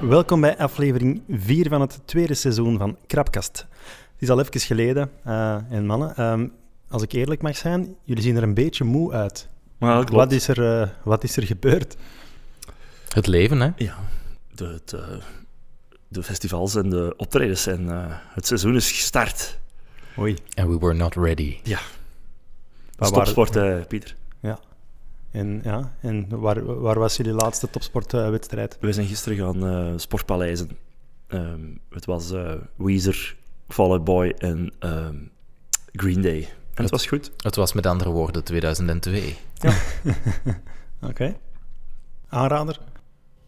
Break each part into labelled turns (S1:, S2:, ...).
S1: Welkom bij aflevering 4 van het tweede seizoen van Krapkast. Het is al even geleden. eh, en mannen, ehm, als ik eerlijk mag zijn, jullie zien er een beetje moe uit.
S2: Maar dat klopt.
S1: Wat is, er, eh, wat is er gebeurd?
S3: Het leven, hè?
S2: Ja, de, het, eh, de festivals en de optredens en eh, het seizoen is gestart.
S1: Oei.
S3: And we were not ready.
S1: waar waren-
S2: Topsport, eh, Pieter.
S1: En, ja, en waar, waar was jullie laatste topsportwedstrijd?
S2: We zijn gisteren gaan eh, sportpaleizen. Ehm, het was eh, Weezer, Fall Out Boy en ehm, Green Day. En het was goed.
S3: Het was met andere woorden 2002.
S1: Oké. Aanrader?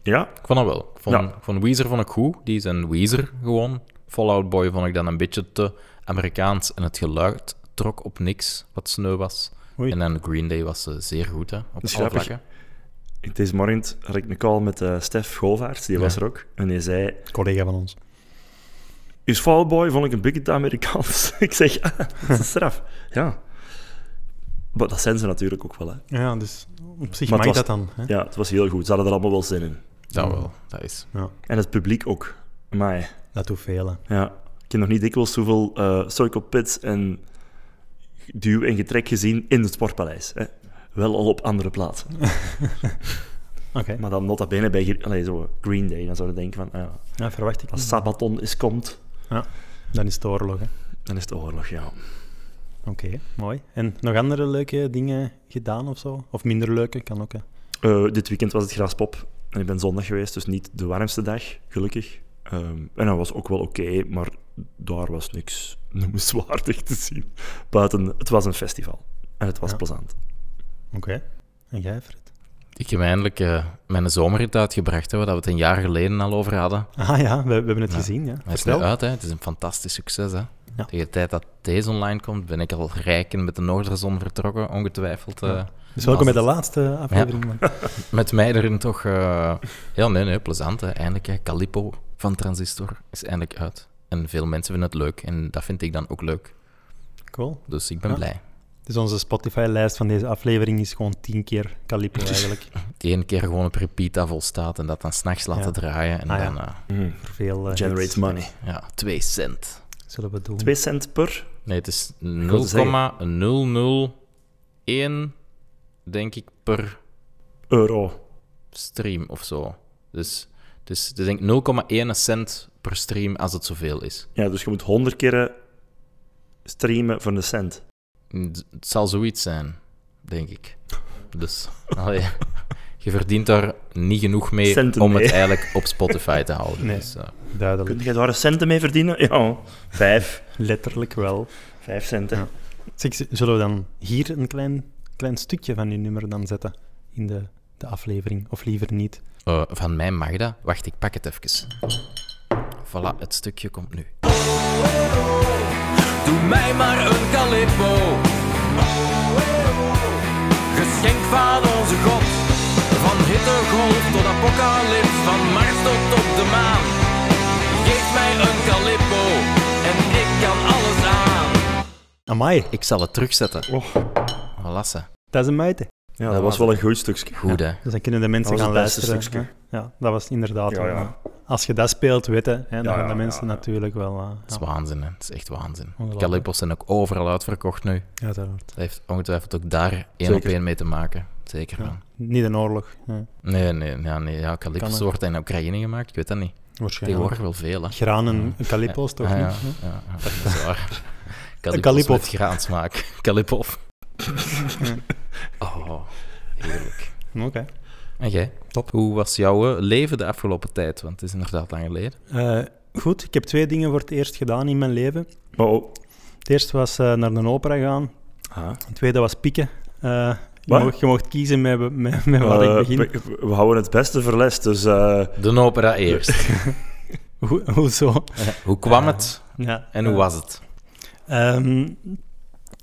S2: Ja,
S3: Ik vond dat wel. Ik vond,
S2: Ja.
S3: ik vond Weezer vond ik goed. Die zijn Weezer gewoon. Fallout Boy vond ik dan een beetje te Amerikaans. En het geluid trok op niks wat sneu was.
S1: Oei.
S3: En dan Green Day was eh, zeer goed, hè? Op
S2: is
S3: alle
S2: grappig.
S3: vlakken.
S2: ik- deze morgen had ik een call met eh, Stef Govaerts, die
S3: Ja.
S2: was er ook. En die zei,
S1: Collega van ons.
S2: is Fall Out Boy vond ik een beetje te Amerikaans. ik zeg, ah, dat is straf. Ja. Maar dat zijn ze natuurlijk ook wel, hè.
S1: Ja, dus op zich
S2: Maar
S1: mag
S2: het
S1: dat
S2: was-
S1: dan. Hè?
S2: Ja, het was heel goed. Ze hadden er allemaal wel zin in.
S3: Dat wel. Dat is...
S2: En het publiek ook. Maar
S1: Dat doet veel. hè.
S2: ja, ik heb nog niet dikwijls zoveel eh circle pits en duw en getrek gezien in het Sportpaleis. Hè. Wel al op andere plaatsen.
S1: Oké,
S2: Maar dan nota bene bij Gre- allee, zo Green Day. Dan zou je denken van, ah, ja,
S1: ja, verwacht ik.
S2: als
S1: niet.
S2: Sabaton is komt,
S1: Dan is het oorlog. hè.
S2: dan is het oorlog, ja.
S1: Oké, mooi. En nog andere leuke dingen gedaan of zo? Of minder leuke, kan ook. Hè.
S2: Eh, dit weekend was het Graspop. En ik ben zondag geweest, dus niet de warmste dag, gelukkig. Ehm, en dat was ook wel oké, maar daar was niks noemenswaardig te zien. Buiten, het was een festival. En het was
S1: Ja.
S2: plezant.
S1: Oké. En jij, Fred?
S3: Ik heb eindelijk eh, mijn zomerrit uitgebracht, hè, waar we het een jaar geleden al over hadden.
S1: Ah ja, we, we hebben het
S3: Ja.
S1: gezien. Ja.
S3: Hij is nu
S1: Vertel.
S3: uit, hè. Het is een fantastisch succes, hè.
S1: Ja.
S3: Tegen de tijd dat deze online komt, ben ik al rijk en met de Noorderzon vertrokken, ongetwijfeld. eh,
S1: Ja. Dus welkom bij
S3: was
S1: de laatste aflevering. man.
S3: Met mij erin toch... eh, Ja, nee, nee, plezant. Hè. Eindelijk, hè. Calippo van Transistor is eindelijk uit. En veel mensen vinden het leuk. En dat vind ik dan ook leuk.
S1: Cool.
S3: Dus ik ben
S1: Ja.
S3: blij.
S1: Dus onze Spotify-lijst van deze aflevering is gewoon tien keer Calippo eigenlijk.
S3: De ene keer gewoon op repeat dat volstaat en dat dan s'nachts laten
S1: Ja.
S3: draaien. En
S1: Ah, ja.
S3: dan, eh,
S1: Voor veel eh, hits
S2: Generates money.
S3: ja, twee cent.
S1: zullen we doen.
S2: 2 cent per.
S3: Nee, het is
S2: wilde zeggen.
S3: 0,001, denk ik, per
S2: Euro.
S3: stream of zo. Dus, dus, dus denk ik 0,1 cent per stream als het zoveel is.
S2: Ja, dus je moet 100 keren streamen voor een cent.
S3: Het zal zoiets zijn, denk ik. Dus allee, je verdient daar niet genoeg mee
S2: Centen
S3: om
S2: mee.
S3: het eigenlijk op Spotify te houden.
S1: Nee.
S3: Dus, eh,
S1: Duidelijk.
S2: Kun je daar een centen mee verdienen? Ja, vijf.
S1: Letterlijk wel.
S2: Vijf centen.
S1: Ja. Zeg, z- zullen we dan hier een klein, klein stukje van uw nummer dan zetten in de, de aflevering? Of liever niet?
S3: eh, van mij mag dat. Wacht, ik pak het even. Voilà, het stukje komt nu.
S4: Doe mij maar een calippo. Geschenk van onze God. Van hittegolf tot apocalyps, van Mars tot op de maan. Geef mij een calippo en ik kan alles aan.
S1: Amai,
S3: Ik zal het terugzetten.
S2: Oh.
S3: Voilà, ze.
S1: dat is een muite.
S2: Ja, dat,
S3: Dat
S2: was
S3: was
S2: wel een goed stukje.
S3: Goed, hè.
S1: Dus dan kunnen de mensen
S2: Dat was
S1: gaan
S2: het beste
S1: luisteren.
S2: stukje.
S1: hè? Ja, dat was inderdaad.
S2: Ja,
S1: wel,
S2: ja.
S1: hè. Als je dat speelt, weten, hè, dan
S2: Ja,
S1: gaan de
S2: ja,
S1: mensen
S2: ja, ja.
S1: natuurlijk wel. eh,
S3: Het is
S1: ja,
S3: waanzin, hè. Het is echt waanzin.
S1: Ongelooflijk.
S3: Calipos zijn ook overal uitverkocht nu.
S1: uiteraard.
S3: Dat heeft ongetwijfeld ook daar één op
S2: Zeker.
S3: één mee te maken. Zeker
S1: Ja.
S3: wel.
S1: Niet een oorlog. Ja,
S3: Nee, nee, ja, nee. Ja, Calipos
S1: hè.
S3: wordt in Oekraïne gemaakt. Ik weet dat niet.
S1: waarschijnlijk.
S3: Tegenwoordig wel veel, hè.
S1: Graan en en Calippo's toch
S3: Ah, ja,
S1: niet? hè?
S3: ja, ja, dat is waar. Kalipov.
S1: Kalipov.
S3: met graansmaak. Kalipov. Oh, heerlijk.
S1: Oké.
S3: En jij? Top. Hoe was jouw eh, leven de afgelopen tijd? Want het is inderdaad lang geleden.
S1: Eh, goed, ik heb twee dingen voor het eerst gedaan in mijn leven.
S2: Oh, oh.
S1: Het eerste was eh, naar de opera gaan.
S2: Ah.
S1: Het tweede was pieken. Eh, je,
S2: Wat?
S1: mocht, je mocht kiezen met, met, met waar
S2: Eh,
S1: ik begin.
S2: we- we, we houden het beste voor les, dus... eh,
S3: De opera eerst.
S1: Hoe- hoezo?
S3: hoe kwam het
S1: Ja.
S3: en hoe
S1: Eh,
S3: was het?
S1: Ehm,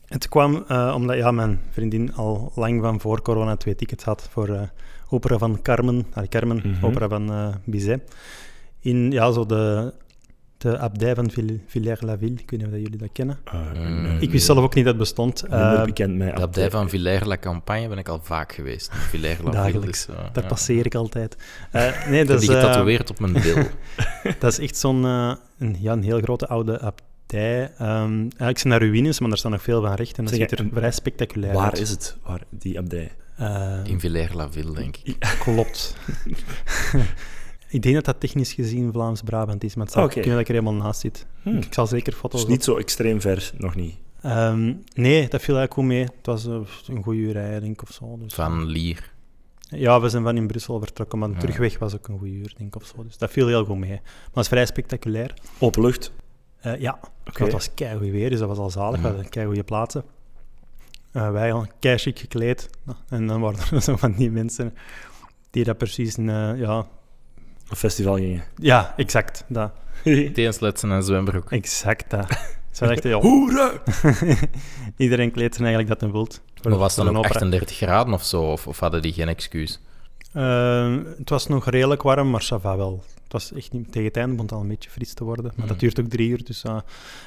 S1: het kwam eh, omdat ja, mijn vriendin al lang van voor corona twee tickets had voor eh, opera van Carmen, ah, Carmen
S2: Mhm.
S1: opera van eh Bizet. In ja, zo de De abdij van Vill- Villers-la-Ville. Ik weet niet of dat jullie dat kennen.
S2: Eh,
S3: Mm.
S2: nee,
S1: Ik wist zelf ook niet dat het bestond.
S2: Minder
S1: Eh,
S2: bekend met
S3: De abdij van Villers-la-Campagne ben ik al vaak geweest. Villers-la-Ville
S1: Dagelijks.
S3: is... eh,
S1: daar
S3: ja.
S1: passeer ik altijd. Eh, nee,
S3: Ik heb
S1: dat
S3: die
S1: is, eh,
S3: getatoeëerd op mijn bil.
S1: dat is echt zo'n eh, een, ja, een heel grote oude abdij. Ehm, eigenlijk zijn daar ruïnes, maar daar staan nog veel van recht. En dat
S2: Zeg,
S1: ziet er
S2: en-
S1: vrij spectaculair uit.
S2: Waar is het? Waar, die abdij?
S1: Eh,
S3: In Villers-la-Ville, denk ik.
S1: Klopt. ik denk dat dat technisch gezien Vlaams-Brabant is, maar het zou
S2: Oké.
S1: kunnen dat ik er helemaal naast zit.
S2: Hmm.
S1: Ik zal zeker foto's...
S2: Dus niet zo extreem ver, nog niet.
S1: op- Ehm, nee, dat viel eigenlijk goed mee. Het was eh, een goede uur rijden, denk ik, of zo. Dus...
S3: Van Lier.
S1: Ja, we zijn van in Brussel vertrokken, maar de
S3: Ja.
S1: terugweg was ook een goede uur, denk ik, of zo. Dus dat viel heel goed mee. Maar het is vrij spectaculair.
S2: Open lucht.
S1: Eh, ja,
S2: Oké.
S1: want het was keigoed weer, dus dat was al zalig.
S3: Mhm.
S1: We hadden keigoede plaatsen. Eh, wij al keichic gekleed. Nou, En dan waren er zo van die mensen die dat precies... Een, eh, ja,
S2: Een festival gingen.
S1: ja, exact, dat.
S3: Teensletsen en zwembroek.
S1: Exact dat. Ze dachten, ja,
S2: Hoera!
S1: iedereen kleedt zich eigenlijk dat hij wilt. Voor-
S3: Maar was
S1: voor
S3: het dan
S1: een opera.
S3: ook 38 graden of zo? Of, of hadden die geen excuus?
S1: Ehm, het was nog redelijk warm, maar ça va wel. Het was echt niet... Tegen het einde begon het al een beetje fris te worden. Maar dat
S3: Mm.
S1: duurt ook drie uur, dus... ah.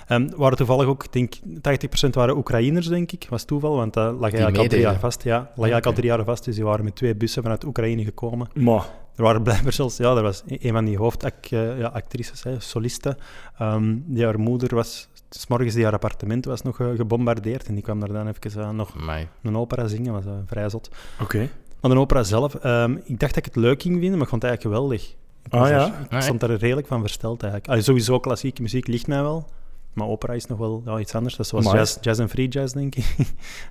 S1: Ehm, waren toevallig ook, ik denk 80% waren Oekraïners, denk ik. Was toeval, want dat lag eigenlijk al drie
S3: meededen. Ah,
S1: jaar vast. Ja, lag eigenlijk al drie jaar vast, dus die waren met twee bussen vanuit Oekraïne gekomen.
S2: Maar,
S1: Er waren blijkbaar zelfs, ja, er was e- een van die hoofdactrices, ja, actrices, hè, solisten, ehm, die haar moeder was, s morgens die haar appartement was nog eh, gebombardeerd en die kwam daar dan even eh, nog
S3: Amai.
S1: een opera zingen, was eh, vrij zot.
S2: oké.
S1: Maar een opera zelf, ehm, ik dacht dat ik het leuk ging vinden, maar ik vond het eigenlijk geweldig. Ik, was
S2: Ah
S1: er-
S2: ja.
S1: ik stond daar redelijk van versteld eigenlijk. Allee, sowieso klassieke muziek ligt mij wel, maar opera is nog wel ja, iets anders. Dat is zoals
S2: Amai.
S1: jazz, jazz en free jazz, denk ik.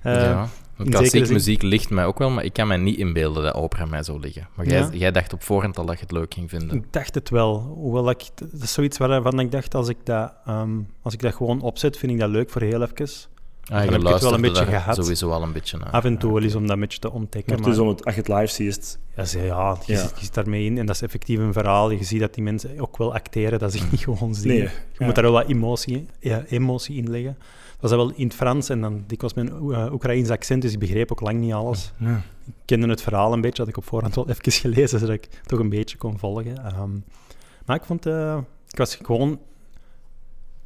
S1: Eh,
S3: ja.
S1: in zekere
S3: Klassieke
S1: zin-
S3: muziek ligt mij ook wel, maar ik kan mij niet inbeelden dat opera mij zou liggen. Maar jij,
S1: Ja.
S3: jij dacht op voorhand al dat je het leuk ging vinden. Ah,
S1: Ik dacht het wel. Hoewel dat ik, dat is zoiets waarvan ik dacht, als ik, dat, ehm, als ik dat gewoon opzet, vind ik dat leuk voor heel even.
S3: Ah,
S1: heb ik het wel een
S3: luisterde
S1: beetje
S3: daar
S1: gehad.
S3: Sowieso al een beetje naar.
S1: Af en toe wel eens om dat een beetje te ontdekken.
S2: Maar
S1: Maar
S2: het is om het, als je het live ziet,
S1: ja, ze- ja, je,
S2: Ja.
S1: Zit, je zit daarmee in en dat is effectief een verhaal. Je ziet dat die mensen ook wel acteren, dat is niet gewoon zien.
S2: Nee,
S1: je
S2: ja.
S1: moet daar wel wat emotie, ja, emotie in leggen. Dat was wel in het Frans en dan dikwijls mijn uh, Oekraïns accent, dus ik begreep ook lang niet alles.
S2: Ja.
S1: Ik kende het verhaal een beetje, had ik op voorhand wel even gelezen, zodat ik toch een beetje kon volgen. Ehm, maar ik vond, eh, ik was gewoon...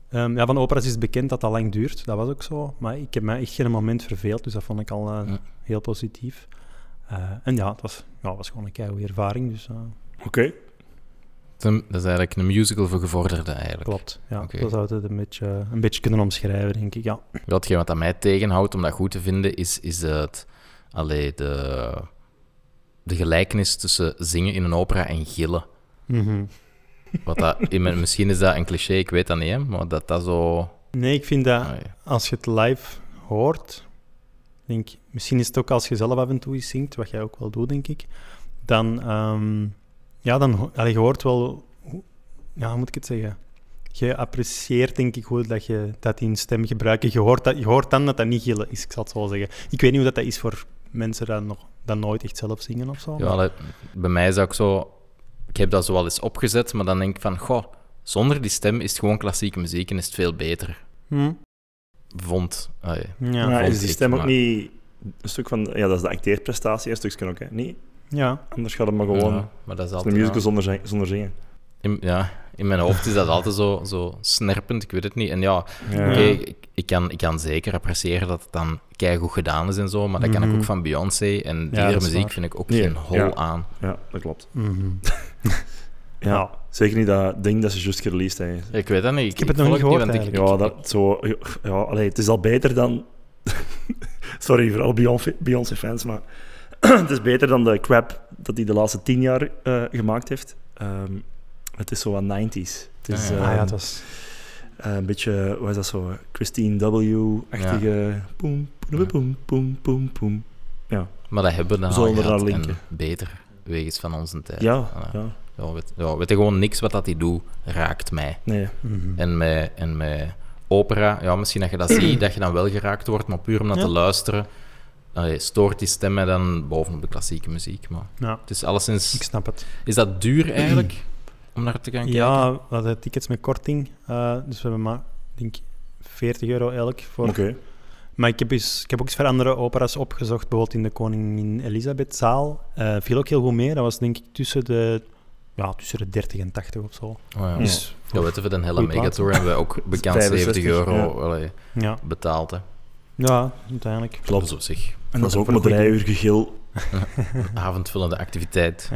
S1: ehm, ja, van operas is bekend dat dat lang duurt, dat was ook zo. Maar ik heb mij echt geen moment verveeld, dus dat vond ik al eh,
S3: Ja.
S1: heel positief. Eh, en ja, het was, ja, het was gewoon een keigoede ervaring, dus eh,
S2: oké.
S3: Tim, Dat is eigenlijk een musical voor gevorderden eigenlijk.
S1: klopt. Ja,
S3: Oké.
S1: Dat zou het een beetje, een beetje kunnen omschrijven, denk ik. Ja.
S3: Datgene wat aan mij tegenhoudt om dat goed te vinden, is, is het, allee, de, de gelijkenis tussen zingen in een opera en gillen. Mhm. Wat dat, in mijn- misschien is dat een cliché, ik weet dat niet, hè, maar dat dat zo...
S1: Nee, ik vind dat
S3: allee.
S1: als je het live hoort, denk, misschien is het ook als je zelf af en toe eens zingt, wat jij ook wel doet, denk ik, dan, ehm, ja, dan ho- allee, je hoort wel, hoe- ja, hoe moet ik het zeggen? Je apprecieert, denk ik, hoe dat je dat in stem gebruikt. Je hoort, dat, je hoort dan dat dat niet gillen is, ik zal het zo zeggen. Ik weet niet hoe dat, dat is voor mensen die nog, dat nooit echt zelf zingen of zo.
S3: Ja, dat- bij mij is dat ook zo... Ik heb dat zo wel eens opgezet, maar dan denk ik van... Goh, zonder die stem is het gewoon klassieke muziek en is het veel beter.
S1: Hm?
S3: Vond. Allee.
S1: Ja.
S2: maar
S3: vond
S2: is die
S3: ik,
S2: stem ook
S3: maar-
S2: niet een stuk van... Ja, dat is de acteerprestatie, een stukje ook, hè? Nee?
S1: ja.
S2: Anders gaat het maar gewoon...
S3: Ja, maar dat is
S2: het is
S3: altijd...
S2: een musical zonder, zing- zonder zingen.
S3: in, ja, in mijn hoofd is dat altijd zo, zo snerpend, ik weet het niet. En ja, oké,
S2: Ja.
S3: ik, ik, kan, ik kan zeker appreciëren dat het dan keigoed gedaan is en zo, maar dat kan
S1: Mhm.
S3: ik ook van Beyoncé. En die
S1: Ja, dat is
S3: muziek
S1: waar.
S3: vind ik ook
S2: Nee,
S3: geen hol
S2: ja.
S3: aan.
S2: Ja, dat klopt.
S1: Mhm.
S2: Ja. Zeker niet dat ding dat ze juist gereleased hebben.
S3: Ik weet dat niet.
S1: Ik heb het nog
S3: volg
S1: niet gehoord,
S3: want ik-
S1: eigenlijk.
S2: Ja, dat zo... Ja, allee, het is al beter dan... Sorry voor al Beyoncé- Beyoncé-fans, maar... het is beter dan de crap dat hij de laatste tien jaar eh, gemaakt heeft. Ehm, het is zo wat 90s. Het is,
S3: Ah,
S1: ah, ja,
S2: ehm,
S1: het was...
S2: eh, een beetje, wat is dat zo? Christine W-achtige... Poem, poem, poem, poem, poem, poem.
S3: Maar dat hebben we dan al
S2: Zonder
S3: gehad
S2: naar
S3: en
S2: linken.
S3: beter, wegens van onze tijd.
S2: Ja,
S3: Voilà.
S2: ja.
S3: Ja, weet, ja, weet je, gewoon niks wat dat hij doet, raakt mij.
S2: Nee.
S1: Mhm.
S3: En met, en met opera, ja, misschien dat je dat ziet, dat je dan wel geraakt wordt, maar puur om dat
S1: Ja.
S3: te luisteren, allee, stoort die stem mij dan bovenop de klassieke muziek. Maar
S1: Ja,
S3: het is alleszins...
S1: ik snap het.
S3: Is dat duur eigenlijk, om naar te gaan kijken?
S1: Ja, we hadden tickets met korting. eh, dus we hebben maar, denk ik, 40 euro elk. Voor...
S2: Oké.
S1: Maar ik heb, eens, ik heb ook eens voor andere operas opgezocht. Bijvoorbeeld in de Koningin Elisabethzaal. Eh viel ook heel goed mee. Dat was denk ik tussen de ja, tussen de 30 en 80 of zo.
S3: Oh, ja.
S2: Ja.
S1: Dus
S3: Ja, weet je, voor de hele
S1: Goeie plaat.
S3: Megatour hebben we ook bekend
S2: 65,
S3: 70 euro
S2: ja.
S3: allee,
S1: ja,
S3: betaald. Hè.
S1: ja uiteindelijk.
S3: Dus op zich,
S2: En dat is ook
S1: Voor de
S2: maar
S1: goeie
S2: drie uur gegil.
S3: avondvullende activiteit.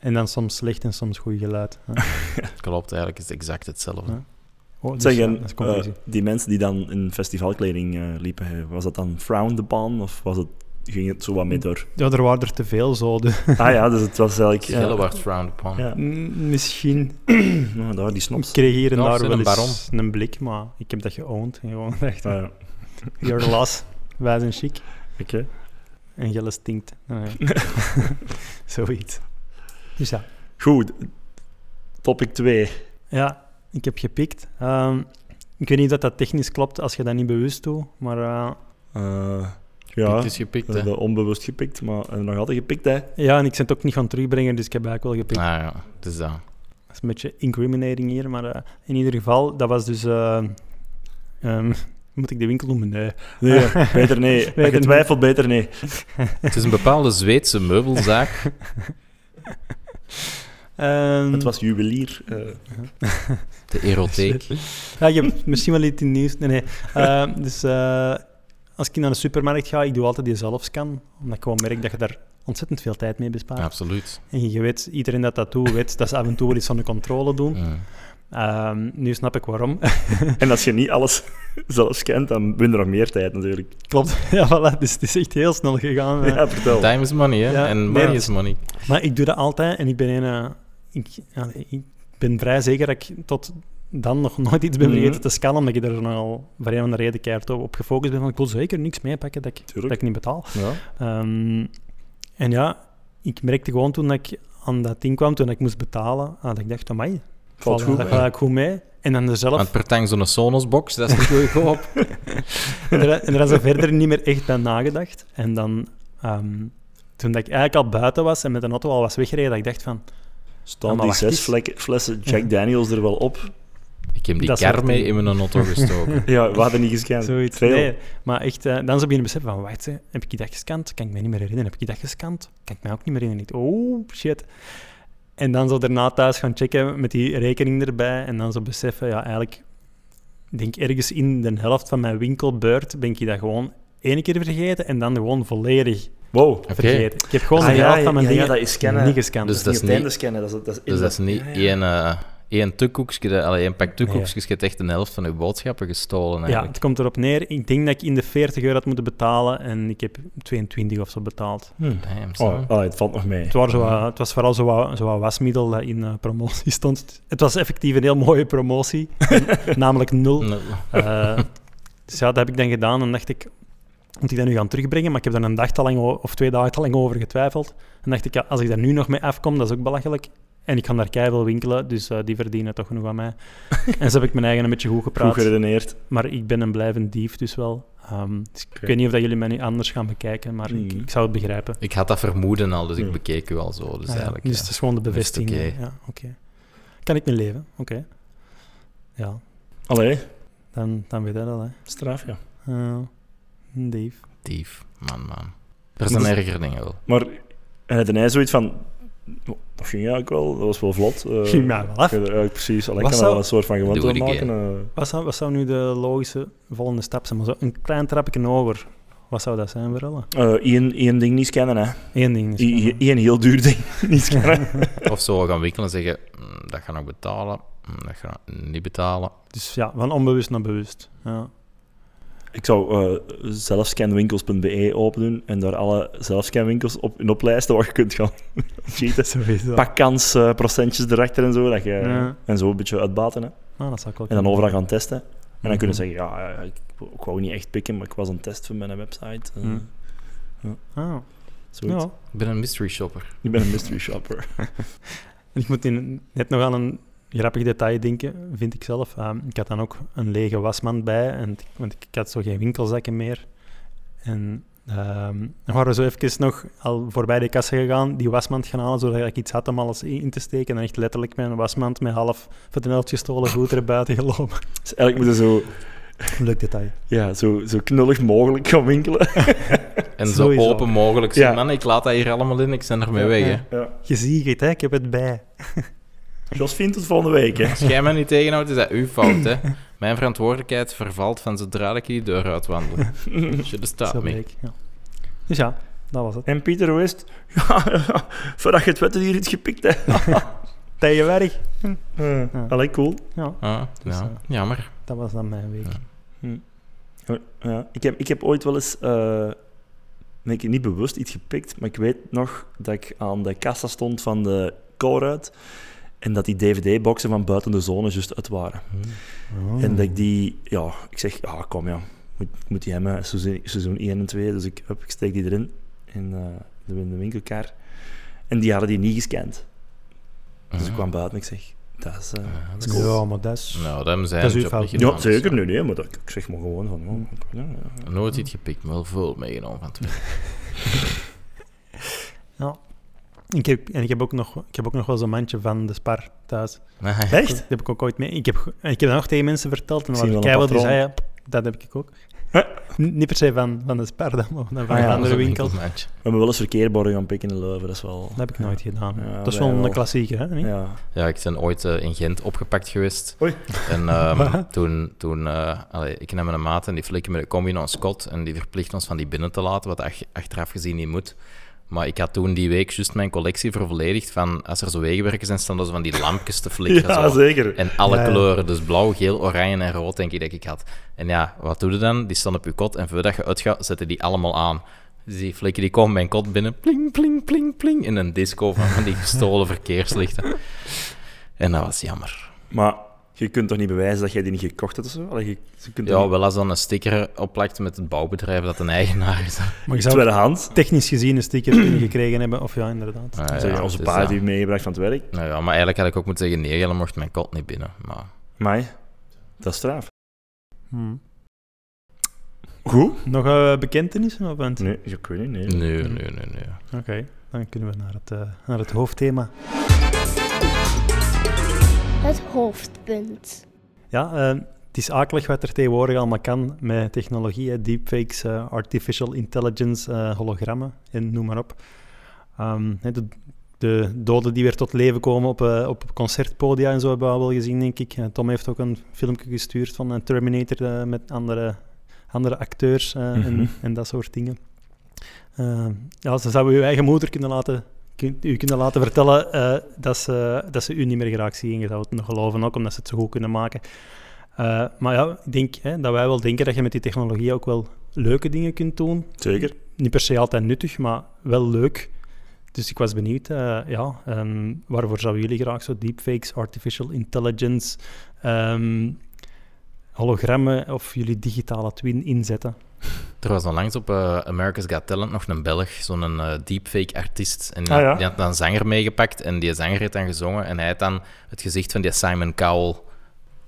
S1: En dan soms slecht en soms goed geluid. hè.
S3: Klopt, eigenlijk is het exact hetzelfde.
S1: Ja. Oh, dus, ja,
S2: Zeggen, eh,
S1: dat is conclusie.
S2: die mensen die dan in festivalkleding eh, liepen, hè, was dat dan frown the ban of was het, ging het zo wat mee door?
S1: ja, er waren er te veel zo. De,
S2: Ah ja, dus het was eigenlijk...
S3: Gille
S2: Ja,
S3: wordt frowned upon.
S2: ja.
S1: Mm, misschien
S2: Nou, daar, die snops.
S1: kreeg hier en
S3: Ja,
S1: daar
S3: zo'n
S1: wel eens
S3: baron.
S1: een blik, maar ik heb dat geowned. En gewoon echt,
S2: Ah, ja.
S1: your loss. Wij zijn chic
S2: Oké.
S1: en Gelle stinkt. Ah, ja. Zoiets. Dus ja.
S2: Goed. Topic 2.
S1: Ja, ik heb gepikt. Ehm, ik weet niet of dat technisch klopt als je dat niet bewust doet, maar eh,
S2: ja,
S3: Pikt is gepikt,
S2: we
S3: hè.
S2: hebben onbewust gepikt, maar en nog altijd gepikt, hè.
S1: ja, en ik ben het ook niet gaan terugbrengen, dus ik heb eigenlijk wel gepikt.
S3: Ah, ja, het is dat.
S1: Dat is een beetje incriminating hier, maar eh, in ieder geval, dat was dus. eh, ehm, moet ik de winkel noemen? Nee.
S2: Nee, beter nee. Als je
S1: Beter
S2: twijfelt, beter nee.
S3: Het is een bepaalde Zweedse meubelzaak.
S1: Ehm,
S2: Het was juwelier. eh,
S3: De erotheek.
S1: Ja, je hebt misschien wel iets in nieuws. Nee, nee. Eh, dus eh, als ik naar de supermarkt ga, ik doe altijd die zelfscan. Omdat ik gewoon merk dat je daar ontzettend veel tijd mee bespaart.
S3: Absoluut.
S1: En je weet, iedereen dat dat doet, weet dat ze af en toe wel iets van de controle doen.
S3: Ja.
S1: Ehm, nu snap ik waarom.
S2: En als je niet alles zelf scant, dan win je nog meer tijd natuurlijk.
S1: Klopt. Ja, voilà. Dus het is echt heel snel gegaan. eh.
S2: Oh, Ja, vertel.
S3: Time is money, hè?
S1: Ja,
S3: en
S1: nee,
S3: money
S1: dat
S3: is money.
S1: Maar ik doe dat altijd en ik ben, een, eh, ik, ja, ik ben vrij zeker dat ik tot dan nog nooit iets ben vergeten
S2: Mhm.
S1: te scannen, omdat ik er nogal voor een of andere reden keihard op gefocust ben. Van, ik wil zeker niks meepakken dat ik, dat
S2: Tuurlijk.
S1: ik niet betaal.
S2: Ja.
S1: Ehm, en ja, ik merkte gewoon toen ik aan dat ding kwam, toen ik moest betalen, ah, dat ik dacht, amai,
S2: Valt goed.
S1: dat gaat
S3: mee.
S1: eigenlijk goed mee. En dan er
S3: Want
S1: zelf,
S3: per tang zo'n Sonos-box, dat is niet goedkoop.
S1: en er, en er is er verder niet meer echt bij nagedacht. En dan, ehm, toen dat ik eigenlijk al buiten was en met een auto al was weggereden, dat ik dacht van, Ja,
S2: Staan
S1: maar
S2: die
S1: wacht
S2: zes
S1: eens.
S2: vlekken- flessen Jack Daniels er wel op?
S3: Ik heb die
S1: Dat is
S3: kar
S1: echt
S3: mee
S1: een-
S3: in mijn auto gestoken.
S2: Ja, we hadden niet gescand.
S1: zoiets.
S2: Veel.
S1: Nee, maar echt, eh, dan is ik beginnen beseffen van, wacht, hè, heb ik dat gescand? Kan ik me niet meer herinneren. Heb ik dat gescand? Kan ik mij ook niet meer herinneren. Ik dacht, Oh, shit. En dan zo daarna thuis gaan checken met die rekening erbij en dan zo beseffen, ja, eigenlijk, ik denk ergens in de helft van mijn winkelbeurt ben ik dat gewoon één keer vergeten en dan gewoon volledig
S2: Wow.
S3: Oké.
S1: vergeten. Ik heb gewoon
S2: Ah,
S1: de
S2: ja,
S1: helft van mijn
S2: ja, ja,
S1: dingen
S2: dat is scannen.
S1: niet gescand.
S3: Dus dat is
S2: het einde
S3: niet-
S2: scannen, dat is, dat is
S3: Dus dat is niet
S2: Ja, ja.
S3: één, eh één tukkoekje, dat- allee, één pak tukkoekjes.
S1: Nee.
S3: Je hebt echt een helft van je boodschappen gestolen,
S2: Ah,
S1: ja,
S3: eigenlijk.
S1: het komt erop neer. Ik denk dat ik in de 40 euro had moeten betalen en ik heb 22 of zo betaald.
S3: Damn, son.
S1: eh,
S2: Oh, ah, het valt nog mee.
S1: Het, waren zo wat- het was vooral zo'n zo wat- zo wat wasmiddel dat in eh, promotie stond. Het was effectief een heel mooie promotie, namelijk nul.
S3: Nee.
S1: Eh, dus ja, dat heb ik dan gedaan en dacht ik, moet ik dat nu gaan terugbrengen? Maar ik heb daar een dag te lang o- of twee dagen te lang over getwijfeld. En dacht ik, ja, als ik daar nu nog mee afkom, dat is ook belachelijk. En ik ga daar keihard winkelen, dus eh, die verdienen toch genoeg aan mij. en zo heb ik mijn eigen een beetje goed
S2: Goed
S1: gepraat.
S2: geredeneerd.
S1: maar ik ben een blijvend dief, dus wel. Ehm, dus
S2: Oké.
S1: Ik weet niet of dat jullie mij nu anders gaan bekijken, maar ik,
S2: Mm.
S1: ik zou het begrijpen.
S3: Ik had dat vermoeden al, dus ik
S2: Ja.
S3: bekeek u al zo. Dus
S1: Ah ja,
S3: eigenlijk,
S1: dus
S3: ja.
S1: het is gewoon de
S3: is het
S1: bevestiging.
S3: oké.
S1: Ja, oké. Kan ik mee leven? Oké. Ja,
S2: Allee,
S1: dan, dan weet je dat al, hè.
S2: straf, ja.
S1: Eh, Dave.
S3: Dief. Man, man. Er zijn
S2: Dus-
S3: erger dingen wel.
S2: Maar en had hij zoiets van... "Oh, Dat ging eigenlijk wel, dat was wel vlot. eh,
S1: Ging mij wel af.
S2: ik heb er eigenlijk precies, allee, ik
S1: Was
S2: kan er
S1: dat-
S2: wel een soort van gewoonte
S3: Doe
S2: van
S3: het
S2: maken. eh.
S1: Wat zou, wat zou nu de logische volgende stap zijn? Maar zo een klein trapje over. Wat zou dat zijn voor alle?
S2: Eh, Eén één ding niet scannen, hè.
S1: Eén ding. is-
S2: Eén één heel duur ding niet scannen.
S3: Of zo gaan wikkelen en zeggen, "Mm, dat ga ik betalen, mm, dat ga ik niet betalen.
S1: Dus ja, van onbewust naar bewust. Ja.
S2: Ik zou eh, zelfscanwinkels.be open doen en daar alle zelfscanwinkels op, in oplijsten waar je kunt gaan cheaten.
S1: Sowieso.
S2: Pak kans, eh, procentjes erachter en zo. Dat je,
S1: Ja.
S2: En zo een beetje uitbaten. Hè.
S1: Ah, dat zou ik wel
S2: En dan
S1: kunnen.
S2: overal gaan testen. En dan
S1: Mhm.
S2: kunnen ze zeggen, ja, ja, ik, ik wou niet echt pikken, maar ik was aan het testen voor mijn website. eh,
S1: Hmm. Ah,
S2: zoiets.
S1: ja.
S3: Ik ben een mystery shopper.
S2: Ik ben een mystery shopper.
S1: En ik moet in, net nog aan een grappig detail denken, vind ik zelf. Ehm, ik had dan ook een lege wasmand bij, en, t- want ik, ik had zo geen winkelzakken meer. En ehm, we waren zo even nog al voorbij de kassen gegaan, die wasmand gaan halen, zodat ik iets had om alles in, in te steken. En dan echt letterlijk mijn wasmand met half van de helft gestolen goed er buiten gelopen.
S2: Dus eigenlijk moeten ze zo,
S1: Leuk detail.
S2: ja, zo, zo knullig mogelijk gaan winkelen.
S3: En zo
S1: Sowieso.
S3: open mogelijk. Zeg,
S2: Ja.
S3: man, ik laat dat hier allemaal in, ik ben ermee weg. Hè.
S2: Ja.
S1: Je ziet het, hè? ik heb het bij.
S2: Jos vindt het volgende week, hè.
S3: Als jij mij niet tegenhoudt, is dat uw fout, hè. Mijn verantwoordelijkheid vervalt van zodra ik die deur uitwandel. Je bestaat
S1: Zo
S3: mee.
S1: bleek, ja. Dus ja, dat was het.
S2: En Pieter, hoe is het? Ja, ja, voordat je het weet, hier iets gepikt, hè.
S1: Tegen werk.
S2: Eh, Allee, cool.
S1: Ja,
S3: Ah,
S1: Dus,
S3: ja.
S1: eh,
S3: Jammer.
S1: dat was dan mijn week.
S2: Ja, ik, heb, ik heb ooit wel eens, eh, nee, ik heb niet bewust iets gepikt, maar ik weet nog dat ik aan de kassa stond van de Colruyt en dat die DVD-boxen van buiten de zone juist uit waren.
S1: Oh.
S3: Hmm.
S2: En dat ik die, ja, ik zeg, ja, kom ja, moet, ik moet die hebben, hè, seizoen, seizoen 1 en 2. Dus ik, hup, ik steek die erin in, eh, in de winkelkar. En die hadden die niet gescand. Dus
S3: Hmm.
S2: ik kwam buiten en ik zeg, dat is... eh,
S3: Ja, dat is cool.
S1: Ja, maar dat is...
S3: Nou, dat zijn
S1: Dat is uw
S3: job
S1: fout.
S3: niet
S1: Ja,
S2: ja,
S3: gedaan,
S2: zeker,
S3: dus,
S2: nee, nee, maar dat, ik zeg maar gewoon van, oh, ja, ja.
S3: ja. Nooit iets gepikt, maar wel veel meegenomen van twee.
S1: Ik heb, en ik heb ook nog, ik heb ook nog wel zo'n mandje van de Spar thuis.
S3: Nee.
S2: Echt?
S1: Dat heb ik ook ooit mee. Ik heb, ge- ik heb dat nog tegen mensen verteld. En
S2: Ik
S1: dan
S2: zie
S1: waren
S2: wel een
S1: keihard die
S2: patroon.
S1: zeiden, dat heb ik ook. N- Niet per se van, van de Spar dan, maar van
S2: Ah ja,
S1: een
S3: Dat is
S1: andere
S3: ook
S1: winkel.
S3: een winkelmandje.
S2: We hebben wel eens verkeerborden gaan pikken in Leuven, dat is wel...
S1: Dat heb ik nooit gedaan.
S2: Ja,
S1: dat is
S2: wij
S1: wel een
S2: wel.
S1: klassieker, hè? niet?
S2: Ja.
S3: Ja, ik ben ooit eh, in Gent opgepakt geweest.
S2: Oei.
S3: En ehm, toen, toen eh, allee, ik nam een maat en die flikken met een combi naar een Scot en die verplicht ons van die binnen te laten, wat ach- achteraf gezien niet moet. Maar ik had toen die week juist mijn collectie vervolledigd van, als er zo wegenwerken zijn, staan er zo van die lampjes te flikkeren.
S2: Ja,
S3: zo.
S2: zeker.
S3: En alle
S1: Ja, ja.
S3: kleuren, dus blauw, geel, oranje en rood, denk ik dat ik had. En ja, wat doe je dan? Die staan op je kot en voordat je uitgaat, zetten die allemaal aan. Dus die flikken die komen mijn kot binnen, pling, pling, pling, pling, in een disco van, van die gestolen verkeerslichten. En dat was jammer.
S2: Maar je kunt toch niet bewijzen dat jij die niet gekocht hebt of zo? Allee, je, je kunt
S3: Ja,
S2: toch
S3: wel als dan een sticker opplakt met het bouwbedrijf dat een eigenaar is.
S1: Maar je
S2: niet...
S1: zou
S2: Tweedehand.
S1: technisch gezien een sticker kunnen gekregen hebben. Of ja, inderdaad.
S3: Ah, ja,
S2: Zeg, onze
S3: dus
S2: pa
S3: dat-
S2: die meegebracht van het werk.
S3: Nou ja, maar eigenlijk had ik ook moeten zeggen, nee, jullie mocht mijn kot niet binnen. Maar
S2: Maar dat is straf.
S1: Hmm.
S2: Goed?
S1: Nog eh, bekentenissen? Of want-
S2: Nee, ik weet niet, nee.
S3: nee, nee, nee, nee.
S1: Oké, dan kunnen we naar het, eh, naar het hoofdthema.
S5: Het hoofdpunt.
S1: Ja, eh, het is akelig wat er tegenwoordig allemaal kan met technologie, hè, deepfakes, eh, artificial intelligence, eh, hologrammen en noem maar op. Ehm, hè, de, de doden die weer tot leven komen op, eh, op concertpodia en zo hebben we al wel gezien, denk ik. Eh, Tom heeft ook een filmpje gestuurd van een Terminator eh, met andere, andere acteurs eh,
S2: Mhm.
S1: en, en dat soort dingen. Ehm, ja, ze zouden uw eigen moeder kunnen laten, kun- u kunnen laten vertellen eh, dat, ze, dat ze u niet meer graag zien. Je zou het nog geloven ook, omdat ze het zo goed kunnen maken. Eh, maar ja, ik denk hè, dat wij wel denken dat je met die technologie ook wel leuke dingen kunt doen.
S2: Zeker.
S1: Niet per se altijd nuttig, maar wel leuk. Dus ik was benieuwd, eh, ja, ehm, waarvoor zouden jullie graag zo deepfakes, artificial intelligence, ehm, hologrammen of jullie digitale twin inzetten?
S3: Er was onlangs op eh, America's Got Talent nog een Belg, zo'n eh, deepfake artiest. En die,
S2: Ah,
S3: had-
S2: ja.
S3: die had dan een zanger meegepakt en die zanger heeft dan gezongen. En hij had dan het gezicht van die Simon Cowell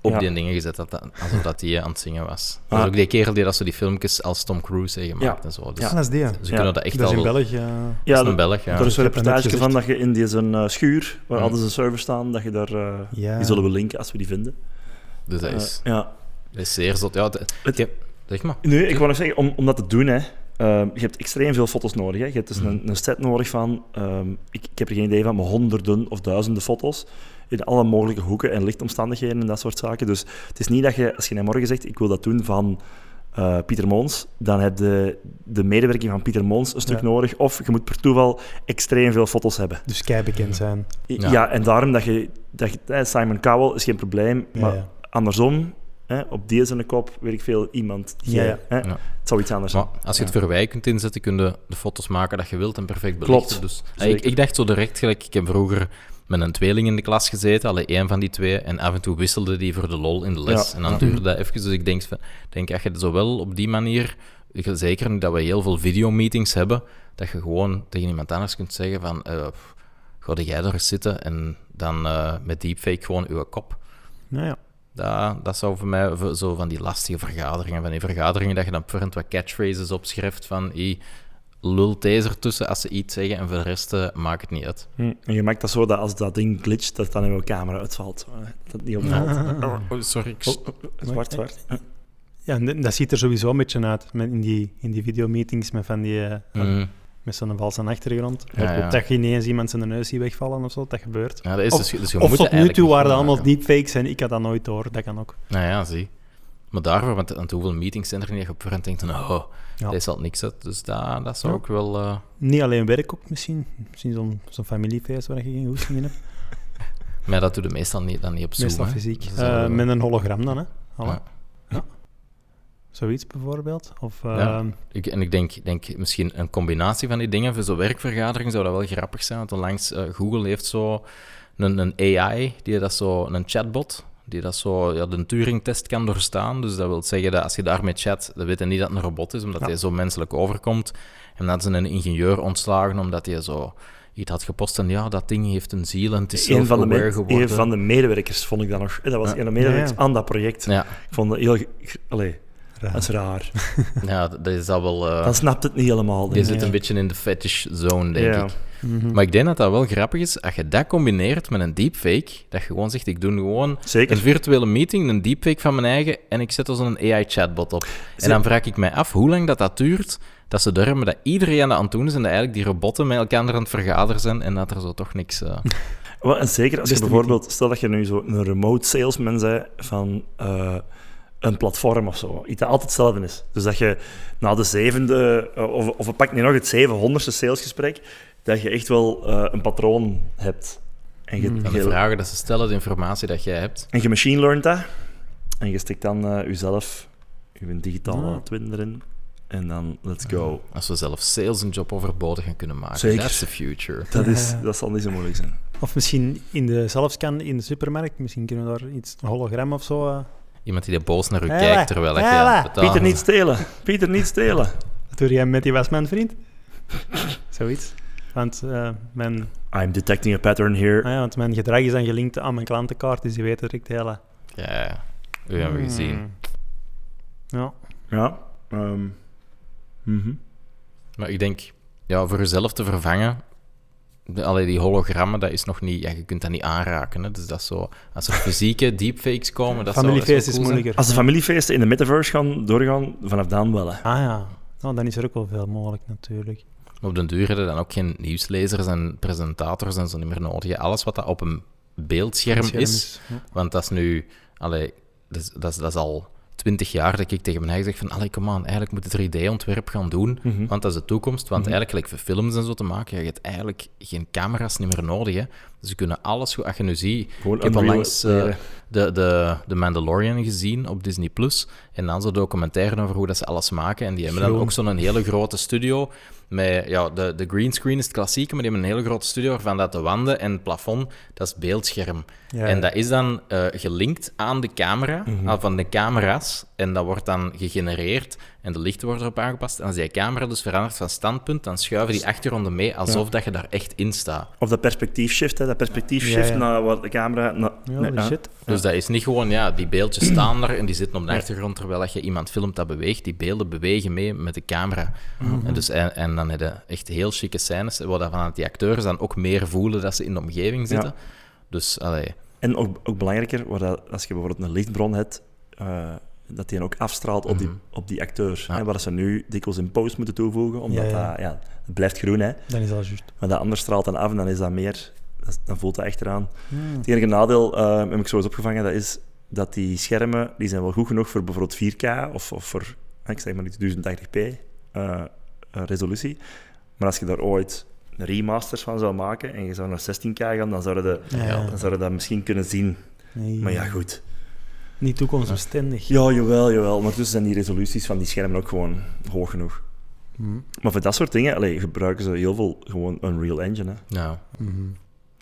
S3: op
S2: Ja.
S3: die dingen gezet, dat, dat- alsof dat die eh, aan het zingen was. Dat
S2: Ah.
S3: is ook die kerel die dat zo die filmpjes als Tom Cruise heeft gemaakt
S2: Ja.
S3: en zo. Dus
S2: Ja.
S1: dat is die.
S3: ze
S2: Ja.
S3: kunnen dat echt
S1: Dat is in
S3: wel...
S1: België.
S2: Ja,
S3: dat is een
S2: er-
S3: Belg, ja.
S2: er is een
S1: Ik heb het net
S2: reportage
S1: gezegd.
S2: van dat je in die zijn eh, schuur, waar
S3: Ja.
S2: altijd zijn servers staan, dat je daar... eh,
S1: Ja.
S2: Die zullen we linken als we die vinden.
S3: Dus dat is,
S2: Eh, ja.
S3: dat is zeer zot. Ja, dat-
S2: Het-
S3: ik heb- zeg maar.
S2: Nee, ik wou nog zeggen, om, om dat te doen, hè, ehm, je hebt extreem veel foto's nodig. Hè. Je hebt dus
S3: Mhm.
S2: een, een set nodig van, ehm, ik, ik heb er geen idee van, maar honderden of duizenden foto's. In alle mogelijke hoeken en lichtomstandigheden en dat soort zaken. Dus het is niet dat je, als je naar morgen zegt, ik wil dat doen van eh, Pieter Moons, dan heb je de medewerking van Pieter Moons een stuk
S1: Ja.
S2: nodig. Of je moet per toeval extreem veel foto's hebben.
S1: Dus kei bekend zijn.
S2: I-
S3: Ja.
S2: Ja, en daarom dat je, dat je eh, Simon Cowell is geen probleem,
S1: Ja,
S2: maar
S1: ja.
S2: andersom, hè, op deze een kop, weet ik veel, iemand. Die,
S1: Ja, ja.
S2: Hè,
S3: Ja.
S2: Het zou iets anders zijn.
S3: Maar als je het verwijt kunt inzetten, kun je de foto's maken dat je wilt en perfect belichten.
S2: Klopt.
S3: Dus, Ah, ik,
S2: Zeker.
S3: ik dacht zo direct, gelijk, ik heb vroeger met een tweeling in de klas gezeten, alleen één van die twee, en af en toe wisselde die voor de lol in de les.
S2: Ja.
S3: En dan duurde dat even. Dus ik denk, van- denk dat je het zowel op die manier, ik- zeker nu dat we heel veel videomeetings hebben, dat je gewoon tegen iemand anders kunt zeggen van, eh pff, ga jij daar eens zitten en dan eh, met deepfake gewoon uw kop.
S1: Nou ja.
S3: Dat, dat zou voor mij v- zo van die lastige vergaderingen, van die vergaderingen dat je dan voorhand wat catchphrases opschrijft van "Hey, lul deze ertussen als ze iets zeggen en voor de rest eh, maakt het niet uit.
S2: Hm, En je maakt dat zo dat als dat ding glitcht, dat het dan in uw camera uitvalt. eh, Dat het niet opvalt.
S3: sorry, ik...
S2: Oh, zwart, zwart.
S3: Oh. Mm.
S1: Ja, en dat ziet er sowieso een beetje uit met in die, in die videomeetings met van die eh, met zo'n valse achtergrond.
S3: Ja, ja.
S1: Dat je ineens iemand zijn neus ziet wegvallen of zo, dat gebeurt.
S3: Ja, dat is
S1: Of-
S3: dus, dus je
S1: Of
S3: moet
S1: tot
S3: het
S1: nu
S3: eigenlijk
S1: toe
S3: niet
S1: waren dat
S3: goed
S1: allemaal
S3: maken.
S1: deepfakes en ik had dat nooit door, dat kan ook.
S3: Nou ja, zie. Maar daarvoor, want aan hoeveel meetings zijn er niet dat je op voorhand denkt, nou,
S1: Ja.
S3: deze zal niks uit. Dus dat, dat zou
S1: Ja.
S3: ook wel... eh,
S1: Niet alleen werk ook misschien. Misschien zo'n zo'n familiefeest waar je geen goesting in hebt.
S3: maar dat doe je meestal niet, dan niet op Zoom.
S1: Meestal
S3: hè.
S1: fysiek.
S3: Dus dat
S1: Eh,
S3: wel-
S1: met een hologram dan, hè? Voilà.
S3: Ja.
S1: Zoiets bijvoorbeeld. Of, eh,
S3: Ja. Ik, en ik denk, denk misschien een combinatie van die dingen. Voor zo'n werkvergadering zou dat wel grappig zijn. Want onlangs eh, Google heeft zo een, een AI, die dat zo, een chatbot, die dat zo ja, de Turing-test kan doorstaan. Dus dat wil zeggen dat als je daarmee chat, dan weet je niet dat het een robot is, omdat
S1: Ja.
S3: hij zo menselijk overkomt. En dat ze een ingenieur ontslagen omdat hij zo iets had gepost en ja, dat ding heeft een ziel en het
S2: Een
S3: is
S2: van, de
S3: self-aware
S2: me-
S3: geworden.
S2: een van de medewerkers vond ik dat nog. Eh, Dat was
S3: Ja.
S2: een van de medewerkers
S1: Ja, ja.
S2: aan dat project.
S3: Ja,
S2: Ik vond dat heel... ge- ge- Allee,
S1: raar.
S2: dat is raar.
S3: ja, dat is dat wel... eh,
S2: Dan snapt het niet helemaal.
S3: je
S2: denk ik.
S3: zit een beetje in de fetish zone, denk
S2: Ja.
S3: ik.
S2: Hm.
S1: Mhm.
S3: Maar ik denk dat dat wel grappig is, als je dat combineert met een deepfake, dat je gewoon zegt, ik doe gewoon
S2: Zeker.
S3: een virtuele meeting, een deepfake van mijn eigen, en ik zet als een AI-chatbot op. En dan vraag ik mij af hoe lang dat, dat duurt, dat ze durven dat iedereen aan de aan het doen is en dat eigenlijk die robotten met elkaar aan het vergaderen zijn en dat er zo toch niks... eh,
S2: Wel, en zeker als je
S1: Beste
S2: bijvoorbeeld, stel dat je nu zo een remote salesman bent van eh, een platform of zo, iets dat altijd hetzelfde is. Dus dat je na de zevende, eh, of, of we pakken nu nog het zevenhonderdste salesgesprek, dat je echt wel eh, een patroon hebt. En
S1: Hmm.
S2: je,
S3: van de
S2: je-
S3: vragen dat ze stellen, de informatie dat jij hebt.
S2: en je machine learnt dat, en je stikt dan eh, jezelf, je digitale
S1: Ah.
S2: twin erin, en dan let's go.
S3: Als we zelf sales een job overbodig gaan kunnen maken.
S2: Zeker.
S3: That's the future.
S2: Dat, is,
S1: Ja.
S2: dat zal niet zo moeilijk zijn.
S1: Of misschien in de zelfscan in de supermarkt. Misschien kunnen we daar iets, een hologram of zo. eh,
S3: Iemand die daar boos naar u
S1: Hela,
S3: kijkt terwijl ik
S1: hela.
S3: ja, betaal.
S2: Pieter, niet stelen. Pieter, niet stelen.
S1: Wat doe jij met die was mijn vriend? Zoiets. Want, eh, mijn,
S2: I'm detecting a pattern here.
S1: ah ja, want mijn gedrag is dan gelinkt aan mijn klantenkaart, dus die weten direct heel. eh,
S3: Ja, ja. U hebben we gezien.
S1: hmm. Ja.
S2: Ja. ehm, mhm.
S3: Maar ik denk, ja, voor jezelf te vervangen. de- Allee, die hologrammen, dat is nog niet... Ja, je kunt dat niet aanraken, hè. Dus dat is zo... Als er fysieke deepfakes komen, dat zou- dat zou
S1: Familiefeest is
S3: cool zijn.
S1: moeilijker.
S2: Als de familiefeesten in de metaverse gaan doorgaan, vanaf dan wel. Hè.
S1: Ah ja. Nou, dan is er ook wel veel mogelijk natuurlijk.
S3: Maar op den duur hebben dan ook geen nieuwslezers en presentators en zo niet meer nodig. hè. Alles wat dat op een beeldscherm
S1: Scherm
S3: is...
S1: ja.
S3: Want dat is nu... Allee, dat is, dat is, dat is al twintig jaar dat ik tegen mijn eigen zeg van... Allee, come on, eigenlijk moet het 3D-ontwerp gaan doen.
S2: Mhm.
S3: Want dat is de toekomst. Want eigenlijk, like, voor films en zo te maken, je hebt eigenlijk geen camera's niet meer nodig. Hè. Dus je kunnen alles goed... Als je nu ziet...
S2: Gewoon
S3: ik heb
S2: Unreal
S3: onlangs eh,
S2: leren.
S3: de, de, de Mandalorian gezien op Disney+. Plus En dan zo'n documentaire over hoe dat ze alles maken. En die hebben dan
S1: Film.
S3: ook zo'n hele grote studio... Met, ja, de, de green screen is het klassieke, maar die hebben een hele grote studio waarvan dat de wanden en het plafond, dat is het beeldscherm.
S1: Ja. Mhm.
S3: En dat is dan eh, gelinkt aan de camera, ah, van de camera's. En dat wordt dan gegenereerd en de lichten worden erop aangepast. En als die camera dus verandert van standpunt, dan schuiven die achtergronden mee alsof dat je daar echt in staat.
S2: Of dat perspectiefshift, hè. dat perspectiefshift
S1: Ja, ja.
S2: naar waar de camera... Naar,
S1: Ja,
S2: nee,
S1: holy
S2: hè.
S1: shit.
S3: Dus dat is niet gewoon, ja, die beeldjes staan er en die zitten op de achtergrond, terwijl dat je iemand filmt dat beweegt. Die beelden bewegen mee met de camera.
S1: Mhm.
S3: en, dus, en, en dan heb je echt heel chique scènes, waar dat van die acteurs dan ook meer voelen dat ze in de omgeving zitten. Dus, allee,
S2: En ook, ook belangrijker, waar dat, als je bijvoorbeeld een lichtbron hebt, eh, dat die dan ook afstraalt op die, op die acteurs.
S3: Ja.
S2: Hè, waar ze nu dikwijls in post moeten toevoegen, omdat
S1: Ja, ja.
S2: Dat, ja, het blijft groen. Hè.
S1: Dan is dat juist.
S2: Maar dat anders straalt dan af en dan is dat meer... dat is- Dan voelt dat echt eraan. Het enige nadeel, eh, heb ik zo eens opgevangen, dat is dat die schermen, die zijn wel goed genoeg voor bijvoorbeeld 4K of, of voor, eh, ik zeg maar niet, 1080p eh, eh, resolutie. Maar als je daar ooit een remasters van zou maken en je zou naar 16K gaan, dan zouden de,
S1: Ja, ja.
S2: dan zouden dat misschien kunnen zien.
S1: Nee.
S2: Maar ja, goed.
S1: Niet toekomstbestendig.
S2: Ja, jawel, jawel. Maar dus zijn die resoluties van die schermen ook gewoon hoog genoeg.
S1: Mhm.
S3: Hmm.
S2: Maar voor dat soort dingen allee, gebruiken ze heel veel gewoon Unreal Engine. Hè.
S3: nou...
S1: Mhm.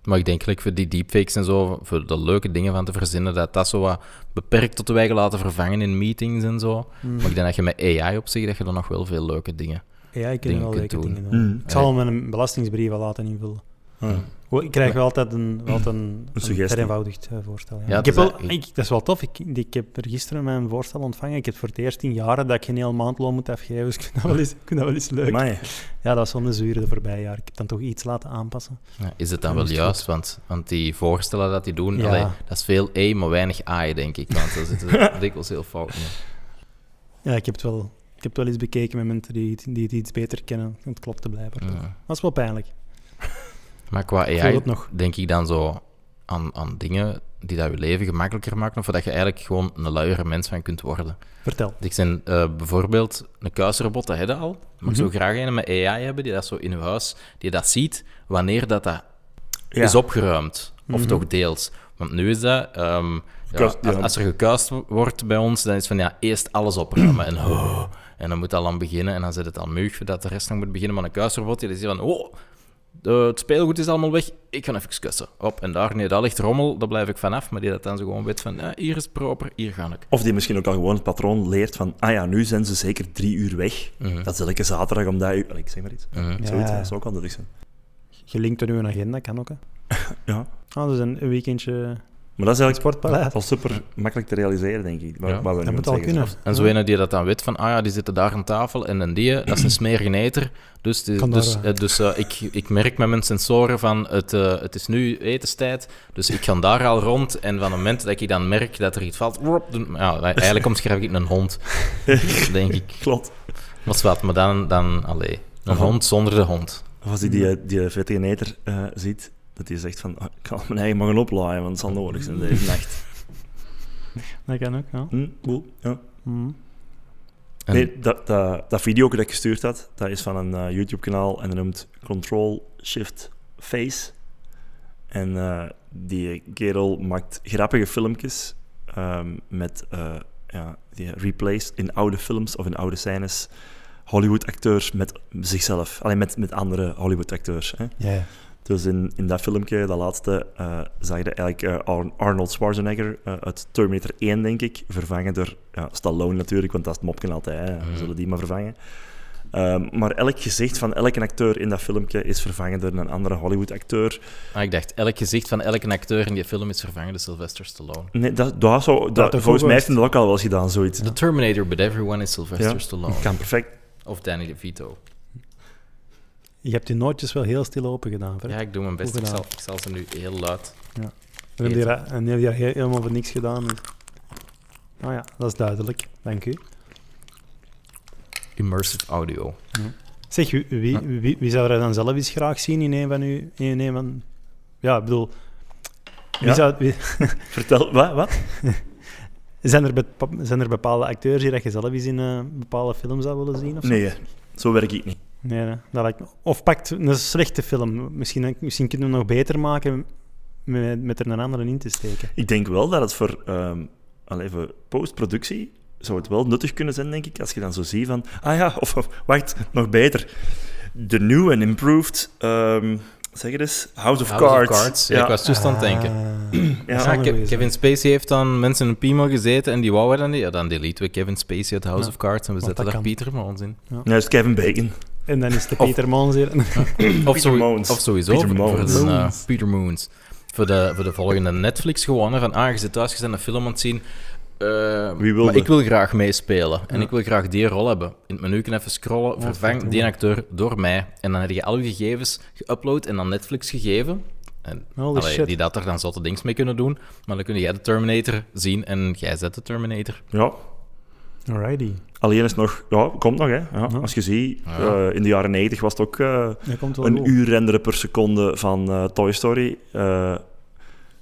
S3: Maar ik denk like, voor die deepfakes en zo, voor de leuke dingen van te verzinnen, dat dat zo wat beperkt tot de wegen laten vervangen in meetings en zo.
S1: Hmm.
S3: Maar ik denk dat je met AI op zich, dat je dan nog wel veel leuke dingen...
S1: Ja, ik kan
S3: dingen
S1: wel
S3: kunt
S1: leuke
S3: doen.
S1: dingen doen.
S2: Mm.
S1: Ik zal hem een belastingsbrief wel laten invullen.
S2: Ja.
S1: Wel, Ik krijg wel altijd een, wel altijd een,
S2: suggestie.
S1: een vereenvoudigd eh, voorstel. Ja.
S3: Ja,
S1: ik heb
S3: dat is e-
S1: wel,
S3: eigenlijk-
S1: ik, dat is wel tof. Ik, ik heb er gisteren mijn voorstel ontvangen. Ik heb voor het eerst in jaren dat ik geen heel maandloon moet afgeven. Dus ik vind dat wel eens, ik vind dat wel eens leuk.
S2: Amai.
S1: Ja, dat is wel een zure de voorbije jaar. Ik heb dan toch iets laten aanpassen.
S3: Ja, is het dan
S1: Ja,
S3: wel
S1: dat is
S3: juist? Want, want die voorstellen dat die doen,
S1: Ja.
S3: allee, dat is veel E, maar weinig AI, denk ik. Want daar zitten ze dikwijls heel fout mee.
S1: Ja, ik heb het wel Ik heb het wel eens bekeken met mensen die, het- die het iets beter kennen. Het klopte blijven.
S3: Ja.
S1: Dat is wel pijnlijk.
S3: Maar qua
S1: Ik voel
S3: AI
S1: dat nog.
S3: denk ik dan zo aan, aan dingen die dat je leven gemakkelijker maken, of dat je eigenlijk gewoon een luiere mens van kunt worden.
S1: Vertel.
S3: Ik zijn eh, bijvoorbeeld een kuisrobot, dat hebben al. Maar ik zou
S1: Mhm.
S3: graag een met AI hebben die dat zo in uw huis, die dat ziet wanneer dat, dat
S2: Ja.
S3: is opgeruimd. Of
S1: Mhm.
S3: toch deels. Want nu is dat... ehm, ja,
S2: Gekuist,
S3: als,
S2: ja.
S3: als er gekuist wordt bij ons, dan is het van ja, eerst alles opruimen. en, oh, en dan moet dat dan beginnen. En dan zit het al muug dat de rest nog moet beginnen. Maar een kuisrobot die zegt van... Oh, de- het speelgoed is allemaal weg. Ik ga even kussen. Op en daar. Nee, daar ligt rommel. Daar blijf ik vanaf. Maar die dat dan zo gewoon weet van... ja, hier is proper. Hier ga ik.
S2: Of die misschien ook al gewoon het patroon leert van, ah ja, nu zijn ze zeker drie uur weg.
S3: Mhm.
S2: Dat is elke zaterdag om dat uur... Allee, Ik zeg maar iets.
S3: Mhm.
S2: Zoiets,
S1: Ja.
S2: dat zou ook wel nuttig zijn.
S1: Gelinkt aan uw agenda, kan ook. Hè.
S2: Ja.
S1: Ah, dus een een weekendje
S2: Maar dat is eigenlijk
S1: sportpaleis.
S2: wel super makkelijk te realiseren, denk ik. Waar,
S3: Ja.
S2: waar we
S1: Dat
S2: nu
S1: moet
S2: aan
S1: al
S2: het zeggen
S1: kunnen.
S2: zijn.
S3: En zo ene die dat dan weet van, ah ja, die zitten daar aan tafel en een die, eh, dat is een smerige eter. Dus, die-
S1: Kan
S3: dus,
S1: daar,
S3: eh, dus eh, ik, ik merk met mijn sensoren van, het, eh, het is nu etenstijd, dus ik ga daar al rond. En van het moment dat ik dan merk dat er iets valt, wrop, doen- ja, eigenlijk omschrijf ik een hond, denk ik.
S2: Klopt.
S3: Dat is wat, maar dan, dan allee, een hond zonder de hond.
S2: Of als hij die, die vettige neter eh, ziet, dat hij zegt van, ah, ik kan mijn eigen mogen oplaaien, want het zal nodig zijn deze nacht.
S1: Dat kan ook, ja.
S2: Hm, cool, ja.
S1: Mhm.
S3: En-
S2: Nee, dat, dat, dat video dat ik gestuurd had, dat is van een eh, YouTube-kanaal en dat noemt Control-Shift-Face. En eh, die kerel maakt grappige filmpjes ehm, met eh, ja, die replays in oude films of in oude scènes. Hollywood-acteurs met zichzelf, alleen met, met andere Hollywood-acteurs. hè.
S1: Ja, ja.
S2: Dus in, in dat filmpje, dat laatste, eh, zag je eigenlijk eh, Ar- Arnold Schwarzenegger eh, uit Terminator 1, denk ik, vervangen door ja, Stallone natuurlijk, want dat is het mopken altijd, hè. we
S3: Mhm.
S2: zullen die maar vervangen. Ehm, maar elk gezicht van elke acteur in dat filmpje is vervangen door een andere Hollywood-acteur.
S3: ah, ik dacht, elk gezicht van elke acteur in die film is vervangen door Sylvester Stallone.
S2: Nee, dat, dat zou, dat,
S1: ervoor
S2: volgens mij
S1: was-
S2: heeft hij dat ook al wel eens gedaan, zoiets.
S3: The Terminator, but everyone is Sylvester
S2: Ja.
S3: Stallone.
S2: Kan perfect.
S3: Of Danny DeVito.
S1: Je hebt die nootjes wel heel stil open gedaan. Ver.
S3: Ja, ik doe mijn best.
S1: Goed
S3: Ik
S1: gedaan.
S3: zal, ik zal ze nu heel luid...
S1: We hebben hier, en die hebben hier he- helemaal voor niks gedaan. Nou ja, dat is duidelijk. Dank u.
S3: Immersive audio.
S1: Zeg, wie, wie,
S3: Ja.
S1: wie, wie zou er dan zelf eens graag zien in een van u? In een van... Ja, ik bedoel... Wie
S2: Ja.
S1: zou, wie-
S2: Vertel, wat? wat?
S1: zijn, er bepa- zijn er bepaalde acteurs die dat je zelf eens in een bepaalde film zou willen zien? Of zo?
S2: Nee, zo werk ik niet.
S1: Nee, nee, dat lijkt me- Of pakt een slechte film. Misschien, eh, misschien kunnen we hem nog beter maken met, met er een andere in te steken.
S2: Ik denk wel dat het voor, ehm allee, voor postproductie zou het wel nuttig kunnen zijn, denk ik, als je dan zo ziet van, ah ja, of, of wacht, nog beter. De new and improved, ehm, zeg het eens, House of
S3: House of
S2: Cards.
S3: Cards. Ja, ik was juist
S1: Ah.
S3: aan het denken.
S2: Ja,
S3: Ja,
S1: zal
S3: Ke-
S1: er wezen.
S3: Kevin Spacey heeft dan mensen in een piemel gezeten en die wou er dan niet. Ja, dan deleten we Kevin Spacey uit House
S1: Ja.
S3: of Cards en we
S1: Want
S3: zetten
S1: dat
S3: daar
S1: kan.
S3: Pieter Mons in.
S2: Ja, dat is Kevin Bacon.
S1: En dan is de
S3: Of-
S1: Peter Mons hier.
S3: Of, zo,
S2: Moons.
S3: of sowieso
S2: Peter
S3: voor-
S2: Moons.
S3: voor de, eh,
S1: Moons.
S3: Peter Moons. Voor de, voor de volgende Netflix gewoon. hè, Van, ah, je zit thuis, je bent een film aan het zien. Eh,
S2: Wie wil
S3: maar
S2: dat?
S3: ik wil graag meespelen. En
S1: Ja.
S3: ik wil graag die rol hebben. In het menu kan even scrollen. vervang
S1: fuck,
S3: die
S1: ja.
S3: acteur door mij. En dan heb je al je gegevens geüpload en dan Netflix gegeven. En
S1: Holy
S3: Allee,
S1: shit.
S3: die dat er dan zotte dings mee kunnen doen. Maar dan kun jij de Terminator zien en jij zet de Terminator.
S2: Ja,
S1: Alrighty.
S2: alleen is nog, ja, komt nog, hè. Ja,
S1: Ja.
S2: Als je ziet,
S3: Ja.
S2: eh, in de jaren 90 was het ook eh,
S1: Dat komt wel goed.
S2: een uur renderen per seconde van eh, Toy Story. Eh,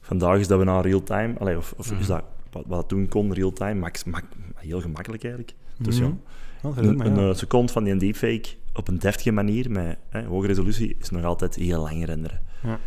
S2: vandaag is dat we naar real-time, allee, of, of
S3: Mhm.
S2: is dat wat, wat dat toen kon, real-time, maar ik- maar heel gemakkelijk eigenlijk. Dus ja,
S1: Mhm. Oh, verdomme,
S2: Een, een
S1: ja.
S2: eh, seconde van die deepfake op een deftige manier met hè, hoge resolutie is nog altijd heel lang renderen.
S1: Ja.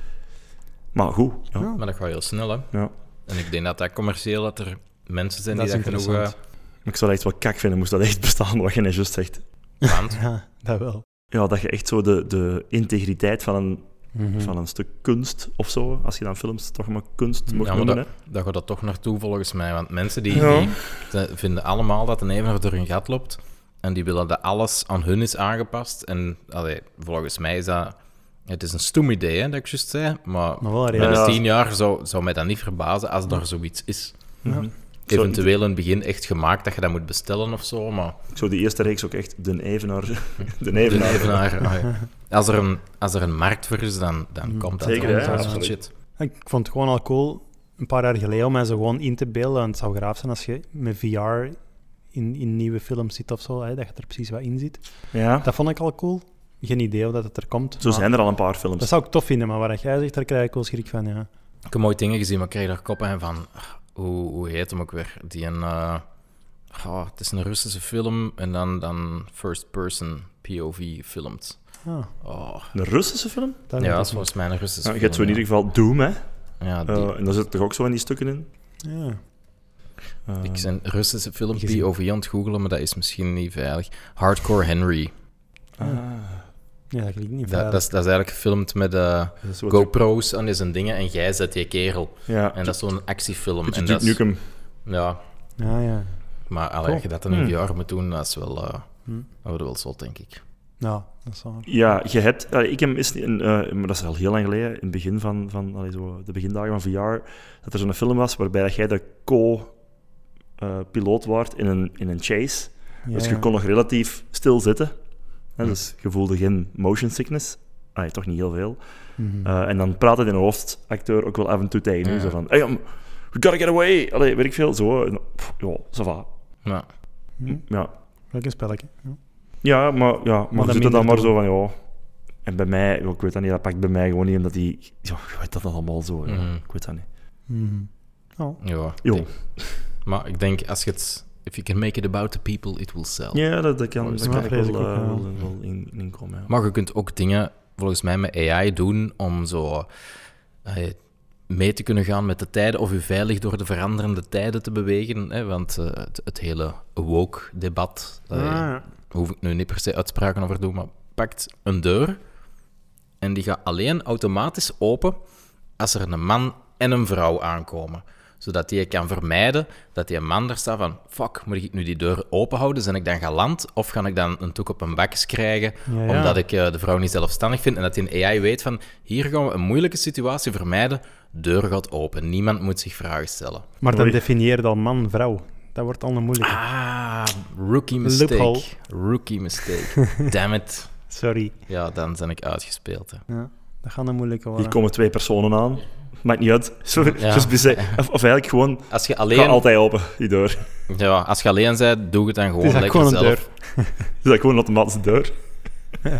S2: Maar goed, ja.
S1: Ja.
S3: Maar dat gaat heel snel, hè.
S2: Ja.
S3: En ik denk dat dat commercieel, dat er mensen zijn
S1: Dat
S3: die
S1: is
S3: dat genoeg...
S1: interessant.
S3: eh,
S2: Maar ik zou dat echt wel kak vinden, moest dat echt bestaan, wat je net juist zegt.
S3: want-
S1: Ja, dat wel.
S2: Ja, dat je echt zo de, de integriteit van een,
S1: Mhm.
S2: van een stuk kunst of zo, als je dan films toch maar kunst mocht
S3: Ja, maar
S2: noemen,
S3: dat,
S2: hè.
S3: dat gaat dat toch naartoe volgens mij. Want mensen die,
S2: Ja.
S3: die ze vinden allemaal dat een evenaar door hun gat loopt. En die willen dat alles aan hun is aangepast. En allee, volgens mij is dat... Het is een stoem idee, hè, dat ik juist zei. Maar
S1: Maar wel
S2: Ja,
S1: redelijk.
S3: binnen
S2: ja.
S3: tien jaar zou, zou mij dat niet verbazen als er zoiets is.
S1: Ja.
S2: Zo-
S3: Eventueel in het begin echt gemaakt dat je dat moet bestellen of zo. Maar
S2: Ik zou die eerste reeks ook echt de evenaar... De
S3: de
S2: evenaar.
S3: evenaar, ah, ja. als, er een, als er een markt voor is, dan, dan
S1: Mm.
S3: komt dat
S2: Zeker,
S3: wel.
S1: hè,
S3: Dat is
S2: absoluut.
S3: shit.
S1: Ik vond het gewoon al cool een paar jaar geleden om mij zo gewoon in te beelden. En het zou graaf zijn als je met VR in, in nieuwe films zit of zo, hè, dat je er precies wat in zit.
S2: Ja.
S1: Dat vond ik al cool. Geen idee hoe dat het er komt.
S2: Zo
S1: maar
S2: zijn er al een paar films.
S1: Dat zou ik tof vinden, maar wat jij zegt, daar krijg ik wel schrik van, ja.
S3: Ik heb mooie dingen gezien, maar ik kreeg daar koppen en van... ah, Hoe, hoe heet hem ook weer? Die een... eh, ah, het is een Russische film en dan, dan first-person POV filmt.
S1: Ah,
S3: Oh.
S2: Een Russische film?
S1: daar moet
S3: Ja, dat
S1: ik
S3: is volgens mij een Russische
S2: Ja, je
S3: film.
S2: hebt zo in
S3: ja.
S2: ieder geval Doom, hè?
S3: Ja, die,
S2: Eh, en daar zitten toch ook zo in die stukken in?
S1: mee. Ja.
S2: Eh,
S3: ik zijn Russische film
S1: gezien.
S3: POV aan het googelen, maar dat is misschien niet veilig. Hardcore Henry.
S2: ah,
S1: ja, dat klinkt niet
S3: Dat, dat,
S1: veilig.
S3: is, dat is eigenlijk gefilmd met eh,
S2: dat is wat
S3: GoPro's en zijn dingen en jij zet je kerel.
S2: Ja,
S3: En dat is zo'n actiefilm.
S2: beetje
S3: En
S2: Duke
S3: dat is-
S2: Nukem.
S3: ja,
S1: Ja, ja.
S3: maar allee,
S1: Cool.
S3: als je dat dan in een
S2: Hmm.
S3: jaar moet doen, dat is wel... eh
S1: Hmm.
S3: Dat wordt wel zot, denk ik.
S1: Ja, dat is waar.
S2: Ja, je hebt... eh, ik heb eens, in, eh, maar dat is al heel lang geleden, in het begin van, van allee, zo, de begindagen van VR, dat er zo'n film was waarbij dat jij de co-piloot wordt in een, in een chase.
S1: Ja,
S2: dus je
S1: ja.
S2: kon nog relatief stil zitten. Hè, Dus je voelde geen motion sickness. Ah, ja, toch niet heel veel.
S1: Mhm.
S2: Eh, en dan praatte de hoofdacteur ook wel af en toe tegen je.
S3: Ja.
S2: Zo van, hey, um, we gotta get away. Allee, weet ik veel. Zo, en, pff, ja, ça va.
S3: Ja.
S1: Hm.
S2: Ja,
S1: Welk een spelletje. Ja.
S2: ja maar, ja,
S1: dat
S2: maar, je zit er
S1: minder
S2: dan maar zo van, ja... En bij mij, ja, ik weet dat niet, dat pakt bij mij gewoon niet, omdat die... Ja, je weet dat allemaal zo, ja.
S3: Mhm.
S2: Ik weet dat niet.
S1: Mhm. Oh,
S3: Ja.
S2: Jo.
S3: Ik- Maar ik denk, als je het... If you can make it about the people, it will sell.
S2: Ja, dat, dat kan,
S3: Maar
S2: dat
S1: dat
S2: kan ik wel,
S1: vrees ik ook,
S2: eh,
S1: ja.
S2: wel, wel in, in komen, ja.
S3: Maar je kunt ook dingen, volgens mij, met AI doen om zo... eh, mee te kunnen gaan met de tijden of je veilig door de veranderende tijden te bewegen. Hè? Want eh, het, het hele woke-debat... eh,
S1: Ah,
S3: daar hoef ik nu niet per se uitspraken over te doen, maar pakt een deur en die gaat alleen automatisch open als er een man en een vrouw aankomen. Zodat die kan vermijden dat die man daar staat van, fuck, moet ik nu die deur open houden? Zijn ik dan galant of ga ik dan een toek op een bakjes krijgen
S1: Ja, ja.
S3: omdat ik eh, de vrouw niet zelfstandig vind en dat die AI weet van, hier gaan we een moeilijke situatie vermijden, deur gaat open, niemand moet zich vragen stellen.
S1: Maar dan
S2: Oei.
S1: definieer dan man-vrouw. Dat wordt al een moeilijke.
S3: Ah, rookie mistake.
S1: Loophole.
S3: Rookie mistake. Damn it.
S1: Sorry.
S3: Ja, dan ben ik uitgespeeld. Hè.
S1: Ja, dat gaat een moeilijke
S2: Hier
S1: worden.
S2: komen twee personen aan. Maakt niet uit. Sorry,
S3: Ja.
S2: just be safe. Of, of eigenlijk gewoon...
S3: Als je
S2: Ga
S3: alleen,
S2: altijd open, die deur.
S3: ja, als je alleen bent, doe het dan gewoon
S1: Het is eigenlijk
S3: lekker
S1: gewoon een
S3: zelf.
S1: deur.
S2: Is dat gewoon een automatische deur?
S3: Hey,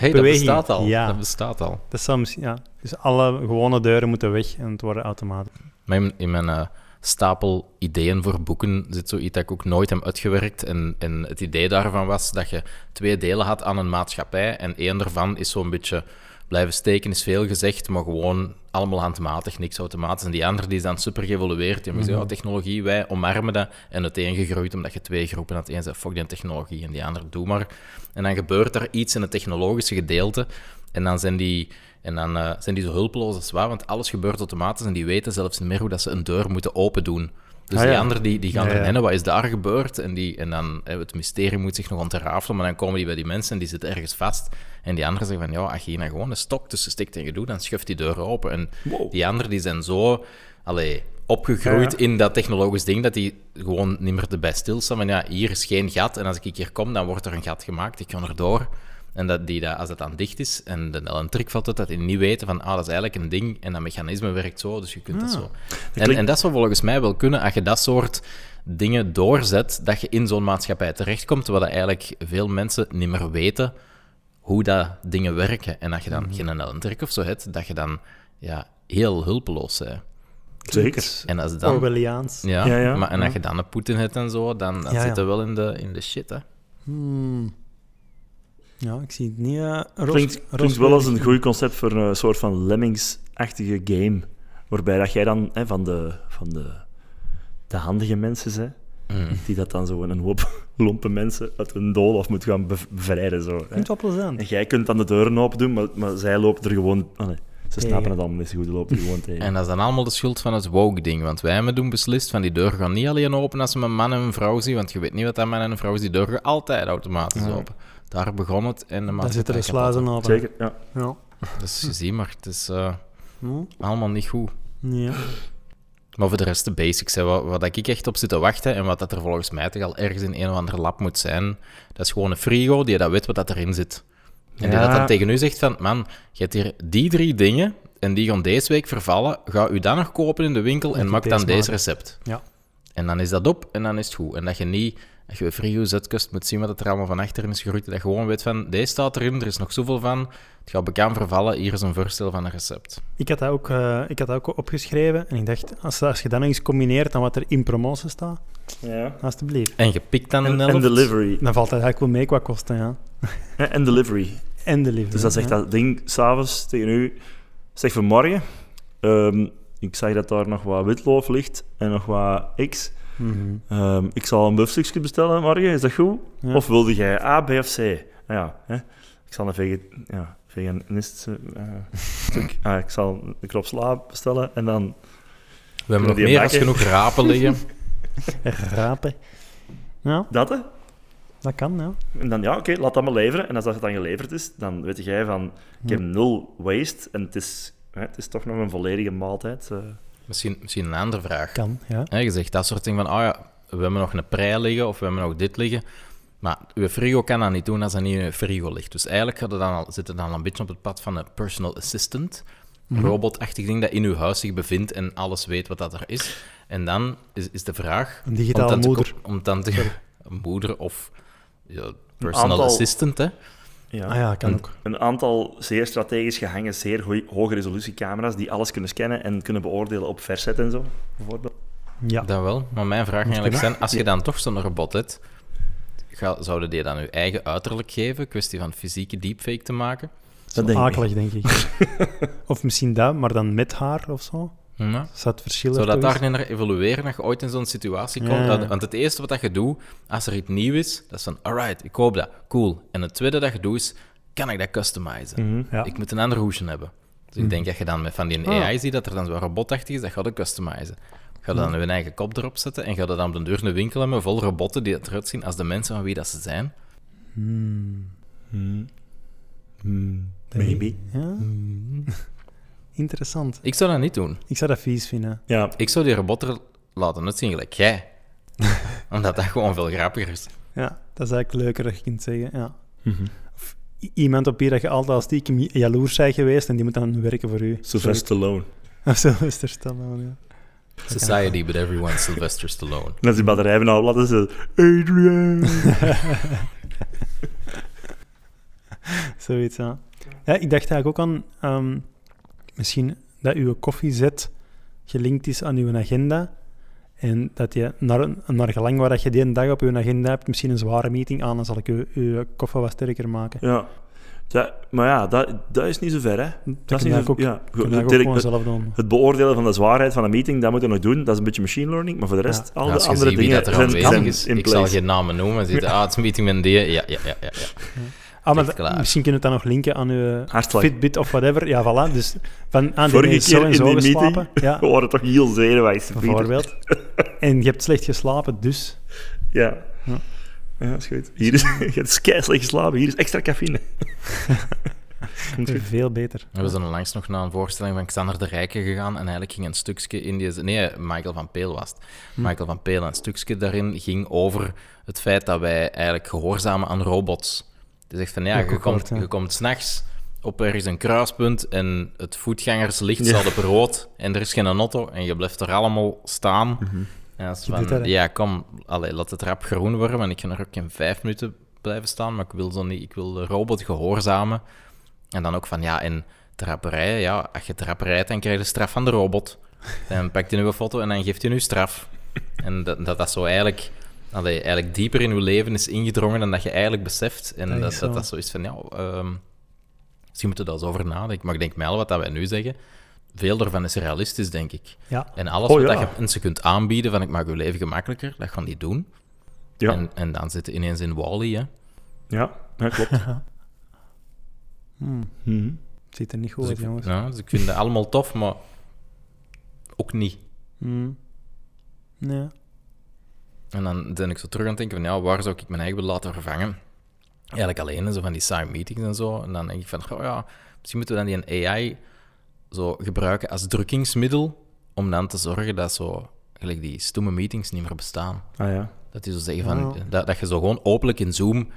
S3: dat
S1: Beweging,
S3: bestaat al.
S1: ja.
S3: Dat bestaat al.
S1: Dat zou misschien, ja. Dus alle gewone deuren moeten weg en het worden automaten.
S3: Maar in, in mijn eh, stapel ideeën voor boeken zit zoiets dat ik ook nooit heb uitgewerkt. En, en het idee daarvan was dat je twee delen had aan een maatschappij. En één daarvan is zo'n beetje blijven steken, is veel gezegd, maar gewoon allemaal handmatig, niks automatisch. En die andere die is dan super geëvolueerd. Die hebben gezegd, "Oh, technologie, wij omarmen dat. En het een gegroeid omdat je twee groepen had. Eén zei, fuck die technologie, en die andere, doe maar. En dan gebeurt er iets in het technologische gedeelte. En dan zijn die, en dan, eh, zijn die zo hulpeloos als waar, want alles gebeurt automatisch en die weten zelfs niet meer hoe dat ze een deur moeten open doen. Dus
S1: Ah,
S3: die
S1: ja.
S3: anderen die, die gaan
S1: Ja, ja.
S3: rennen, wat is daar gebeurd? En, die, en dan, eh, het mysterie moet zich nog ontrafelen, maar dan komen die bij die mensen en die zitten ergens vast. En die anderen zeggen van, ja, als je hier nou gewoon een stok tussen stikt en je doet, dan schuift die deur open. En
S2: Wow.
S3: die anderen die zijn zo allee, opgegroeid
S1: Ja,
S3: in dat technologisch ding dat die gewoon niet meer erbij stilstaan. Van ja, hier is geen gat en als ik hier kom, dan wordt er een gat gemaakt. Ik ga erdoor. En dat die, dat, als dat dan dicht is en dan al een trick valt uit, dat die niet weten van ah, dat is eigenlijk een ding en dat mechanisme werkt zo, dus je kunt dat zo. En,
S2: klinkt-
S3: en dat zou volgens mij wel kunnen als je dat soort dingen doorzet, dat je in zo'n maatschappij terechtkomt, wat eigenlijk veel mensen niet meer weten hoe dat dingen werken. En dat je dan geen elentrick of zo hebt, dat je dan ja, heel hulpeloos bent.
S2: Zeker.
S3: En als
S1: Oh,
S3: dan...
S1: Orwelliaans.
S3: Ja,
S2: Ja, ja,
S3: maar en
S2: ja.
S3: als je dan een Poetin hebt en zo, dan, dan
S1: Ja, ja.
S3: zit je wel in de, in de shit, hè.
S1: Hmm. Ja, ik zie het niet. eh, roos-
S2: Klinkt, klinkt wel als een goed concept voor een eh, soort van Lemmings-achtige game. Waarbij dat jij dan hè, van, de, van de, de handige mensen zijn, die dat dan zo een hoop lompe mensen uit hun dool af moet gaan bev- bevrijden. Zo, hè.
S1: Klinkt wel plezant.
S2: En jij kunt dan de deuren open doen, maar, maar zij lopen er gewoon. ah, nee, ze
S1: Tegen.
S2: snappen het allemaal niet zo goed, ze lopen er gewoon tegen.
S3: En dat is dan allemaal de schuld van het woke-ding. Want wij hebben toen beslist van die deur gaan niet alleen open als ze een man en een vrouw zien. Want je weet niet wat dat man en een vrouw is. Die deur gaat altijd automatisch open. Daar begon het. En de
S1: Daar zitten
S3: maatschappij
S1: er sluizen over.
S2: Zeker, ja.
S1: Ja.
S3: kapot. Dus je ziet maar, het is eh,
S1: Hm?
S3: allemaal niet goed.
S1: Ja.
S3: Maar voor de rest de basics. Hè. Wat, wat ik echt op zit te wachten en wat dat er volgens mij toch al ergens in een of andere lab moet zijn, dat is gewoon een frigo die dat weet wat dat erin zit. En die
S2: Ja.
S3: dat dan tegen u zegt van, man, je hebt hier die drie dingen en die gaan deze week vervallen. Ga u dan nog kopen in de winkel en
S1: u
S3: maak dan
S1: deze
S3: deze
S1: maken.
S3: recept.
S1: Ja.
S3: En dan is dat op en dan is het goed. En dat je niet, als je Frio zetkust moet zien wat er allemaal van achterin is geroeid, dat je gewoon weet van, deze staat erin, er is nog zoveel van, het gaat bekend vervallen, hier is een voorstel van een recept.
S1: Ik had, dat ook, eh, ik had dat ook opgeschreven en ik dacht, als, als je dat nog eens combineert aan wat er in promotie staat,
S2: Ja.
S1: alstublieft.
S3: En je pikt dan een
S2: En,
S3: helft.
S2: en delivery.
S1: Dan valt dat eigenlijk wel mee qua kosten, ja.
S2: En, en delivery.
S1: En de liefde.
S2: Dus dat zegt dat ding s'avonds tegen u. Zeg vanmorgen. ehm, ik zag dat daar nog wat witloof ligt en nog wat X.
S1: Mhm.
S2: Ehm, ik zal een buffstukje bestellen morgen, is dat goed?
S1: Ja.
S2: Of wilde jij A, B of C? Ah Ja, hè? Ik zal een vegan, ja, veganist eh, stuk. Ah, ik zal een krop sla bestellen en dan...
S3: We hebben nog
S2: die
S3: meer als
S2: bakken.
S3: genoeg rapen liggen.
S1: Rapen. Ja,
S2: Dat, hè?
S1: Nou, dat kan, nou. ja.
S2: En dan, ja, oké, laat dat maar leveren. En als dat dan geleverd is, dan weet jij van... Ik heb nul waste en het is, hè, het is toch nog een volledige maaltijd. eh.
S3: Misschien, misschien een andere vraag.
S1: Kan, ja.
S3: Hè, je zegt dat soort dingen van, ah ja, we hebben nog een prei liggen of we hebben nog dit liggen. Maar uw frigo kan dat niet doen als dat niet in uw frigo ligt. Dus eigenlijk gaat het dan al, zit het dan al een beetje op het pad van een personal assistant. Een robotachtig ding dat in uw huis zich bevindt en alles weet wat dat er is. En dan is, is de vraag...
S1: Een digitale
S3: om dan te
S1: moeder.
S3: ko- om dan te, een moeder of ja, personal
S2: aantal-
S3: assistant, hè.
S2: ja.
S1: Ah ja, kan ook.
S2: Een aantal zeer strategisch gehangen, zeer hoi- hoge resolutie camera's die alles kunnen scannen en kunnen beoordelen op verzet en zo, bijvoorbeeld.
S1: Ja.
S3: Dat wel, maar mijn vraag eigenlijk zijn, als je dan toch zo'n robot hebt, ga, zouden die dan je eigen uiterlijk geven? Kwestie van fysieke deepfake te maken?
S2: Dat denk ik.
S1: Akelig, denk ik. of misschien dat, maar dan met haar of zo.
S3: Ja.
S1: Zou het verschil er
S3: Zou dat
S1: toch
S3: daar niet naar evolueren, dat je ooit in zo'n situatie
S1: Ja.
S3: komt? Want- Want het eerste wat dat je doet, als er iets nieuw is, dat is van, alright, ik koop dat, cool. En het tweede dat je doet is, kan ik dat customizen?
S1: is? Mhm. Ja. Mhm. Ah.
S3: Ik moet een ander hoesje hebben. Dus ik denk dat je dan met van die AI ziet dat er dan zo'n robotachtig is, dat gaat het customizen. Ga je dan
S1: Mhm.
S3: hun eigen kop erop zetten en ga je dan op de deur een winkel hebben vol robotten die dat eruit zien als de mensen van wie dat ze zijn?
S1: Hmm.
S2: Maybe.
S1: Ja? Hmm. Interessant.
S3: Ik zou dat niet doen.
S1: Ik zou dat vies vinden.
S2: Ja,
S3: Ik zou die robot er laten uitzien gelijk jij. Omdat dat gewoon veel grappiger is.
S1: Ja, dat is eigenlijk leuker dat je kunt zeggen. Ja.
S3: Mhm.
S1: Of i- iemand op wie dat je altijd al stiekem jaloers bent geweest en die moet dan werken voor u.
S2: Sylvester Stallone.
S1: Sorry. Of Sylvester Stallone, ja.
S3: Society, but everyone Sylvester Stallone.
S2: En als die batterij nou laten ze... Adrian!
S1: Zoiets, ja. ja. Ik dacht eigenlijk ook aan ehm, misschien dat uw koffiezet gelinkt is aan uw agenda. En dat je naar, naar gelang waar dat je die een dag op uw agenda hebt, misschien een zware meeting aan, dan zal ik uw, uw koffie wat sterker maken.
S2: Ja. ja. Maar ja, dat, dat is niet zo ver, hè. Dat,
S1: Dat
S2: is
S1: kun je eigenlijk
S2: niet zo
S1: ook,
S2: ja,
S1: kun je
S2: goed,
S1: eigenlijk ook
S2: direct-
S1: gewoon zelf
S2: het,
S1: doen.
S2: het beoordelen van de zwaarheid van een meeting, dat moeten we nog doen. Dat is een beetje machine learning. Maar voor de rest, al de
S3: Als je
S2: andere
S3: ziet wie
S2: dingen
S3: dat er
S2: zijn,
S3: aanwezig
S2: zijn
S3: is,
S2: in
S3: ik zal
S2: place.
S3: geen namen noemen. Dan zit er, ah, het is een meeting met die. Ja, ja, ja, ja. ja.
S1: Ah, maar
S3: Echt
S1: dat-
S3: klaar.
S1: misschien kunnen we het dan nog linken aan uw
S2: Hartslag.
S1: Fitbit of whatever. Ja, voilà. Dus van aan
S2: Vorige
S1: die is zo
S2: keer
S1: en
S2: in
S1: zo
S2: die
S1: geslapen.
S2: meeting Oh,
S1: Ja,
S2: we waren toch heel zenuwachtig. Peter.
S1: bijvoorbeeld. En je hebt slecht geslapen, dus.
S2: Ja. Ja, dat is goed. Hier is, je hebt keislecht geslapen. Hier is extra cafeïne.
S1: Veel beter.
S3: We zijn onlangs nog naar een voorstelling van Xander de Rijke gegaan en eigenlijk ging een stukje in die... Nee, Michael van Peel was het. Michael van Peel, een stukje daarin ging over het feit dat wij eigenlijk gehoorzamen aan robots. Die zegt van, ja,
S1: Heb ik
S3: je
S1: ook gehoord,
S3: komt,
S1: ja.
S3: je komt s'nachts op ergens een kruispunt en het voetgangerslicht staat op rood en er is geen auto en je blijft er allemaal staan. En dat is van,
S1: doet dat, hè?
S3: ja, kom, allee, laat het rap groen worden, want ik kan er ook in vijf minuten blijven staan, maar ik wil, zo niet, ik wil de robot gehoorzamen. En dan ook van, ja, en trapperij, ja, als je trap rijdt, dan krijg je de straf van de robot. Dan pakt hij nu een foto en dan geeft hij nu straf. En dat dat, dat zo eigenlijk, allee, eigenlijk dieper in je leven is ingedrongen dan dat je eigenlijk beseft. En
S1: Dat
S3: dat
S1: is
S3: dat,
S1: zo.
S3: dat, zo is van, ja, ehm, dus misschien moeten we daar eens over nadenken. Maar ik denk, met al wat dat wij nu zeggen, veel daarvan is realistisch, denk ik.
S1: Ja.
S3: En alles
S2: Oh,
S3: wat
S2: ja.
S3: dat je mensen kunt aanbieden, van ik maak uw leven gemakkelijker, dat gaan die doen.
S2: Ja,
S3: En, en dan zitten ineens in Wally, hè.
S2: ja, ja klopt.
S1: Hmm,
S2: Mhm.
S1: het ziet er niet goed
S3: Dus
S1: uit,
S3: ik,
S1: jongens.
S3: ja, dus ik vind dat allemaal tof, maar ook niet.
S1: Hmm. Nee.
S3: En dan ben ik zo terug aan het denken van, ja, waar zou ik mijn eigen willen laten vervangen? Eigenlijk alleen, zo van die saaie meetings en zo. En dan denk ik van, oh ja, misschien moeten we dan die AI zo gebruiken als drukkingsmiddel om dan te zorgen dat zo, gelijk die stomme meetings niet meer bestaan.
S2: Ah ja.
S3: eh, Dat die zo zeggen van, dat, dat je zo gewoon openlijk in Zoom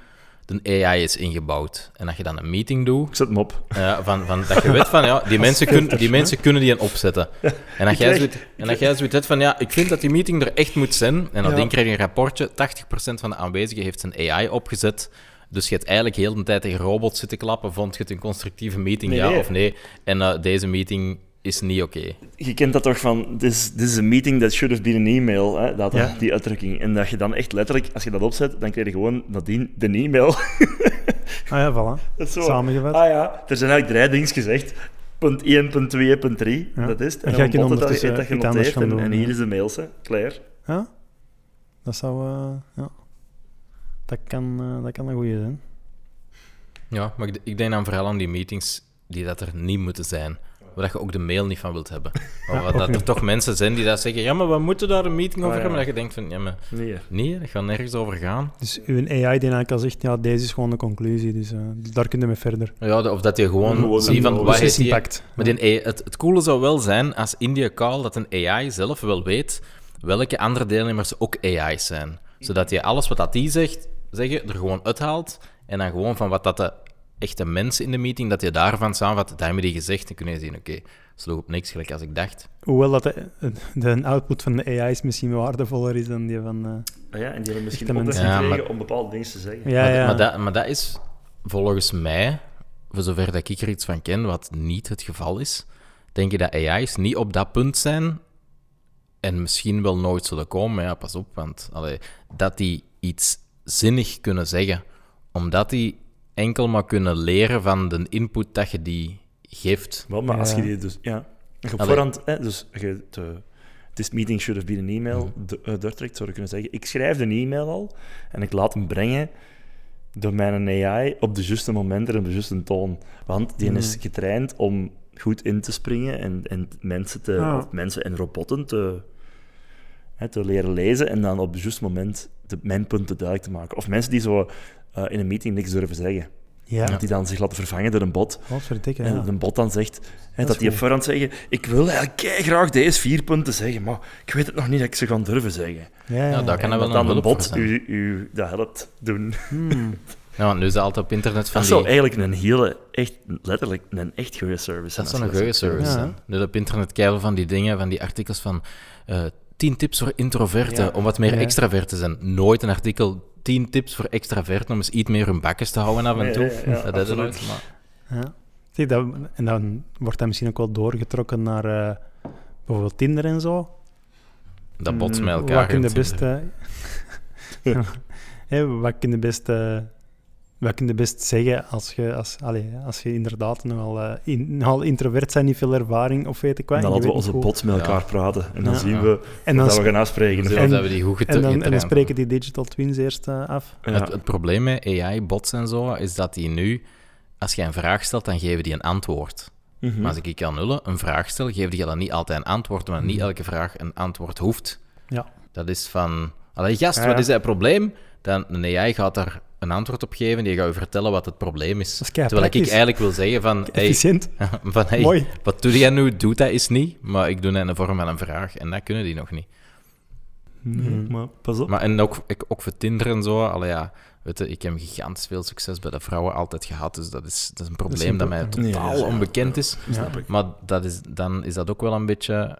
S3: de AI is ingebouwd. En dat je dan een meeting doet,
S2: Ik zet hem op.
S3: eh, van, van, dat je weet van, ja, die, mensen, kun, die mensen kunnen die een opzetten. En dat jij
S2: krijg-
S3: zoiets en dat jij zoiets hebt van, ja, ik vind dat die meeting er echt moet zijn. En dan
S2: Ja.
S3: krijg je een rapportje, 80% van de aanwezigen heeft zijn AI opgezet. Dus je hebt eigenlijk heel de tijd tegen robots zitten klappen. Vond je het een constructieve meeting,
S2: Nee,
S3: ja
S2: nee.
S3: of nee? En eh, deze meeting is niet oké.
S2: Je kent dat toch van, this, this is a meeting that should have been an email, hè? Dat,
S1: Ja.
S2: die uitdrukking. En dat je dan echt letterlijk, als je dat opzet, dan krijg je gewoon nadien de e-mail.
S1: Ah ja, voilà.
S2: Dat is zo.
S1: Samengevat.
S2: Ah ja, er zijn eigenlijk drie dingen gezegd. Punt 1, punt 2, punt 3.
S1: Ja.
S2: Dat is het.
S1: En
S2: En,
S1: jij
S2: dan
S1: kunt
S2: wordt het dat je
S1: ondertussen eh,
S2: dat
S1: iets anders
S2: genoteerd
S1: gaan
S2: en,
S1: doen,
S2: en
S1: ja.
S2: hier is de mails, hè. Claire.
S1: Ja? Dat zou... eh, ja. Dat kan, eh, dat kan een goeie zijn.
S3: Ja, maar ik, d- ik denk dan vooral aan die meetings die dat er niet moeten zijn. Waar dat je ook de mail niet van wilt hebben. Of
S1: Ja,
S3: dat
S1: oké.
S3: er toch mensen zijn die dat zeggen, ja, maar we moeten daar een meeting
S2: Ah,
S3: over
S2: ja.
S3: hebben. Dat je denkt van, ja, maar
S2: Nee.
S3: nee, dat gaat nergens over gaan.
S1: Dus uw AI die eigenlijk al zegt, ja, deze is gewoon de conclusie, dus eh, daar kunnen we verder.
S3: Ja, de- of dat je gewoon,
S2: Gewoon
S3: ziet
S2: een
S3: van, wat heeft
S1: Beslissing
S3: die...
S1: pakt.
S3: Maar die AI het, het coole zou wel zijn als India Call dat een AI zelf wel weet welke andere deelnemers ook AI's zijn. Zodat je alles wat dat die zegt, zeggen, er gewoon uithaalt. En dan gewoon van wat dat de echte mensen in de meeting, dat je daarvan samenvat, dat hebben die gezegd. Dan kun je zien, oké, sloeg op niks, gelijk als ik dacht.
S1: Hoewel dat de, eh, de output van de AI is misschien waardevoller is dan die van... eh,
S2: Ah ja, en die hebben misschien
S1: Echte
S2: opdracht
S1: mensen.
S2: gekregen
S3: Ja, maar-
S2: om bepaalde dingen te zeggen.
S1: ja,
S3: maar,
S1: ja.
S3: Maar, dat, maar dat is volgens mij, voor zover dat ik er iets van ken, wat niet het geval is, denk ik dat AI's niet op dat punt zijn en misschien wel nooit zullen komen. Maar Ja, pas op, want allee, dat die iets zinnig kunnen zeggen, omdat die enkel maar kunnen leren van de input dat je die geeft.
S2: Wel, maar als
S1: Ja.
S2: je die dus... Ja. Je op
S3: Allee.
S2: voorhand... Hè, dus je... De, this meeting should have been an email.
S1: Mhm.
S2: De, eh, doortrekt, zou je kunnen zeggen. Ik schrijf een e-mail al en ik laat hem brengen door mijn AI op de juiste momenten en op de juiste toon. Want die
S1: Mhm.
S2: is getraind om goed in te springen en, en mensen, te,
S1: Ja.
S2: of mensen en robotten te, hè, te leren lezen en dan op het juiste moment de, mijn punten duidelijk te maken. Of mensen die zo eh, in een meeting niks durven zeggen.
S1: ja,
S2: Dat die dan zich laten vervangen door een bot.
S1: godverdikke,
S2: En
S1: ja.
S2: dat een bot dan zegt, hè,
S1: is
S2: dat die op
S1: goed.
S2: voorhand zeggen, ik wil eigenlijk graag deze vier punten zeggen, maar ik weet het nog niet dat ik ze gaan durven zeggen.
S1: Ja, ja,
S3: Ja, dat
S1: ja.
S3: kan
S2: en
S3: er wel
S2: dat dan
S3: een
S2: een
S3: hulp
S2: bot
S3: voor zijn.
S2: u, u dat helpt doen.
S1: Hmm.
S3: Ja, Nou, want nu is dat altijd op internet van
S2: Dat zou
S3: die...
S2: eigenlijk een hele, echt, letterlijk, een echt goede service zijn.
S3: Dat zou
S2: als
S3: een
S2: je
S3: goeie service
S1: Ja.
S3: zijn. Nu op internet kijken van die dingen, van die artikels van eh 10 tips voor introverten
S2: Ja.
S3: om wat meer
S1: Ja.
S3: extravert te zijn. Nooit een artikel 10 tips voor extraverten om eens iets meer hun bakjes te houden af en
S2: Nee,
S3: toe.
S2: ja, ja,
S3: dat is er
S2: absoluut.
S3: nooit. Maar...
S1: Ja. Zie, dat, en dan wordt dat misschien ook wel doorgetrokken naar eh, bijvoorbeeld Tinder en zo.
S3: Dat botst
S2: Mm,
S3: met elkaar.
S1: Wat kunnen
S3: in
S1: de
S3: het zin.
S1: beste... eh, Hè, wat kunnen de beste... eh, Wat kun je best zeggen als je, als, allee, als je inderdaad nogal, eh, in, nogal introvert zijn, niet veel ervaring of weet ik wat.
S2: En dan
S1: je
S2: laten we
S1: weet
S2: onze
S1: niet goed.
S2: bots met
S3: Ja.
S2: elkaar praten. En dan
S1: Ja.
S2: zien
S3: Ja.
S2: we
S1: En dan,
S2: dat we
S1: sp-
S2: gaan afspreken.
S3: Zullen
S1: En-
S3: Dus dat we die goed
S1: en dan, en dan
S3: getraind
S1: spreken die digital twins eerst eh, af.
S2: Ja.
S3: Het, het probleem met AI-bots en zo is dat die nu, als je een vraag stelt, dan geven die een antwoord.
S2: Mhm.
S3: Maar als ik aan nullen een vraag stel, geven die dan niet altijd een antwoord, omdat niet elke vraag een antwoord hoeft.
S1: Ja.
S3: Dat is van, allee gast,
S2: Ja,
S3: wat
S2: ja.
S3: is dat probleem? Dan, nee, jij gaat daar een antwoord op geven, die gaat je vertellen wat het probleem is.
S1: Dat is
S3: Terwijl ik
S1: keipraktisch.
S3: eigenlijk wil zeggen van, hey,
S1: Efficiënt.
S3: van hey,
S1: Mooi.
S3: wat doe jij nu? Doet dat is niet, maar ik doe dat in de vorm van een vraag. En dat kunnen die nog niet.
S1: Mm.
S2: Mhm. Maar pas op.
S3: Maar en ook, ik, ook voor Tinder en zo, allee ja, weet je, ik heb gigantisch veel succes bij de vrouwen altijd gehad, dus dat is, dat is een probleem dat,
S1: een pro-
S3: mij
S1: Nee,
S3: totaal
S2: ja, ja,
S3: onbekend is.
S1: Snap
S2: ik.
S3: Maar dat is, dan is dat ook wel een beetje...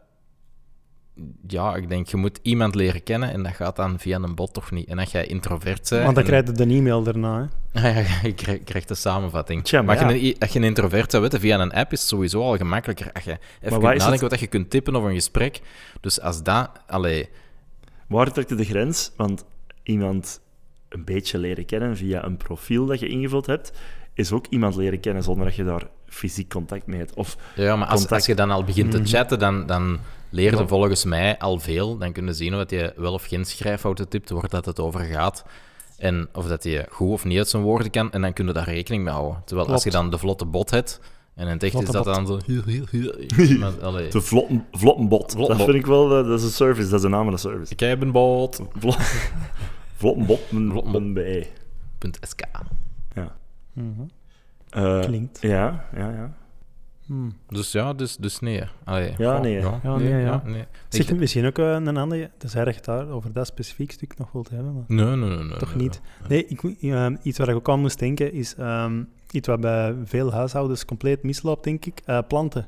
S3: Ja, ik denk, je moet iemand leren kennen en dat gaat dan via een bot toch niet. En als jij introvert bent...
S1: Want dan
S3: en-
S1: krijg je een e-mail daarna. Hè.
S3: Ja, ja, ja, je krijgt- krijgt de samenvatting.
S2: Tja,
S3: maar
S2: maar
S3: als,
S2: ja.
S3: je een, als je een introvert zou weten, via een app is het sowieso al gemakkelijker. Als je even kunt
S2: waar is het-
S3: nadenken wat je kunt tippen of een gesprek. Dus als dat... Allee,
S2: Waar trekt je de grens? Want iemand een beetje leren kennen via een profiel dat je ingevuld hebt, is ook iemand leren kennen zonder dat je daar fysiek contact mee hebt. Of
S3: Ja, maar als,
S2: Contact.
S3: als je dan al begint
S1: Mhm.
S3: te chatten, dan, dan leer je volgens mij al veel. Dan kun je zien of dat je wel of geen schrijffouten tipt, waar dat het over gaat. En of dat je goed of niet uit zijn woorden kan. En dan kun je daar rekening mee houden. Terwijl als je
S1: Klopt.
S3: dan de vlotte bot hebt, en in het echt is
S1: Vlotte
S3: dat
S1: bot.
S3: dan zo... Maar, allee,
S2: de vlotten, vlottenbot.
S3: Vlottenbot.
S2: Dat vind ik wel, eh, dat is een service, dat is een naam van een service.
S3: ik heb een bot.
S2: Vlot, vlottenbot, een-
S3: Vlottenbot.
S2: een BE.
S3: Punt SK.
S2: Ja.
S1: Mhm.
S2: Eh,
S1: Klinkt.
S2: Ja, ja, ja.
S1: Hmm.
S3: Dus ja, dus, dus nee. Allee,
S2: Ja,
S3: goh,
S2: nee.
S1: Ja, nee, ja.
S3: nee.
S1: Zeg,
S3: Ik-
S1: misschien ook eh, een ander... Tenzij dat je het daar over dat specifiek stuk nog wilt hebben, maar...
S3: nee, nee, nee, nee,
S1: Toch
S3: nee,
S1: niet. Nee, ik, moet- ehm, iets waar ik ook aan moest denken is ehm, iets wat bij veel huishoudens compleet misloopt, denk ik. Eh, planten.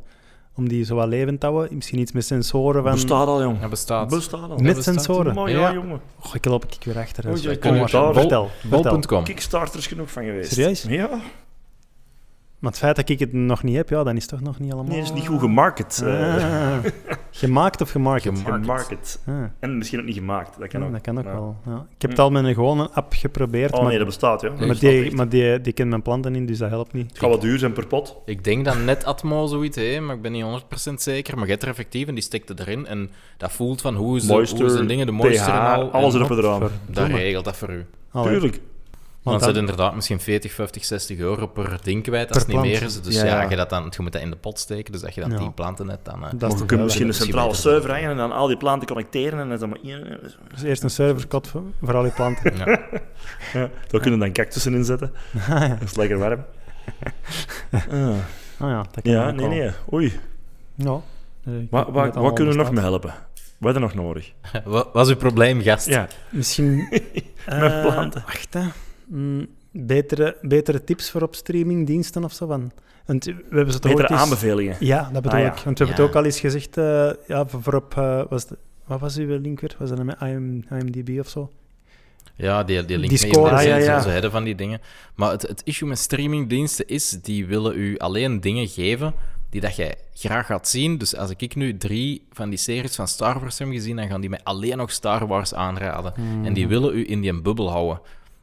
S1: Om die zo wat levend te houden. Misschien iets met sensoren van...
S2: Bestaat al,
S3: nee. Ja,
S2: jongen.
S3: bestaat.
S2: Bestaat al.
S1: Met
S3: bestaat
S1: sensoren.
S2: Maar
S3: Ja.
S2: ja, jongen.
S1: Oh, ik loop ik weer achter.
S2: Oei, oei,
S1: Kom maar,
S2: commentaar.
S1: vertel. vertel.
S3: Bol.com.
S2: Kickstarters genoeg van geweest.
S1: Serieus?
S2: Ja.
S1: Maar het feit dat ik het nog niet heb, ja, dan is het toch nog niet allemaal...
S2: Nee, is niet goed gemarket. eh,
S1: Ah. Gemaakt of gemarket?
S3: Gem- Gemarket.
S2: gemarket.
S1: Ah,
S2: En misschien ook niet gemaakt. Dat kan
S1: ja,
S2: ook.
S1: dat kan ook
S2: Maar-
S1: wel. Ja. Ik heb het al met een gewone app geprobeerd,
S2: Hm. Oh
S1: maar,
S2: nee, dat bestaat, ja.
S1: maar, die, maar die, die kent mijn planten in, dus dat helpt niet.
S2: Het gaat wat duur zijn per pot.
S3: Ik denk dat net Atmo zoiets heeft, maar ik ben niet 100% zeker. Maar je hebt er effectief en die stikte erin. En dat voelt van hoe is de, hoe is de dingen, de moisture en
S2: pH,
S3: al.
S2: alles
S3: en
S2: erop en eraan.
S1: Verdomme.
S3: dat regelt dat voor u.
S1: Allee,
S2: Tuurlijk.
S1: want
S3: dan zit
S1: dan-
S3: inderdaad misschien 40, 50, 60 euro per ding kwijt als
S1: Per
S3: het niet
S1: plant.
S3: meer is. Dus
S2: Ja,
S3: ja,
S2: ja.
S3: Je, dat dan, je moet dat in de pot steken. Dus dat je dan
S1: Ja.
S3: 10 planten hebt, dan... eh,
S1: dat is te
S2: Maar je
S1: veel,
S2: kunt misschien een
S1: hè.
S3: Misschien
S2: centrale
S3: beter.
S2: server hangen en dan al die planten connecteren en dat is allemaal...
S1: Dus eerst een serverkot voor, voor al die planten.
S3: ja.
S2: Ja, daar kunnen we dan cactussen in zetten. Dat is lekker warm. Ah.
S1: Ah ja, dat kan
S2: Ja,
S1: ook
S2: nee,
S1: wel.
S2: nee. Oei.
S1: Ja. Eh, ik weet niet
S2: Wat,
S1: dat
S2: wat,
S1: allemaal
S2: wat kunnen we nog
S1: bestaat.
S2: mee helpen? Wat er nog nodig?
S3: Wat was uw probleem, gast?
S2: Ja,
S1: Misschien... eh,
S2: planten.
S1: Wacht, hè. Mm, betere, betere tips voor op streamingdiensten of zo? Van. Want we hebben ze toch
S2: betere
S1: ooit eens-
S2: aanbevelingen.
S1: Ja, dat bedoel
S2: Ah,
S1: ik.
S2: ja.
S1: Want we hebben het
S3: Ja.
S1: ook al eens gezegd eh, ja, voor voor op... eh, was de- wat was uw link weer? Was dat met IM, IMDb of zo?
S3: Ja, die, die link
S1: Discord,
S3: mee,
S2: ah, ja, ja.
S3: Ze hebben van die dingen. Maar het, het issue met streamingdiensten is, die willen u alleen dingen geven die dat jij graag gaat zien. Dus als ik nu drie van die series van Star Wars heb gezien, dan gaan die mij alleen nog Star Wars aanraden.
S1: Hmm.
S3: En die willen u in die bubbel houden.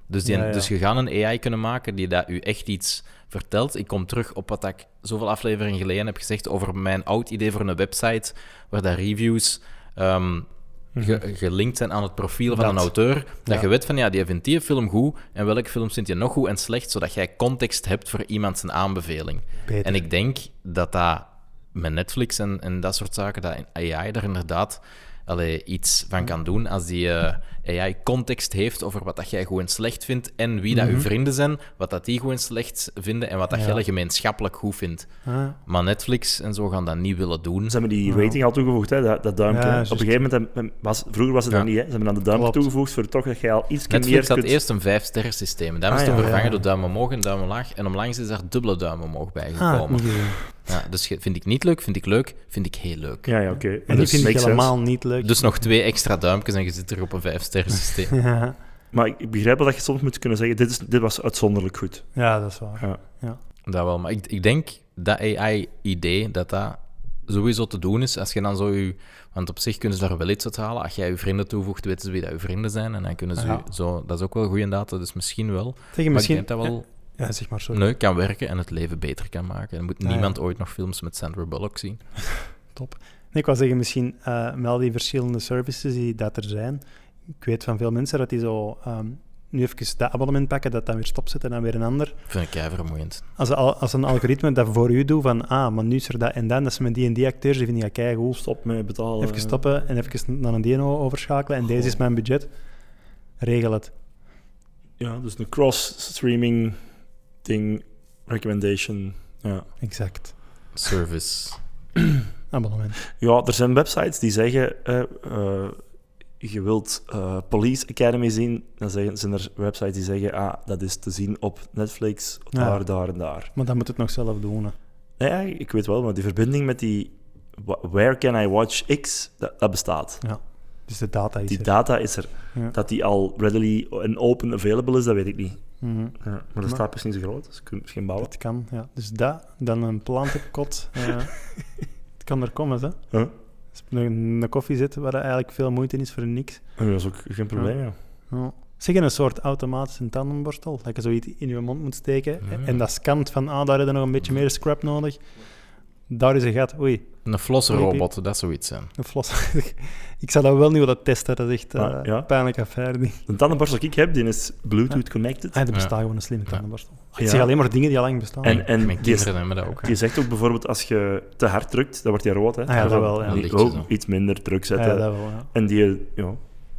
S3: Dus, die,
S1: Mhm. Ja, ja.
S3: dus je gaat een AI kunnen maken die dat u echt iets vertelt. Ik kom terug op wat ik zoveel afleveringen geleden heb gezegd over mijn oud idee voor een website waar dat reviews ehm, ge- gelinkt zijn aan het profiel van
S1: Mhm. Dat.
S3: een auteur. Dat
S1: Ja.
S3: je weet van ja, die vindt die film goed en welke films vindt je nog goed en slecht, zodat jij context hebt voor iemand zijn aanbeveling.
S1: Beter.
S3: En ik denk dat dat met Netflix en, en dat soort zaken, dat AI er inderdaad allee, iets van kan doen als die eh, AI context heeft over wat dat jij goed en slecht vindt en wie dat
S2: Mhm.
S3: uw vrienden zijn, wat dat die goed en slecht vinden en wat dat
S1: Ja.
S3: jij gemeenschappelijk goed vindt.
S1: Ah,
S3: Maar Netflix en zo gaan dat niet willen doen.
S2: Ze hebben die rating al toegevoegd, hè, dat, dat duimpje.
S1: Ja,
S2: hè.
S1: juist.
S2: Op een gegeven moment, hebben- was, vroeger was het
S3: Ja.
S2: dan niet, hè. ze hebben dan de duimpje
S1: Klopt.
S2: toegevoegd voor toch dat je al iets meer
S3: Netflix had
S2: kunt...
S3: eerst een vijf-sterren systeem. Dat
S2: Ah,
S3: is toen
S2: ja,
S3: vervangen
S1: ja.
S3: door duim omhoog en duim omlaag. En onlangs is daar dubbele duim omhoog
S1: ah,
S3: bijgekomen.
S1: niet gezien.
S3: ja, dus ge- vind ik niet leuk, vind ik leuk, vind ik heel leuk.
S2: Ja, ja, oké.
S1: En die
S2: Dus
S1: vind ik
S2: makes sense.
S1: helemaal niet leuk.
S3: Dus nog twee extra duimpjes en je zit er op een vijf-sterren systeem.
S1: ja,
S2: Maar ik, ik begrijp wel dat je soms moet kunnen zeggen, dit, is, dit was uitzonderlijk goed.
S1: ja, dat is waar.
S2: Ja.
S3: Dat wel, maar ik, ik denk dat AI-idee dat dat sowieso te doen is. Als je dan zo je, want op zich kunnen ze daar wel iets uit halen. Als jij je vrienden toevoegt, weten ze wie dat je vrienden zijn. En dan kunnen ze
S1: Ja.
S3: u zo, dat is ook wel goede data, dus misschien wel.
S1: Zeg je
S3: Maar ik
S1: misschien...
S3: denk dat wel
S1: Ja, zeg maar, sorry.
S3: leuk kan werken en het leven beter kan maken. En moet
S1: ja.
S3: niemand ooit nog films met Sandra Bullock zien.
S1: Nee, ik wou zeggen, misschien eh, met al die verschillende services die dat er zijn. Ik weet van veel mensen dat die zo ehm, nu even dat abonnement pakken, dat dan weer stopzetten en dan weer een ander.
S3: Vind ik kei vermoeiend.
S1: Als, al- als een algoritme dat voor u doet van, ah, maar nu is er dat en dan, dat ze met die en die acteurs, die vind ik kei goed.
S2: Stop met betalen.
S1: Even stoppen en even naar een dino overschakelen en deze is mijn budget. Regel het.
S2: Ja, dus een cross-streaming ding, recommendation. Ja.
S1: Exact.
S3: Service.
S1: Abonnement.
S2: ja, er zijn websites die zeggen, eh, eh, je wilt eh, Police Academy zien, dan zeggen, zijn er websites die zeggen, ah, dat is te zien op Netflix,
S1: Ja.
S2: daar, daar en daar.
S1: Maar dan moet het nog zelf doen. hè.
S2: Nee, ja, ik weet wel, maar die verbinding met die wa- Where Can I Watch X, dat, dat bestaat.
S1: Dus de data is
S2: Die
S1: er.
S2: data is er.
S1: Ja.
S2: Dat die al readily en open available is, dat weet ik niet.
S1: Mhm.
S2: Ja, maar dat staat precies niet zo groot, dus je kunt het misschien bouwen.
S1: Dat kan, ja. Dus dat, dan een plantenkot. eh, het kan er komen, hè.
S2: Huh?
S1: Als je een, een koffie zit waar er eigenlijk veel moeite is voor niks.
S2: Ja, Dat is ook geen probleem, ja.
S1: Ja. Zeg je een soort automatische tandenborstel, dat je zoiets in je mond moet steken
S3: Ja.
S1: en dat scant van, ah, daar heb je nog een beetje meer scrap nodig. Daar is een gat. Oei,
S3: Een flossenrobot, dat zoiets zijn.
S1: een flos. ik zou dat wel niet willen testen, dat is echt eh,
S2: Ah, ja.
S1: een pijnlijke affaire. die-
S2: De tandenborstel die ik heb, die is Bluetooth connected.
S1: Ah, er bestaat
S3: Ja.
S1: gewoon een slimme tandenborstel. Ik
S2: Ja.
S1: zeg alleen maar dingen die al lang bestaan.
S2: En- en
S3: Mijn
S2: die is-
S3: kinderen hebben dat ook. hè.
S2: Die zegt ook bijvoorbeeld als je te hard drukt, dan wordt die rood. Hè?
S1: Ah ja, dat wel, ja.
S2: Dan moet je
S3: Lichtjes
S2: ook
S3: dan.
S2: iets minder druk
S1: ja,
S2: zetten.
S1: ja, dat wel, ja.
S2: En die, ja,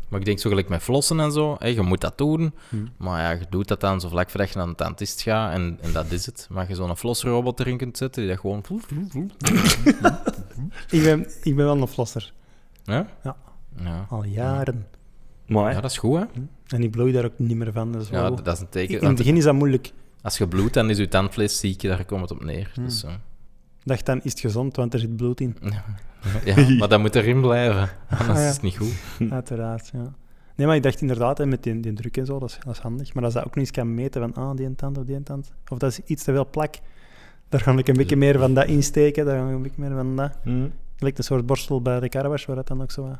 S3: Maar ik denk zo gelijk met flossen en zo, hè, je moet dat doen.
S1: Hm.
S3: Maar ja, je doet dat dan zo vlak voordat je naar de tandist gaat en, en dat is het. Maar je zo'n flosrobot erin kunt zetten die dat gewoon...
S1: Ik ben, ik ben wel een flosser,
S3: Ja?
S1: Ja.
S3: Ja,
S1: al jaren.
S2: Maar
S3: ja dat is goed, hè?
S1: Hm? En ik bloei daar ook niet meer van. Dat is
S3: Ja,
S1: wel-
S3: dat dat is een
S1: In
S3: teken.
S1: het
S3: Want
S1: begin is dat moeilijk.
S3: als je bloedt, dan is je tandvlees ziek, daar komt het op neer.
S1: Hmm.
S3: Dus, eh,
S1: dacht dan, is het gezond, want er zit bloed in.
S3: ja, maar dat moet erin blijven, anders
S1: Ah, ja.
S3: is het niet goed.
S1: Uiteraard, ja. Nee, maar ik dacht inderdaad, hè, met die, die druk en zo, dat is, dat is handig. Maar als dat ook nog eens kan meten van, ah, die tand of die tand, of dat is iets te veel plak, daar ga ik een beetje meer van dat insteken, daar ga ik een beetje meer van dat. Het lijkt een soort borstel bij de carwash, waar dat dan ook zo wat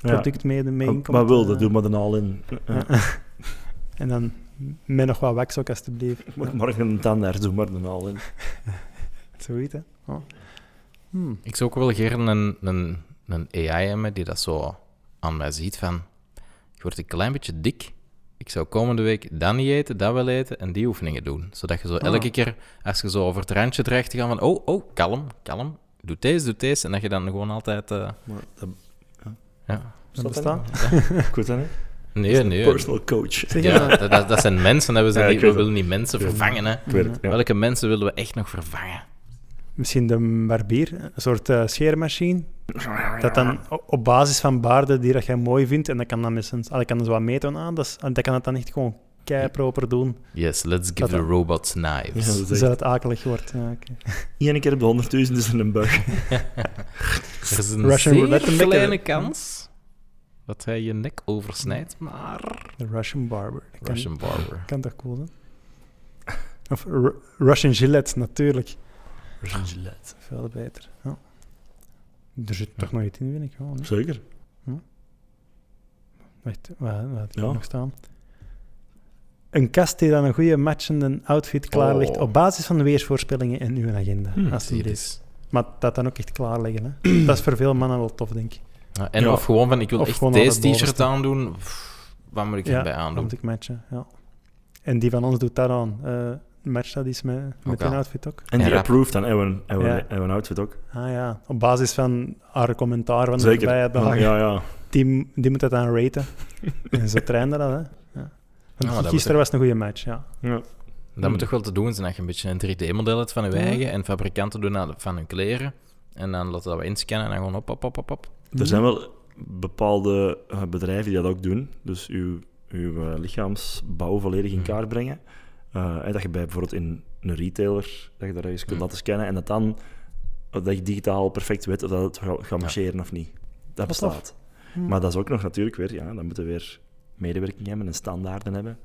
S1: product mee, mee in
S2: Maar,
S1: komt.
S2: maar wil,
S1: Eh,
S2: dat doen we dan al in.
S1: ja. En dan met nog wat wax ook, alstublieft.
S2: Moet morgen een tandarts doen, maar dan al in.
S1: Zoiets, hè. Oh. Hmm.
S3: Ik zou ook wel graag een, een, een AI hebben die dat zo aan mij ziet van... Je wordt een klein beetje dik. Ik zou komende week dat niet eten, dat wel eten en die oefeningen doen. Zodat je zo
S2: Ah.
S3: elke keer, als je zo over het randje terecht gaat van... Oh, oh, kalm, kalm. Doe deze, doe deze. En dat je dan gewoon altijd... eh,
S2: Maar dat,
S3: ja.
S1: Dat
S2: dat
S1: bestaat.
S2: ik weet dat niet.
S3: Nee, nee.
S2: Personal coach.
S1: Zeg je
S3: Ja, dat, dat, dat zijn mensen. Hè. We, zijn
S2: Ja,
S3: niet-
S2: ik
S3: we
S2: weet
S3: willen niet mensen vervangen. Hè.
S2: Ik weet het, ja.
S3: Welke mensen willen we echt nog vervangen?
S1: Misschien de barbier, een soort eh, scheermachine. Dat dan o- op basis van baarden die dat jij mooi vindt, en dat kan dan met zijn, ah, dat kan dus wat meten aan, dat, is- ah, dat kan het dan echt gewoon keiproper doen,
S3: Yes, let's give
S1: Dat
S3: the
S1: dan.
S3: robots
S2: Ja,
S3: knives.
S2: dat is
S1: zodat
S2: echt...
S1: het akelig wordt. Ja, oké.
S2: Eén keer op de honderdduizend is er een bug.
S3: Er is een
S1: Russian
S3: zeer
S1: roulette een beetje-
S3: kleine kans dat hij je nek oversnijdt,
S1: Hmm.
S3: maar...
S1: De Russian barber. Dat kan,
S3: Russian barber.
S1: kan toch cool zijn? Of Ru- Russian Gillette, natuurlijk. Veel beter. Ja. Er zit toch nog iets in, vind ik gewoon. hè.
S2: Zeker.
S1: Wacht, waar, waar had ik
S2: Ja.
S1: nog staan? Een kast die dan een goede matchende outfit klaar ligt
S3: Oh.
S1: op basis van de weersvoorspellingen en uw agenda.
S2: Hmm,
S1: als die
S3: Hier
S1: is.
S3: is.
S1: Maar dat dan ook echt klaar liggen. Hè? dat is voor veel mannen wel tof, denk ik.
S3: Ja, en
S2: Ja.
S3: of gewoon van, ik wil
S1: Of
S3: echt
S1: gewoon aan
S3: deze
S1: het bovenste.
S3: t-shirt aandoen. Pff, wat moet ik erbij
S1: dat
S3: aandoen?
S1: moet ik matchen. Ja. En die van ons doet dat aan. Eh match dat is met, met
S3: Ook al.
S1: een outfit ook.
S2: En
S3: Ja,
S2: die
S3: rap.
S2: approved dan Ewan, Ewan,
S1: Ja.
S2: Ewan outfit ook.
S1: Ah ja, op basis van haar commentaar van de
S2: Zeker.
S1: voorbije
S2: Ja,
S1: dagen.
S2: ja. ja.
S1: Die, die moet dat dan raten. en ze trainen dat, hè. Ja. Want
S3: maar dat moet
S1: gisteren was een goede match, ja.
S3: Dat moet toch wel te doen zijn dat je een beetje een 3D-model hebt van je eigen en fabrikanten doen dat van hun kleren. En dan laten we dat inscannen en dan gewoon op, op, op, op, op.
S2: Er zijn wel bepaalde eh, bedrijven die dat ook doen. Dus uw, uw eh, lichaamsbouw volledig in kaart brengen. Eh, en dat je bij bijvoorbeeld in een retailer, dat je daar eens kunt laten scannen en dat dan, dat je digitaal perfect weet of dat het ga- gaat marcheren of niet. Dat bestaat.
S1: Mm.
S2: Maar dat is ook nog natuurlijk weer, ja, dan moeten we weer medewerking hebben en standaarden hebben.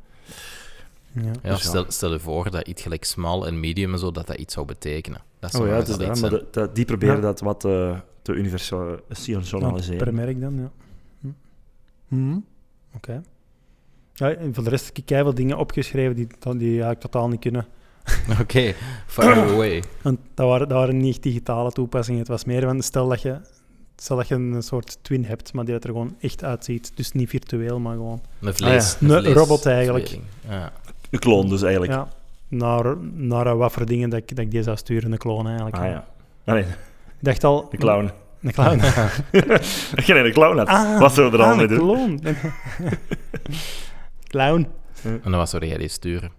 S1: ja.
S3: Ja,
S2: Dus ja.
S3: stel, stel je voor dat iets gelijk small en medium en zo, dat dat iets zou betekenen. Dat zou
S2: Oh ja,
S3: wel
S2: het is
S3: eens al
S2: dat,
S3: iets
S2: maar
S3: zijn.
S2: dat, dat- die proberen
S1: Ja.
S2: dat wat eh, te
S1: Ja, Per
S2: universaliseren.
S1: merk dan, ja. Hm.
S2: Mhm.
S1: Hm. Oké. Ja, en voor de rest heb ik veel dingen opgeschreven die, die eigenlijk totaal niet kunnen.
S3: Oké, far away.
S1: Want dat waren, dat waren niet digitale toepassingen. Het was meer van, stel dat je, stel dat je een soort twin hebt, maar die het er gewoon echt uitziet. Dus niet virtueel, maar gewoon...
S3: Een vlees.
S1: Ah ja, een
S3: vlees-
S1: robot eigenlijk.
S3: vleesing. Ja.
S2: Een kloon dus eigenlijk.
S1: Ja, naar, naar eh, wat voor dingen dat ik, dat ik die zou sturen, een clone eigenlijk.
S2: Ah ja. Ah, nee,
S1: Ik dacht al...
S2: de clown.
S1: Een clown.
S2: Dat je een clown had.
S1: Ah,
S2: wat zullen we er al
S1: ah,
S2: mee
S1: een
S2: doen?
S1: clown. clown.
S3: En dan was zou jij die sturen?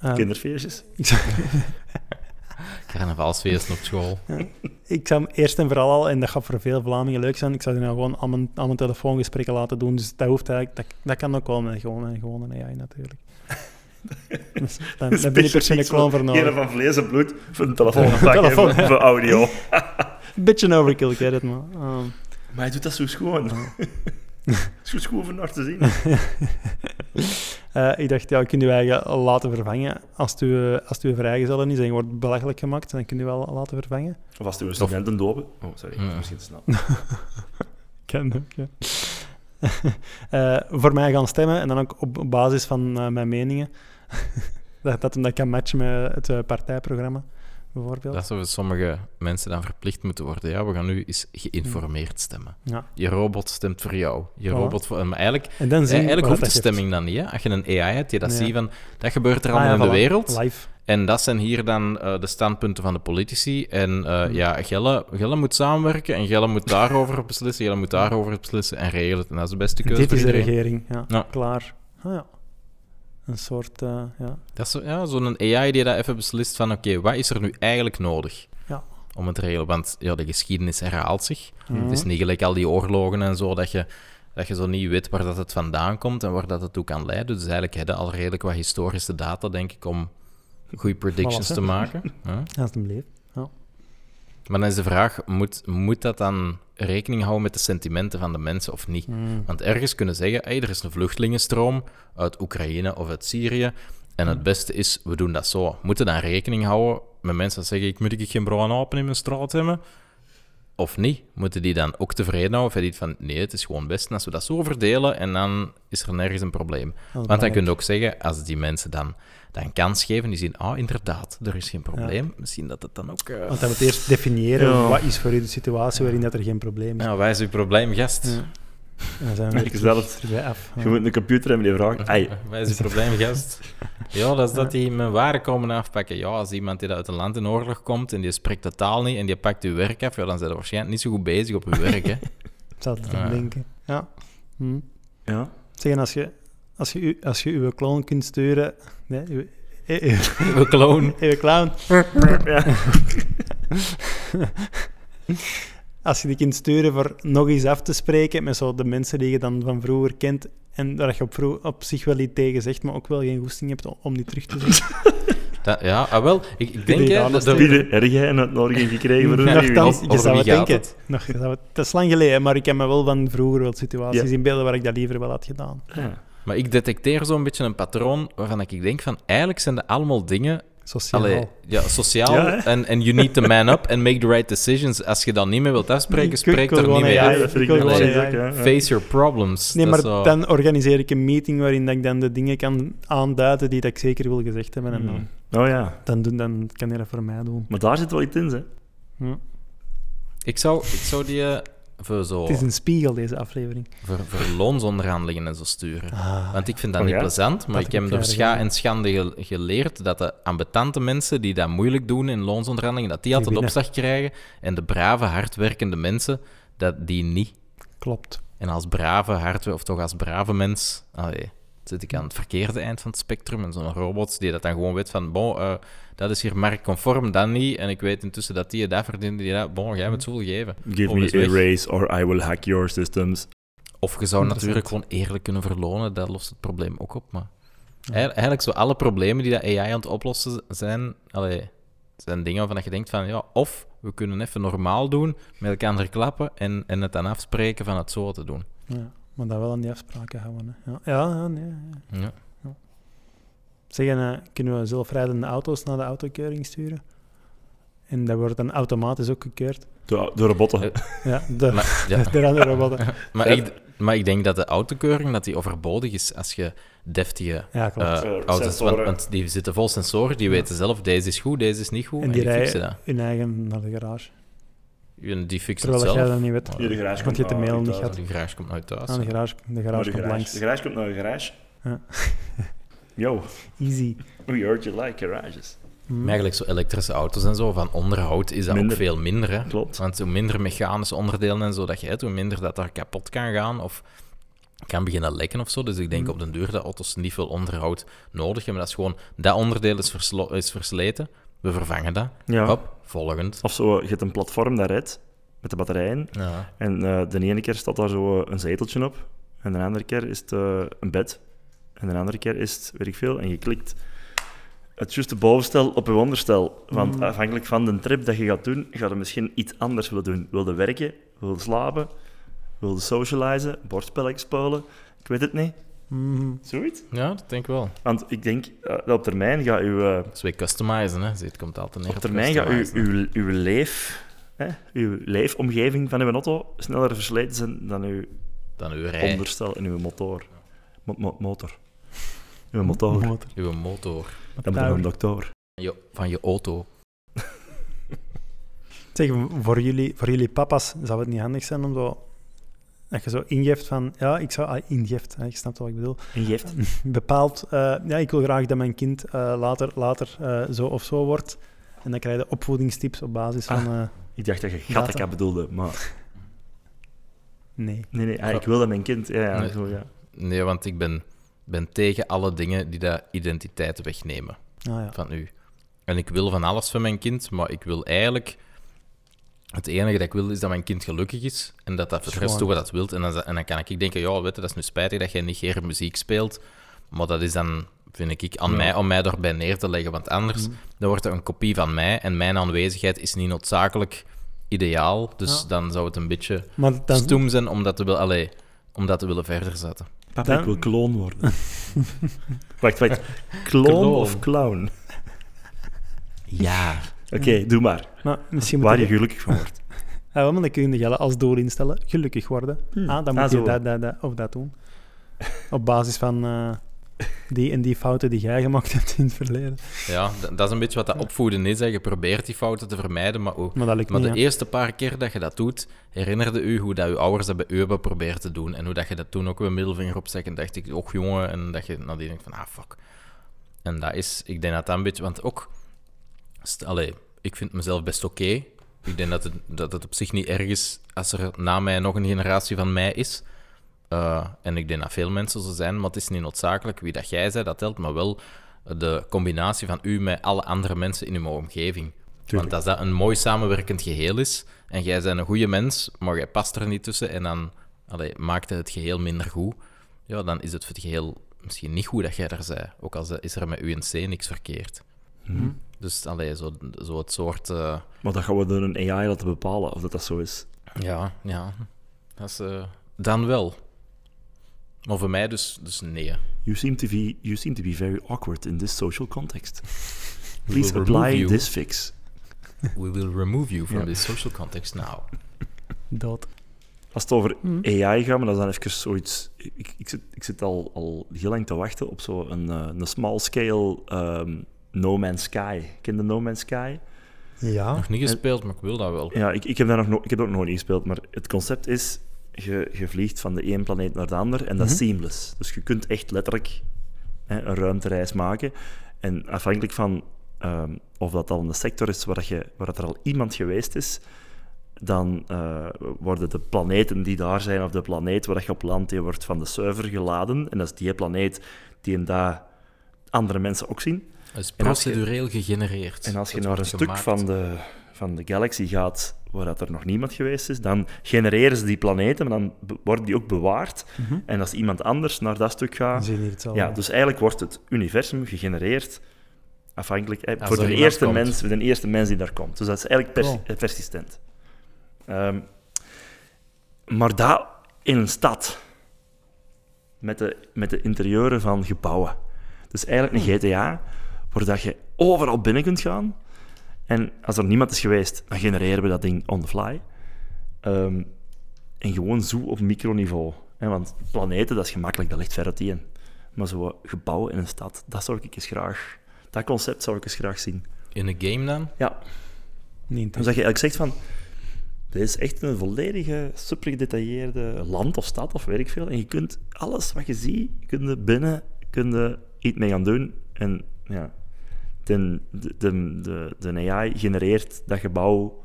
S1: Ah,
S2: Kinderfeestjes.
S1: ik zou-
S3: Carnavalsfeesten op school.
S1: Ik zou hem eerst en vooral al, en dat gaat voor veel Vlamingen leuk zijn, ik zou die nou gewoon aan mijn, aan mijn telefoongesprekken laten doen. Dus dat hoeft eigenlijk, dat, dat kan ook wel met gewoon, een- gewoon een AI natuurlijk. Dus dan, dan ben je per se een clown voor
S2: Geen
S1: nodig.
S2: van vlees en bloed, voor een telefoon te pakken,
S1: Telefoon,
S2: voor, voor audio.
S1: Beetje een overkill, ik weet het maar. Ehm,
S2: Maar hij doet dat zo schoon. is goed schoon van naar te zien.
S1: eh, ik dacht, ja, kun je eigen laten vervangen. Als het uw- als het uw vrijgezellen is en je wordt belachelijk gemaakt, dan kun je wel laten vervangen.
S2: Of als hij een studenten dopen. Oh, sorry,
S3: Ja.
S2: misschien te snel.
S1: Ken ook, ja. Eh, voor mij gaan stemmen en dan ook op op basis van eh, mijn meningen. dat, dat hem dat kan matchen met het eh, partijprogramma bijvoorbeeld.
S3: Dat is wat sommige mensen dan verplicht moeten worden. Ja, we gaan nu eens geïnformeerd stemmen.
S1: Ja.
S3: Je robot stemt voor jou. Je
S1: Voilà.
S3: robot voor... Maar eigenlijk,
S1: En dan zien
S3: Eh, eigenlijk
S1: waar
S3: hoeft de
S1: dat geeft.
S3: stemming dan niet. Hè? Als je een AI hebt, je dat
S1: Nee.
S3: ziet van... Dat gebeurt er
S1: Ah,
S3: allemaal
S1: ja,
S3: in de
S1: voilà.
S3: wereld.
S1: Live.
S3: En dat zijn hier dan eh, de standpunten van de politici. En eh,
S1: Hmm.
S3: ja, Gelle, Gelle moet samenwerken en Gelle moet daarover beslissen, Gelle moet daarover beslissen en regelen het. En dat is de beste keuze
S1: Dit
S3: voor
S1: is de
S3: iedereen.
S1: regering. Ja.
S3: Ja.
S1: Klaar. Ah, ja. Een soort, eh, ja.
S3: Dat is zo- ja, zo'n AI die dat even beslist van, oké, wat is er nu eigenlijk nodig
S1: Ja.
S3: om het te regelen? Want ja, de geschiedenis herhaalt zich. Hmm.
S1: Mhm.
S3: Het is niet gelijk al die oorlogen en zo, dat je, dat je zo niet weet waar dat het vandaan komt en waar dat het toe kan leiden. Dus eigenlijk hebben we al redelijk wat historische data, denk ik, om goede predictions
S1: Voilà, hè.
S3: te maken. Ja.
S1: Dat is hem leef. Ja.
S3: Maar dan is de vraag, moet, moet dat dan rekening houden met de sentimenten van de mensen of niet? Want ergens kunnen zeggen, hey, er is een vluchtelingenstroom uit Oekraïne of uit Syrië. En het beste is, we doen dat zo. Moeten dan rekening houden met mensen die zeggen, ik moet ik geen bruine apen in mijn straat hebben? Of niet? Moeten die dan ook tevreden houden? Of hebben die van, nee, het is gewoon best als we dat zo verdelen en dan is er nergens een probleem.
S1: is
S3: Want dan
S1: belangrijk.
S3: kun je ook zeggen, als die mensen dan, dan kans geven, die zien, ah, inderdaad, er is geen probleem. Misschien dat het dan ook... eh,
S1: Want hij moet eerst definiëren
S2: Ja.
S1: wat is voor u de situatie waarin dat er geen probleem is.
S3: nou, wij is uw probleem, gast.
S1: En dan zijn we
S2: Ik
S1: weer
S2: zelf.
S1: terug erbij af. Ja.
S2: Je moet een computer hebben die vraagt. Ai,
S3: Wij is uw probleem, gast. Ja, dat is dat die mijn waren komen afpakken. Ja, als iemand die dat uit een land in oorlog komt en die spreekt de taal niet en die pakt uw werk af, ja, dan zijn ze waarschijnlijk niet zo goed bezig op hun werk. Hè.
S1: Ik zat het aan
S3: Ja.
S1: denken. Ja. Hm.
S2: ja.
S1: Zeg, en als je, als je, u- als je uw clown kunt sturen... Nee, uw, eh, uw,
S3: We kloon.
S1: uw clown...
S2: ja.
S1: Als je die kunt sturen voor nog eens af te spreken met zo de mensen die je dan van vroeger kent en waar je op, vroeg, op zich wel iets tegen zegt, maar ook wel geen goesting hebt om- om die terug te zien.
S3: Dat, ja, ah, wel, ik, ik denk
S1: Die
S3: hè,
S1: alles
S3: dat dat-
S2: Wie de- heb jij een uitnodiging gekregen voor een
S3: Ja.
S2: review?
S1: Nochtans,
S3: over
S1: je zou
S3: wie
S1: het
S3: gaat
S1: denken.
S3: het?
S1: Nog, je zou het, dat is lang geleden, maar ik kan me wel van vroeger wel situaties
S2: Ja.
S1: in beelden waar ik dat liever wel had gedaan.
S2: Ja.
S3: Maar ik detecteer zo'n beetje een patroon waarvan ik denk van, eigenlijk zijn dat allemaal dingen
S1: Sociaal.
S3: Allee, ja, sociaal.
S2: Ja, hè?
S3: en, en you need to man up and make the right decisions. Als je dat niet meer wilt afspreken,
S1: Ik- ik
S3: spreek
S1: wil
S3: er
S1: gewoon
S3: niet mee
S1: een
S2: Ja,
S1: Ja,
S2: dat
S1: ik
S2: vind ik
S1: wil
S2: nog
S1: wel,
S2: steeds
S1: ja.
S2: ook, ja. ja.
S3: Face your problems.
S1: Nee,
S3: Dat
S1: maar
S3: is zo-
S1: dan organiseer ik een meeting waarin dat ik dan de dingen kan aanduiden die dat ik zeker wil gezegd hebben. En dan,
S2: Oh ja,
S1: dan, doen, dan kan je dat voor mij doen.
S2: maar daar zit wel iets in, hè.
S1: Ja.
S3: Ik zou, ik zou die eh, voor, zo,
S1: Het is een spiegel, deze aflevering.
S3: voor, voor loonsonderhandelingen en zo sturen.
S1: Ah.
S3: Want ik vind dat
S2: Oh,
S3: niet
S2: ja?
S3: plezant, maar
S1: Dat
S3: ik
S1: heb
S3: heb
S1: ik jaren
S3: door scha
S1: gedaan.
S3: en schande ge- geleerd dat de ambetante mensen die dat moeilijk doen in loonsonderhandelingen, dat die altijd
S1: winnen.
S3: opslag krijgen. En de brave, hardwerkende mensen, dat die niet.
S1: Klopt.
S3: En als brave hardware, of toch als brave mens, allee, zit ik aan het verkeerde eind van het spectrum. En zo'n robot die dat dan gewoon weet van, bon, eh, dat is hier marktconform, dat niet. En ik weet intussen dat die je dat verdient, die dat, bon, jij moet zoveel geven.
S2: Give
S3: Oh, dat is
S2: me a
S3: weg.
S2: raise or I will hack your systems.
S3: Of je zou
S1: Interessant.
S3: natuurlijk gewoon eerlijk kunnen verlonen, dat lost het probleem ook op. Maar Eigenlijk- eigenlijk zo alle problemen die dat AI aan het oplossen zijn, allee, zijn dingen waarvan je denkt van, ja, of we kunnen even normaal doen, met elkaar klappen en, en het dan afspreken van het zo te doen.
S1: Ja, maar dat wel aan die afspraken houden. Hè. Ja, ja, ja, nee. ja.
S3: Ja.
S1: Zeg, en, eh, kunnen we zelfrijdende auto's naar de autokeuring sturen? En dat wordt dan automatisch ook gekeurd.
S2: De, de robotten.
S3: Eh,
S1: Ja, de,
S3: Maar, ja.
S1: de andere robotten.
S3: Maar, ik, maar ik denk dat de autokeuring dat die overbodig is als je deftige
S1: Ja, klopt.
S3: eh,
S2: Eh,
S3: auto's... Want,
S2: sensoren.
S3: want die zitten vol sensoren, die weten zelf, deze is goed, deze is niet goed, en,
S1: en die
S3: die fixen
S1: rijden hun eigen naar de garage.
S3: dat. En Die fixen het
S1: Terwijl jij
S3: zelf.
S1: dat niet weet.
S2: Hier, de garage
S1: Want je hebt
S2: komt
S1: de mail
S2: nou
S1: niet
S2: uit.
S1: gehad.
S3: Die garage komt nooit thuis.
S1: Aan de garage, de garage
S2: de,
S1: komt
S2: garage. de
S1: langs.
S2: garage komt naar de garage.
S1: Ja.
S2: Yo,
S1: Easy.
S2: we heard you like garages.
S3: Maar eigenlijk zo elektrische auto's en zo, van onderhoud is dat
S2: Hm. Minder.
S3: ook veel minder. Hè?
S2: Klopt.
S3: Want hoe minder mechanische onderdelen en zo dat je hebt, hoe minder dat daar kapot kan gaan of kan beginnen lekken of zo. Dus ik
S2: Hm.
S3: denk op den duur dat auto's niet veel onderhoud nodig hebben. Dat is gewoon, dat onderdeel is, verslo- is versleten, we vervangen dat.
S2: Ja.
S3: Hop, volgend.
S2: Of zo, je hebt een platform dat rijdt, met de batterijen.
S3: Ja.
S2: En eh, de ene keer staat daar zo eh, een zeteltje op. En de andere keer is het eh, een bed. En de andere keer is het, weet ik veel, en je klikt het juiste bovenstel op je onderstel.
S1: Mm.
S2: Want afhankelijk van de trip dat je gaat doen, ga je misschien iets anders willen doen. Wilde werken, wilde slapen, wilde socializen, bordspellen spelen. Ik weet het niet.
S1: Mhm.
S2: Zoiets.
S3: ja, dat denk ik wel.
S2: Want ik denk eh, dat op termijn gaat uw, eh,
S3: Dat is weer customizen, hè. Zie, Het komt altijd neer
S2: op termijn gaat uw,
S3: customizen.
S2: uw, uw leef... Hè? Uw leefomgeving van uw auto sneller versleten zijn dan uw
S3: Dan uw rij,
S2: onderstel en uw motor. Mo- mo- motor. Uw motor.
S1: Motor.
S3: uw motor,
S2: Dan ben je een dokter.
S3: je, van je auto.
S1: Zeg, voor jullie, voor jullie papa's zou het niet handig zijn om zo... Dat je zo ingeeft van... Ja, ik zou... Ah, ingeeft, hè, ik snap wat ik bedoel.
S2: En je hebt...
S1: Bepaald... eh, ja, ik wil graag dat mijn kind eh, later, later eh, zo of zo wordt. En dan krijg je opvoedingstips op basis van... eh,
S2: Ik dacht dat je Gattaca bedoelde, maar...
S1: nee.
S2: Nee, nee, ah, ik wil dat mijn kind... Ja, ja,
S3: Nee.
S2: zo, ja.
S3: Nee, want ik ben, ben tegen alle dingen die dat identiteit wegnemen
S1: Ah, ja.
S3: van u. En ik wil van alles van mijn kind, maar ik wil eigenlijk... Het enige dat ik wil is dat mijn kind gelukkig is en dat dat voor de rest doet wat dat wil. En dan, en dan kan ik denken, ja, weet je, dat is nu spijtig dat jij niet geen muziek speelt. Maar dat is dan, vind ik, aan mij om mij daarbij neer te leggen. Want anders dan wordt het een kopie van mij en mijn aanwezigheid is niet noodzakelijk ideaal. Dus dan zou het een beetje
S1: Maar dan,
S3: stoem zijn om dat te, wil, allee, om dat te willen verder zetten.
S2: Papa,
S1: Dan-
S2: ik wil kloon worden. wacht, wacht. Kloon,
S3: Kloon.
S2: of clown?
S3: Ja.
S2: Oké, doe maar.
S1: maar misschien moet
S2: Waar
S1: je...
S2: je gelukkig van wordt.
S1: Ja, wel, maar dan kun je de Jelle als doel instellen. Gelukkig worden. Ah, dan moet
S2: Ah,
S1: je
S2: zo.
S1: dat, dat, dat of dat doen. Op basis van eh, die en die fouten die jij gemaakt hebt in het verleden.
S3: Ja, d- dat is een beetje wat dat opvoeden is. Hè. Je probeert die fouten te vermijden, maar, ook,
S1: Maar dat lukt
S3: maar de
S1: niet, hè.
S3: eerste paar keer dat je dat doet, herinnerde u hoe dat uw ouders dat bij u hebben proberen te doen. En hoe dat je dat toen ook een middelvinger opstak en dacht ik, och jongen, en dat je nadien denkt van, ah, fuck. En dat is, ik denk dat dat een beetje, want ook, st- allee, ik vind mezelf best oké. Ik denk dat het, dat het op zich niet erg is als er na mij nog een generatie van mij is. Eh, en ik denk dat veel mensen zo zijn, maar het is niet noodzakelijk wie dat jij zei, dat telt, maar wel de combinatie van u met alle andere mensen in uw omgeving. Want als dat een mooi samenwerkend geheel is en jij bent een goede mens, maar jij past er niet tussen en dan allee, maakt het het geheel minder goed, ja, dan is het voor het geheel misschien niet goed dat jij er bent. Ook al is er met UNC niks verkeerd.
S2: Mhm.
S3: Dus allee, zo, zo het soort. eh,
S2: Maar dat gaan we door een AI laten bepalen of dat, dat zo is.
S3: ja, ja. Dat is, eh, dan wel. Maar voor mij dus, dus nee.
S2: You seem, to be, you seem to be very awkward in this social context. Please
S3: will remove
S2: apply
S3: you.
S2: this fix.
S3: We will remove you from
S2: Ja.
S3: this social context now.
S1: Dood.
S2: Als het over AI gaat, maar dat is dan even zoiets... Ik, ik zit, ik zit al, al heel lang te wachten op zo'n eh, een small-scale ehm, No Man's Sky. Ken je No Man's Sky?
S1: Ja.
S3: Nog niet gespeeld, maar ik wil dat wel.
S2: Ja, ik, ik heb daar nog, no- ik heb dat ook nog niet gespeeld, maar het concept is... Je, je vliegt van de ene planeet naar de ander en dat is seamless. Dus je kunt echt letterlijk hè, een ruimtereis maken. En afhankelijk van ehm, of dat al in de sector is waar, dat je, waar dat er al iemand geweest is, dan eh, worden de planeten die daar zijn, of de planeet waar dat je op land die wordt van de server geladen. En dat is die planeet die en daar andere mensen ook zien.
S3: Het is
S2: En als je-
S3: procedureel gegenereerd.
S2: En als je
S3: Dat
S2: naar een
S3: wordt
S2: stuk
S3: gemaakt.
S2: van de, van de galaxy gaat waar dat er nog niemand geweest is, dan genereren ze die planeten, maar dan be- worden die ook bewaard. En als iemand anders naar dat stuk
S1: Dan
S2: gaat...
S1: zie je hier hetzelfde.
S2: Ah. Ja, dus eigenlijk wordt het universum gegenereerd afhankelijk eh,
S3: Als
S2: voor
S3: er
S2: de
S3: iemand
S2: eerste,
S3: komt.
S2: mens, voor de eerste mens die daar komt. Dus dat is eigenlijk pers-
S1: Cool.
S2: eh, persistent. Ehm, maar dat in een stad. Met de, met de interieuren van gebouwen. Dus eigenlijk een GTA, waar dat je overal binnen kunt gaan. En als er niemand is geweest, dan genereren we dat ding on the fly. Ehm, en gewoon zo op microniveau. hè, want planeten, dat is gemakkelijk, dat ligt ver uit die in. Maar zo gebouwen in een stad, dat zou ik eens graag... Dat concept zou ik eens graag zien.
S3: In een game dan?
S2: Ja,
S1: Niet
S2: dus dat je eigenlijk zegt van... Dit is echt een volledige, super gedetailleerde land of stad of weet ik veel. En je kunt alles wat je ziet, kun je binnen, kun je iets mee gaan doen. En ja, de, de, de, de, de AI genereert dat gebouw op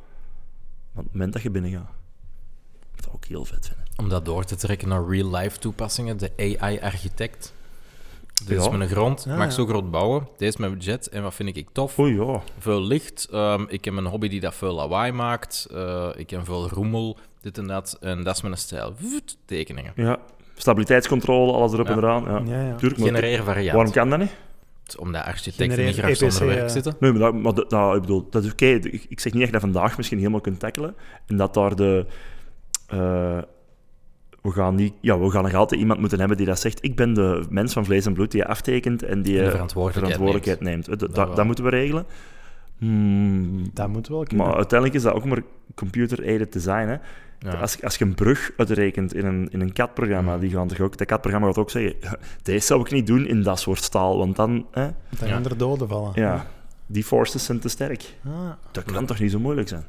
S2: het moment dat je binnen gaat. Dat zou ik heel vet vinden.
S3: Om dat door te trekken naar real-life toepassingen, de AI-architect. Dit is
S2: Ja.
S3: mijn grond,
S1: Ja,
S3: mag
S1: ja.
S3: zo groot bouwen. Dit is mijn budget en wat vind ik ik tof?
S2: Oei, ja.
S3: Veel licht, ehm, ik heb een hobby die dat veel lawaai maakt. eh, ik heb veel roemel, dit en dat. En dat is mijn stijl. Voet, tekeningen.
S2: ja. Stabiliteitscontrole, alles erop
S3: Ja.
S2: en eraan. Ja.
S1: Ja, ja.
S2: nou, Tuurlijk, maar
S3: Genereer
S2: waarom
S3: variant.
S2: kan dat niet?
S3: Omdat architecten
S1: Genereer
S3: niet graag
S1: EPC,
S3: zonder werk
S1: eh,
S3: zitten.
S2: Nee, maar, dat, maar dat, dat- ik bedoel, dat is oké. Ik ik zeg niet echt dat vandaag misschien helemaal kunt tackelen. En dat daar de... eh, we gaan niet... Ja, we gaan nog altijd iemand moeten hebben die dat zegt. Ik ben de mens van vlees en bloed die aftekent en die
S3: En de
S2: eh,
S3: verantwoordelijkheid
S2: verantwoordelijkheid neemt. Eh, Dat,
S3: Dat
S2: dat,
S3: wel.
S2: dat moeten we regelen. Hmm,
S1: Dat moet wel kunnen.
S2: maar uiteindelijk is dat ook maar computer-aided design, hè.
S3: Ja. Mm.
S2: Als, als je een brug uitrekent in een, in een CAD-programma, die gaan toch ook, dat CAD-programma gaat ook zeggen, deze zou ik niet doen in dat soort staal, want dan, hè,
S1: Dat
S3: Ja.
S1: andere doden vallen.
S2: ja, die forces zijn te sterk.
S1: Ah,
S2: Dat kan toch niet zo moeilijk zijn?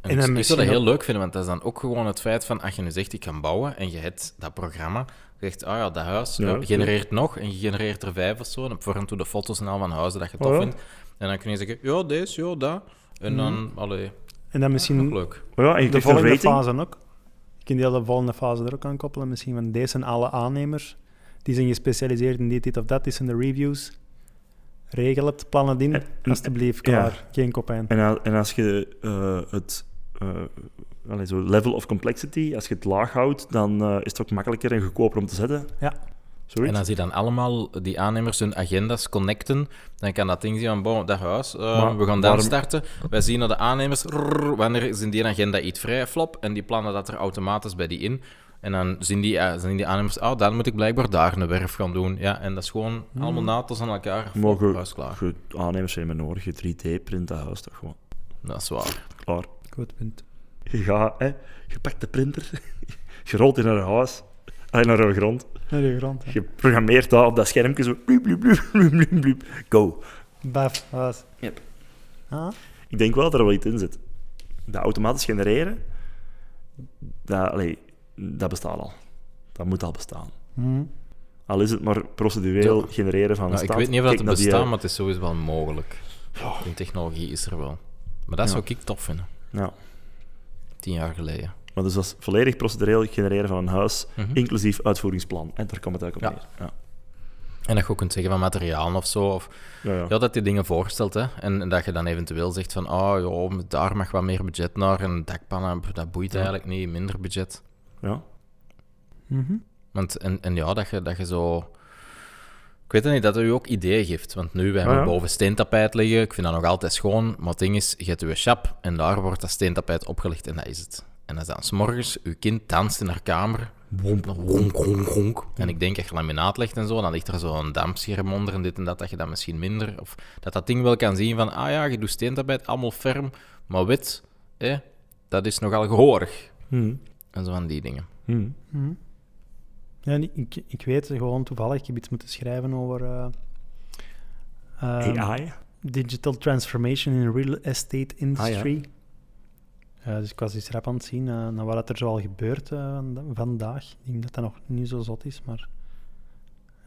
S1: En dan
S3: ik, ik zou
S1: misschien
S3: dat heel
S1: ook-
S3: leuk vinden, want dat is dan ook gewoon het feit van als je nu zegt ik kan bouwen en je hebt dat programma, je zegt ah ja, dat huis
S2: Ja,
S3: eh, genereert nog en je genereert er vijf of zo en op vorm toe de foto's en al van huizen dat je tof
S2: Oh ja.
S3: vindt. En dan kun je zeggen ja, deze, ja, dat. En
S1: Mhm.
S3: dan, allee,
S1: En dan misschien
S3: nog leuk.
S2: Oh ja, en je
S1: de
S2: krijgt een
S1: volgende
S2: rating.
S1: fase ook. Je kunt die hele volgende fase er ook aan koppelen. Misschien van deze zijn alle aannemers. Die zijn gespecialiseerd in dit, dit of dat. Dit zijn de reviews. Regel het, plan het in.
S2: En- en-
S1: Alsjeblieft,
S2: ja.
S1: klaar. Geen kopijn.
S2: En, a- en als je eh, het eh, allee, zo level of complexity, als je het laag houdt, dan eh, is het ook makkelijker en goedkoper om te zetten.
S1: Ja.
S2: Zoiets.
S3: En als je dan allemaal die aannemers hun agenda's connecten, dan kan dat ding zien van, bon, dat huis, eh,
S2: Maar
S3: we gaan daar
S2: waarom-
S3: starten. Wij zien naar de aannemers, rrr, wanneer is in die agenda iets vrij, flop, en die plannen dat er automatisch bij die in. En dan zien die, eh, zien die aannemers, oh, dan moet ik blijkbaar daar een werf gaan doen. Ja, en dat is gewoon
S2: Hmm.
S3: allemaal natels aan elkaar. Flop,
S2: Mogen
S3: huis klaar.
S2: je aannemers zijn met nodig. Je 3D-print dat huis toch gewoon
S3: Dat is waar.
S2: klaar.
S1: Goed punt.
S2: Je gaat, hè, je pakt de printer, je rolt in naar huis, allee, naar de grond,
S1: Naar de grond. hè.
S2: je programmeert dat op dat schermpje zo, bloep, bloep, bloep, bloep, bloep, bloep, go.
S1: Baf, was.
S2: Yep.
S1: Ah,
S2: Ik denk wel dat er wel iets in zit. Dat automatisch genereren, dat, allee, dat bestaat al. Dat moet al bestaan.
S1: mhm.
S2: Al is het maar procedueel
S3: Ja.
S2: genereren van een
S3: Nou, ik
S2: staat.
S3: weet niet of dat
S2: Kijk
S3: het
S2: naar die, eh,
S3: bestaat, maar het is sowieso wel mogelijk. De technologie is er wel. Maar dat zou ik tof vinden,
S2: eh, Ja.
S3: tien jaar geleden.
S2: Maar dus dat is volledig procedureel genereren van een huis,
S3: Mhm.
S2: inclusief uitvoeringsplan. En daar komt het ook op
S3: Ja.
S2: neer. Ja.
S3: En dat je ook kunt zeggen van materiaal of zo, of
S2: Ja, ja.
S3: Ja, dat je dingen voorstelt, hè. En en dat je dan eventueel zegt van, ah, joh, daar mag wat meer budget naar, en dakpannen, pff, dat boeit eigenlijk niet, minder budget.
S2: Ja.
S1: Mhm.
S3: Want, en, en ja, dat je, dat je zo... Ik weet het niet, dat het je ook ideeën geeft. Want nu, we hebben
S2: Ja, ja.
S3: boven steentapijt liggen, ik vind dat nog altijd schoon, maar het ding is, je hebt je chap, en daar wordt dat steentapijt opgelegd, en dat is het. En dat is dan s'morgens, je kind danst in haar kamer, wonk, wonk, wonk. En ik denk, als je laminaat legt en zo, dan ligt er zo'n dampscherm onder en dit en dat, dat je dat misschien minder... Of dat dat ding wel kan zien van, ah ja, je doet steentapijt, allemaal ferm, maar wit, hè, dat is nogal gehoorig.
S2: Hm.
S3: En zo van die dingen.
S2: Hm.
S1: Mhm. Ja, en ik, ik weet gewoon toevallig, ik heb iets moeten schrijven over eh, ehm,
S2: AI?
S1: digital transformation in real estate industry. Eh, dus ik was eens rap aan het zien eh, naar wat dat er zoal gebeurt eh, vanda- vandaag. Ik denk dat dat nog niet zo zot is, maar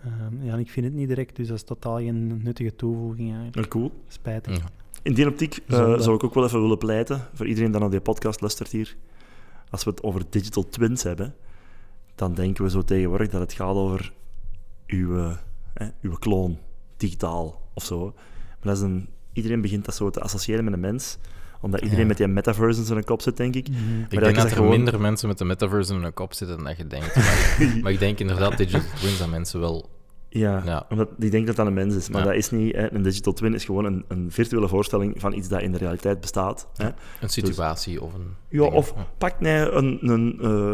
S1: ehm, ja, en ik vind het niet direct, dus dat is totaal geen nuttige toevoeging eigenlijk.
S2: Ja, Cool.
S1: Spijtig.
S3: Ja.
S2: In die optiek eh,
S1: Zonde.
S2: zou ik ook wel even willen pleiten, voor iedereen die naar die podcast luistert hier, als we het over digital twins hebben, dan denken we zo tegenwoordig dat het gaat over uw, eh, hè, uw kloon, digitaal of zo. Maar dat is een, iedereen begint dat zo te associëren met een mens, omdat iedereen
S3: Ja.
S2: met die metaverse in zijn kop zit, denk ik.
S1: Mhm.
S2: Maar
S3: Ik
S2: eigenlijk
S3: denk
S2: is
S3: dat er minder mensen met de metaverse in hun kop zitten dan dat je denkt. Maar, maar ik denk inderdaad, digital twins, dat mensen wel...
S2: Ja,
S3: Ja.
S2: omdat die denkt dat dat een mens is. Maar
S3: Ja.
S2: dat is niet... hè. Een digital twin is gewoon een, een virtuele voorstelling van iets dat in de realiteit bestaat. Hè?
S3: Een situatie of een...
S2: Ja,
S3: ding.
S2: of pak nee, een, een, eh,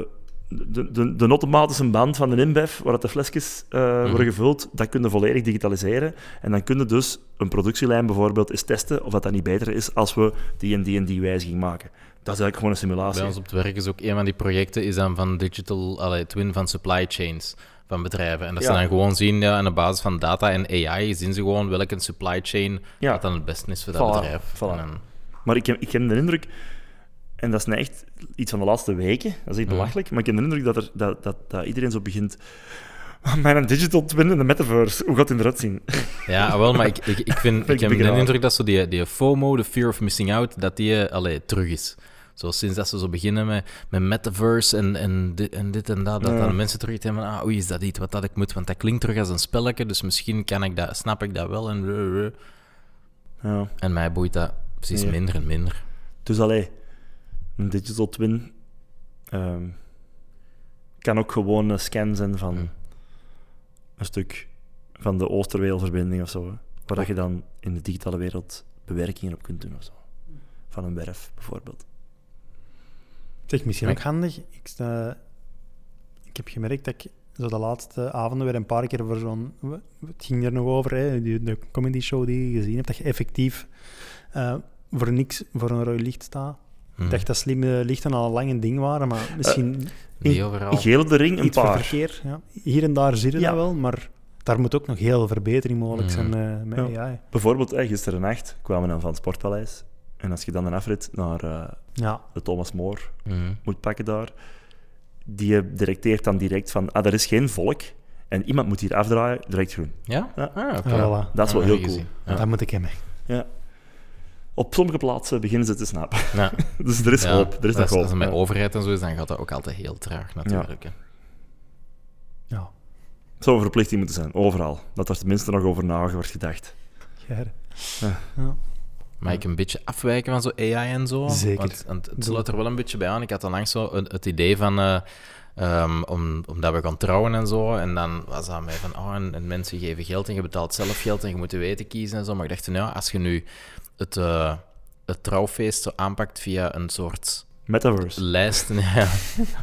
S2: de, de, de automatische band van de InBev, waar dat de flesjes eh,
S3: Mhm.
S2: worden gevuld, dat kun je volledig digitaliseren. En dan kun je dus een productielijn bijvoorbeeld eens testen of dat, dat niet beter is als we die en die en die wijziging maken. Dat is eigenlijk gewoon een simulatie.
S3: Bij ons op het werk is ook een van die projecten is dan van digital allee, twin van supply chains van bedrijven. En dat ze
S2: Ja.
S3: dan gewoon zien, ja, aan de basis van data en AI, zien ze gewoon welke supply chain
S2: Ja.
S3: dat dan het beste is voor dat
S2: Voilà,
S3: bedrijf.
S2: voilà.
S3: En dan-
S2: Maar ik heb, ik heb de indruk, en dat is nou echt iets van de laatste weken, dat is echt
S3: Mhm.
S2: belachelijk, maar ik heb de indruk dat, er, dat, dat, dat iedereen zo begint... Mijn digital twin in de metaverse, hoe gaat het eruit zien?
S3: Ja, ah, wel, maar ik, ik, ik, vind, ik heb
S2: begin
S3: de
S2: al.
S3: indruk dat zo die, die FOMO, de fear of missing out, dat die eh, allee, terug is. Zo, sinds dat ze zo beginnen met, met metaverse en, en, dit, en dit en dat, dat dan mensen terug hebben van, ah, oei, is dat iets wat dat ik moet? Want dat klinkt terug als een spelletje, dus misschien kan ik dat, snap ik dat wel. En, eh,
S2: Ja.
S3: en mij boeit dat precies
S2: Ja.
S3: minder en minder.
S2: Dus allee, een digital twin ehm, kan ook gewoon een scan zijn van een stuk van de Oosterweelverbinding of zo. Hè, waar dat je dan in de digitale wereld bewerkingen op kunt doen of zo. Van een werf bijvoorbeeld.
S1: Zeg, misschien
S3: Maar
S1: ook handig. Ik, eh, ik heb gemerkt dat ik zo de laatste avonden weer een paar keer voor zo'n... we- Het ging er nog over, hè, die- de comedy show die je gezien hebt, dat je effectief eh, voor niks voor een rood licht staat.
S3: Mm. Mhm.
S1: Ik dacht dat slimme lichten al lang een ding waren, maar misschien
S3: Niet overal.
S2: In Geel de Ring een
S1: iets voor
S2: paar.
S1: verkeer. Ja. Hier en daar zit het
S2: Ja.
S1: dat wel, maar daar moet ook nog heel veel verbetering mogelijk zijn eh met
S2: Ja.
S1: AI.
S2: Bijvoorbeeld, eh, gisterennacht kwamen we dan van het Sportpaleis. En als je dan een afrit naar eh,
S1: Ja,
S2: de Thomas Moor
S3: Mhm.
S2: moet pakken daar, die eh, directeert dan direct van, ah, er is geen volk en iemand moet hier afdraaien, direct groen.
S3: Ja?
S2: Ja.
S3: Ah, oké.
S1: voilà.
S2: Dat is wel
S3: Ah,
S2: heel
S3: easy.
S2: cool.
S3: Ja.
S1: Dat moet ik hebben.
S2: Op sommige plaatsen beginnen ze te snappen.
S3: Ja.
S2: Dus er is
S3: Ja,
S2: hoop. Er is nog
S3: als,
S2: hoop.
S3: als het met
S2: Ja.
S3: overheid en zo is, dan gaat dat ook altijd heel traag natuurlijk. hè.
S1: Ja,
S2: Het zou een verplichting moeten zijn, overal. Dat er tenminste nog over na wordt gedacht.
S1: Ger.
S2: Ja.
S1: Ja.
S3: Maar ik een beetje afwijken van zo AI en zo.
S1: Zeker.
S3: Want, want het
S1: Doe.
S3: sluit er wel een beetje bij aan. Ik had dan langs zo een- het idee van... eh, ehm, om, omdat we gaan trouwen en zo. En dan was dat mij van... Oh, en, en mensen geven geld en je betaalt zelf geld en je moet je weten kiezen en zo. Maar ik dacht, nou, als je nu het, eh, het trouwfeest zo aanpakt via een soort
S2: Metaverse.
S3: lijst... Ja,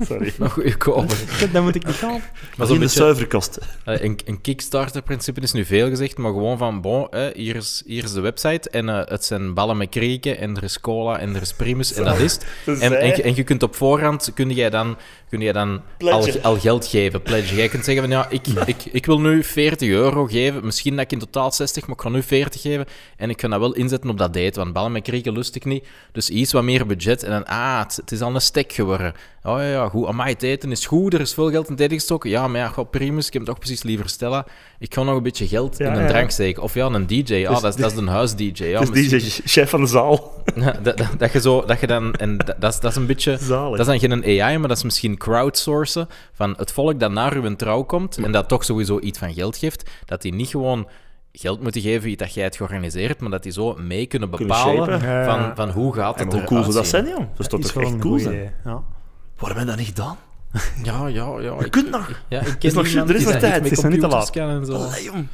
S2: Sorry.
S3: nog goedkoper.
S1: Dat moet ik niet gaan.
S3: Maar
S2: Maar
S3: zo'n
S2: in de
S3: beetje...
S2: zuiverkosten.
S3: Eh, een, een Kickstarter-principe is nu veel gezegd, maar gewoon van, bon, eh, hier, is, hier is de website en eh, het zijn ballen met krieken en er is cola en er is primus en dat is het.
S2: Dus
S3: En, en,
S2: zij-
S3: je- en je kunt op voorhand, kun jij dan, kun jij dan al,
S2: Pledgen.
S3: al geld geven, pledge. Jij kunt zeggen van, ja, ik, ik, ik wil nu 40 euro geven, misschien dat ik in totaal 60, maar ik ga nu 40 geven en ik ga dat wel inzetten op dat date, want ballen met krieken lust ik niet. Dus iets wat meer budget en dan, ah, het, het is al een stek geworden. Oh ja, ja, goed, amai, het eten is goed, er is veel geld in het eten gestoken. Ja, maar ja, god, primus, ik heb toch precies liever Stella. Ik ga nog een beetje geld
S2: Ja,
S3: in een
S2: ja.
S3: drank steken. Of ja, een DJ, ah, dat, is, dat is een huis-DJ. Ja,
S2: Dus
S3: misschien-
S2: die is chef van de zaal.
S3: ja, dat, dat, dat je zo, dat je dan, en dat, dat, is, dat is een beetje,
S2: Zalig.
S3: dat is dan geen AI, maar dat is misschien crowdsourcen van het volk dat naar uw trouw komt en dat toch sowieso iets van geld geeft, dat die niet gewoon geld moeten geven wie dat jij het georganiseerd, maar dat die zo mee kunnen
S2: Kunnen
S3: bepalen
S2: shapen.
S1: Ja, ja, ja.
S3: van, van hoe gaat
S2: En
S3: het
S2: hoe cool
S3: eruit
S2: zou dat
S3: zien.
S2: zijn, joh? Dat is toch
S1: is
S2: toch
S1: wel
S2: echt
S1: een
S2: cool
S1: cool
S2: zijn?
S1: idee. Ja.
S2: Waarom heb je dat niet gedaan?
S3: Ja, ja, ja.
S2: Je
S3: Ik,
S2: kunt nog.
S3: ja, ik
S2: is
S3: ken
S2: nog-
S3: iemand
S2: er is
S3: die
S2: nog
S3: dat
S2: tijd,
S3: echt met
S1: het is nog niet te
S3: computers kan en zo.
S2: Allee, jong.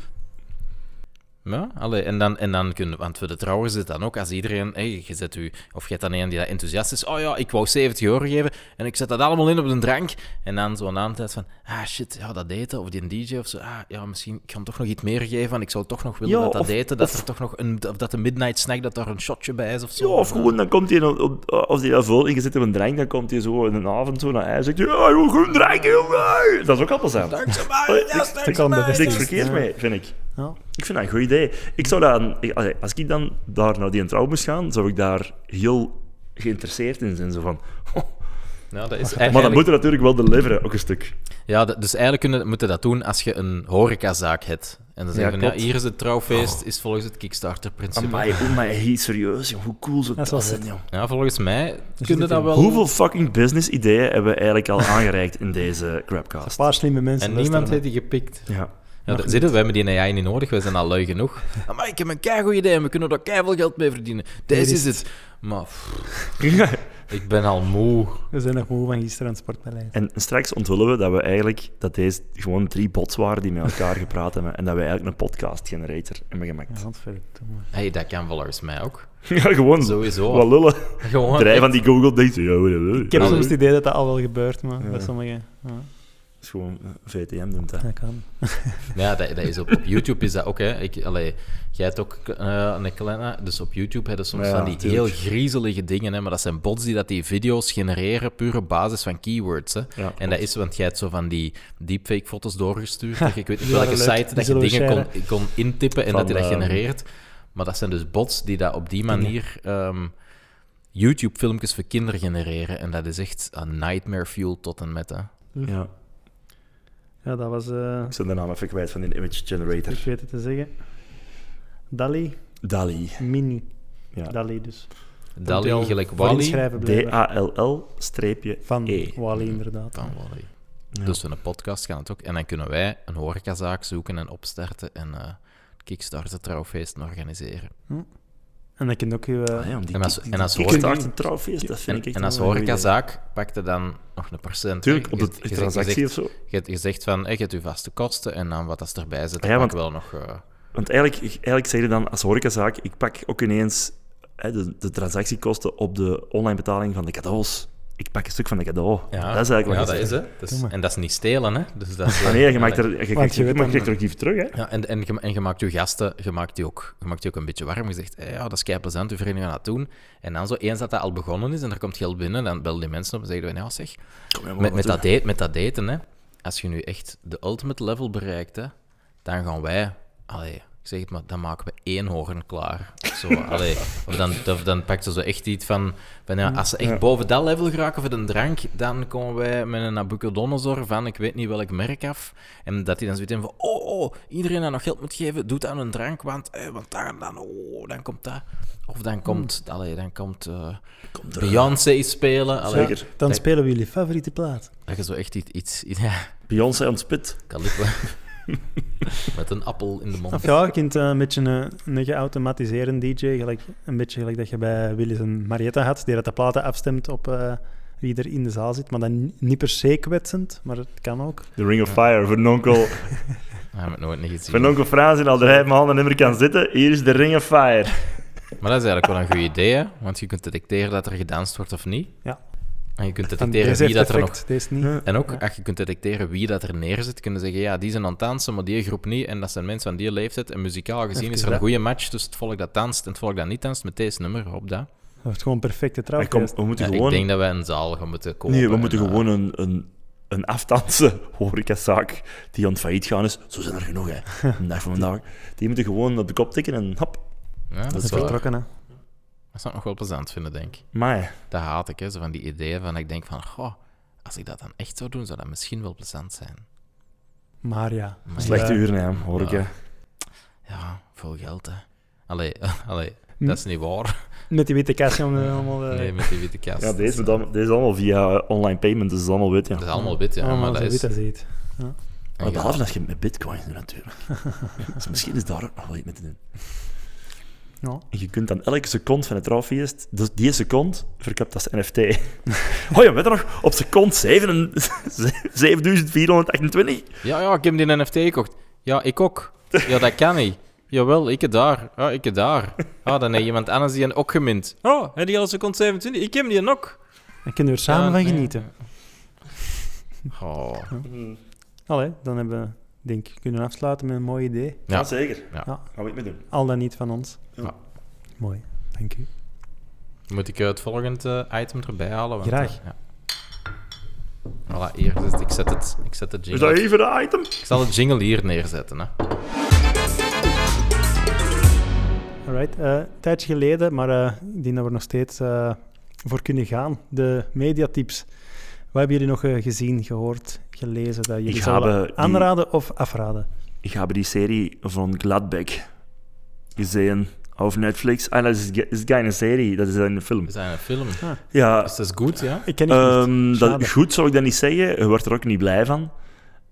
S3: Ja, allee, en dan, en dan kunnen, want voor de trouwers is het dan ook, als iedereen, hey, je zet u, of je hebt dan een die dat enthousiast is, oh ja, ik wou 70 euro geven en ik zet dat allemaal in op een drank. En dan zo'n naam tijd van, ah shit, ja, dat eten, of die DJ of zo, ah ja, misschien ik ga hem toch nog iets meer geven, want ik zou toch nog willen
S2: Ja,
S3: dat dat
S2: of-
S3: eten, dat
S2: of-
S3: er toch nog een, of dat de midnight snack, dat daar een shotje bij is of
S2: Ja,
S3: zo.
S2: of gewoon, dan komt hij, op- op- als hij daar vol ingezet op een drank, dan komt hij zo in een avond zo naar hij en zegt, ja, joh, groen drank, joh. Dat is ook appels aan.
S3: Dankzij mij,
S2: Allee,
S3: yes,
S2: niks-
S3: dankzij
S1: kan
S3: mij,
S1: best.
S3: yes.
S2: Niks verkeerd mee, vind ik.
S1: Ja.
S2: Ik vind dat een goed idee. Ik zou dan, ik- allee, als ik dan daar naar die trouw moest gaan, zou ik daar heel geïnteresseerd in zijn. Zo van.
S3: Ja, dat is
S2: Maar dan
S3: eigenlijk-
S2: moet je natuurlijk wel deliveren, ook een stuk.
S3: Ja, dat- dus eigenlijk kunnen, moeten dat doen als je een horecazaak hebt. En dan zeggen van, ja,
S2: klopt. Oh.
S3: hier is het trouwfeest, is volgens het Kickstarter-principe.
S2: Amai, oh, maar hey, serieus, joh, hoe cool zou dat,
S1: wel
S2: zijn,
S1: vet.
S2: joh.
S3: Ja, volgens mij
S2: Dus
S3: kunnen dat wel...
S2: Hoeveel fucking business-ideeën hebben we eigenlijk al aangereikt in deze
S1: Een
S2: crapcast?
S1: paar slimme mensen.
S3: En
S1: luisteren
S3: niemand
S1: naar.
S3: heeft die gepikt.
S2: Ja.
S3: Ja, daar zitten we, we hebben die AI niet nodig, we zijn al lui genoeg. Maar ik heb een keigoed idee en we kunnen daar keiveel geld mee verdienen. Deze is het. Maar pff, ik ben al moe.
S1: We zijn nog moe van gisteren aan het sportpaleis.
S2: En straks onthullen we dat we eigenlijk dat deze gewoon drie bots waren die met elkaar gepraat hebben en dat we eigenlijk een podcast generator hebben gemaakt.
S1: Godverdomme.
S3: Hé, hey, dat kan volgens mij ook.
S2: Ja,
S3: Mm.
S2: gewoon
S3: Sowieso.
S2: Wat lullen.
S3: Gewoon.
S2: Draai van die Google denkt. Ja, ja, ja, ja.
S1: Ik heb
S3: Nou,
S1: soms het
S2: Dat
S1: idee dat dat al wel gebeurt, maar
S2: Ja.
S1: bij sommigen... Ja,
S2: is gewoon eh, VTM noemt dat.
S1: dat kan.
S3: Ja, dat, dat is op, op YouTube is dat ook. Hè. Ik, allee, jij hebt ook eh, een kleine... Dus op YouTube hebben soms
S2: Ja,
S3: van die
S2: tuurlijk.
S3: heel griezelige dingen. Hè, maar dat zijn bots die dat die video's genereren puur op basis van keywords. Hè.
S2: Ja,
S3: en dat is, want jij hebt zo van die deepfake-foto's doorgestuurd. dat je- ik weet niet
S1: die
S3: welke
S1: waren leuk.
S3: site dat
S1: Die
S3: je
S1: zullen we
S3: dingen kon, kon intippen en
S2: Van,
S3: dat hij dat
S2: ehm,
S3: genereert. Maar dat zijn dus bots die dat op die manier... ehm, YouTube-filmpjes voor kinderen genereren. En dat is echt een nightmare fuel tot en met. Hè.
S2: Ja.
S1: Ja, dat was... eh,
S2: Ik ben de naam even kwijt van die image generator.
S1: ik weet het te zeggen. Dali
S2: DALI.
S1: Mini.
S2: Ja.
S1: Dali dus. Moet je
S3: Dali
S1: al
S3: gelijk
S1: voor
S3: Wally.
S1: inschrijven blijkbaar.
S2: D-A-L-L-E.
S1: Van
S2: E.
S1: Wally, inderdaad.
S3: Van Wally.
S2: Ja.
S3: Dus een podcast gaan het ook. En dan kunnen wij een horecazaak zoeken en opstarten en eh Kickstarter trouwfeesten organiseren.
S1: En dan kun je ook je... eh,
S2: Ah, ja, om die
S3: En als-
S2: die- die
S3: en als
S2: kickstart
S1: horeca-
S2: een trouwfeest, dat vind
S3: En,
S2: ik echt
S3: en als
S2: wel een goed idee.
S3: horecazaak pakte dan nog een procent.
S2: Tuurlijk,
S3: hè.
S2: op
S3: Je-
S2: de
S3: je- je-
S2: transactie
S3: je-
S2: of zo.
S3: Je hebt gezegd van, hey, je hebt je vaste kosten en dan wat als erbij zit, dan
S2: Ah Ja,
S3: pak ik wel nog... eh,
S2: Want eigenlijk, eigenlijk zeg je dan als horecazaak, ik pak ook ineens hè, de, de transactiekosten op de online betaling van de cadeaus. Ik pak een stuk van de cadeau.
S3: ja,
S2: Dat is eigenlijk wat
S3: ja,
S2: je
S3: dat
S2: zegt.
S3: is het. Dus-
S1: Doe maar.
S3: en dat is niet stelen, hè. Dus dat is, eh,
S2: Ah, nee, je, maakt er, je, krijgt-
S1: je weet
S2: je
S1: dan-
S2: krijgt er ook even terug, hè?
S3: Ja, en, en, je, en je maakt je gasten, je maakt die ook, je maakt die ook een beetje warm. Je zegt, eh, ja, dat is kei plezant, uw vrienden gaan dat doen. En dan zo, eens dat dat al begonnen is en er komt geld binnen, dan bellen die mensen op en zeggen, van, ja zeg,
S2: Kom, ja, maar
S3: met, met,
S2: toe.
S3: dat date, met dat daten, hè, als je nu echt de ultimate level bereikt, hè, dan gaan wij, allee, Ik zeg het maar, dan maken we één hoorn klaar. Zo, allee. Of dan, dan, dan pakt ze zo echt iets van... van ja, als ze echt boven dat level geraken voor de drank, dan komen wij met een Nabucodonosor van ik weet niet welk merk af. En dat hij dan zoiets in van... Oh, oh, iedereen dat nog geld moet geven, doet aan een drank, want, eh, want daar, dan, oh, dan komt dat. Of
S1: Hmm.
S3: dan komt... Allee, dan komt... eh, Beyoncé iets spelen. Allee,
S2: Zeker.
S1: Dan spelen we jullie favoriete plaat.
S3: Dat je zo echt iets... iets ja,
S2: Beyoncé aan het spit.
S3: Calipo. Met een appel in de mond.
S1: Of ja, je kunt eh, een beetje een, een geautomatiseerde DJ, gelijk, een beetje gelijk dat je bij Willis en Marietta had, die dat de platen afstemt op eh, wie er in de zaal zit, maar dan ni- niet per se kwetsend, maar het kan ook.
S2: The Ring of Fire van onkel,
S3: Dat heb ik nooit niet gezien.
S2: van onkel Frans in Alderij mijn handen nimmer kan zitten. Hier is de Ring of Fire.
S3: Maar dat is eigenlijk wel een goed idee, hè? want je kunt detecteren dat er gedanst wordt of niet.
S1: Ja.
S3: En je kunt
S1: Dan
S3: detecteren
S1: deze
S3: wie
S1: heeft
S3: dat er
S1: effect,
S3: nog...
S1: deze niet.
S3: En ook, als je kunt detecteren wie dat er neerzit, kunnen zeggen, ja, die zijn aan het dansen, maar die groep niet. En dat zijn mensen van die leeftijd. En muzikaal gezien is er een
S1: dat.
S3: goede match tussen het volk dat danst en het volk dat niet danst met deze nummer op dat.
S1: Dat wordt gewoon perfecte trouw.
S2: Maar kom, we moeten
S3: Ja, ik
S2: gewoon...
S3: denk dat wij een zaal gaan moeten kopen.
S2: nee, we moeten
S3: en, eh,
S2: gewoon een, een, een aftansen horecazaak die aan het failliet gaan is. Zo zijn er genoeg, hè. Vandaag van vandaag. Die moeten gewoon op de kop tikken en hop.
S3: ja, dat,
S1: Dat
S3: is
S1: is
S3: wel, dat
S1: vertrokken, hè.
S3: zou ik nog wel plezant vinden, denk ik.
S2: Maar
S3: Dat haat ik, hè. Zo van die ideeën van, ik denk van, goh, als ik dat dan echt zou doen, zou dat misschien wel plezant zijn.
S1: Maar ja.
S2: slechte
S1: Ja.
S2: uren, hè, horeca.
S3: Ja, veel geld, hè. Allee, allee
S2: Hm?
S3: dat is niet waar.
S1: Met die witte kastje om eh, allemaal... eh,
S3: Nee, met die witte kast.
S2: Ja,
S3: Dat is,
S2: deze, dan, deze is allemaal via online payment, dus dat is allemaal wit, ja.
S3: dat is allemaal wit, ja.
S1: allemaal
S3: maar dat
S1: zo
S3: is...
S1: wit als heet.
S2: Maar behalve dat je het met bitcoins doet, natuurlijk. dus misschien is daar ook nog wel iets mee te doen.
S1: Ja.
S2: En je kunt dan elke seconde van het trouwfeest, dus die seconde, verkapt als NFT. oh ja, weet je nog? Op seconde 7 7428.
S3: Ja, ja, ik heb die NFT gekocht. Ja, ik ook. Ja, dat kan niet. Jawel, ik heb daar. Ja, ik heb daar. Ah, dan heeft iemand anders die een ook gemint. Oh, en die al seconde 27. Ik heb die een ook.
S1: Dan kunnen we er samen
S3: Ja,
S1: van
S3: nee.
S1: genieten.
S3: Oh.
S1: Allee, dan hebben we, denk ik, kunnen afsluiten met een mooi idee.
S3: Ja.
S2: zeker.
S3: Ja.
S1: Ja.
S2: Gaan we het mee doen.
S1: Al dan niet van ons.
S2: Ja.
S1: Mooi, dank u.
S3: Moet ik eh, het volgende item erbij halen? Want,
S1: Graag.
S3: eh, ja. Voilà, hier zit Ik zet het. Ik zet de
S2: Is dat
S3: jingle.
S2: even een item?
S3: Ik zal het jingle hier neerzetten, hè.
S1: Alright, eh, een tijdje geleden, maar eh, ik denk dat we er nog steeds eh, voor kunnen gaan. De mediatips. Wat hebben jullie nog eh, gezien, gehoord, gelezen dat jullie
S2: Ik
S1: zouden
S2: heb, eh, die-
S1: aanraden of afraden?
S2: Ik heb die serie van Gladbeck gezien op Netflix. Ah, dat is, is geen serie, dat is een film.
S3: We zijn een film.
S2: Ja,
S3: Dus dat is goed, ja?
S1: Ik ken het
S2: Ehm,
S1: niet.
S2: dat,
S1: Schade.
S2: goed zou ik dat niet zeggen. Je wordt er ook niet blij van.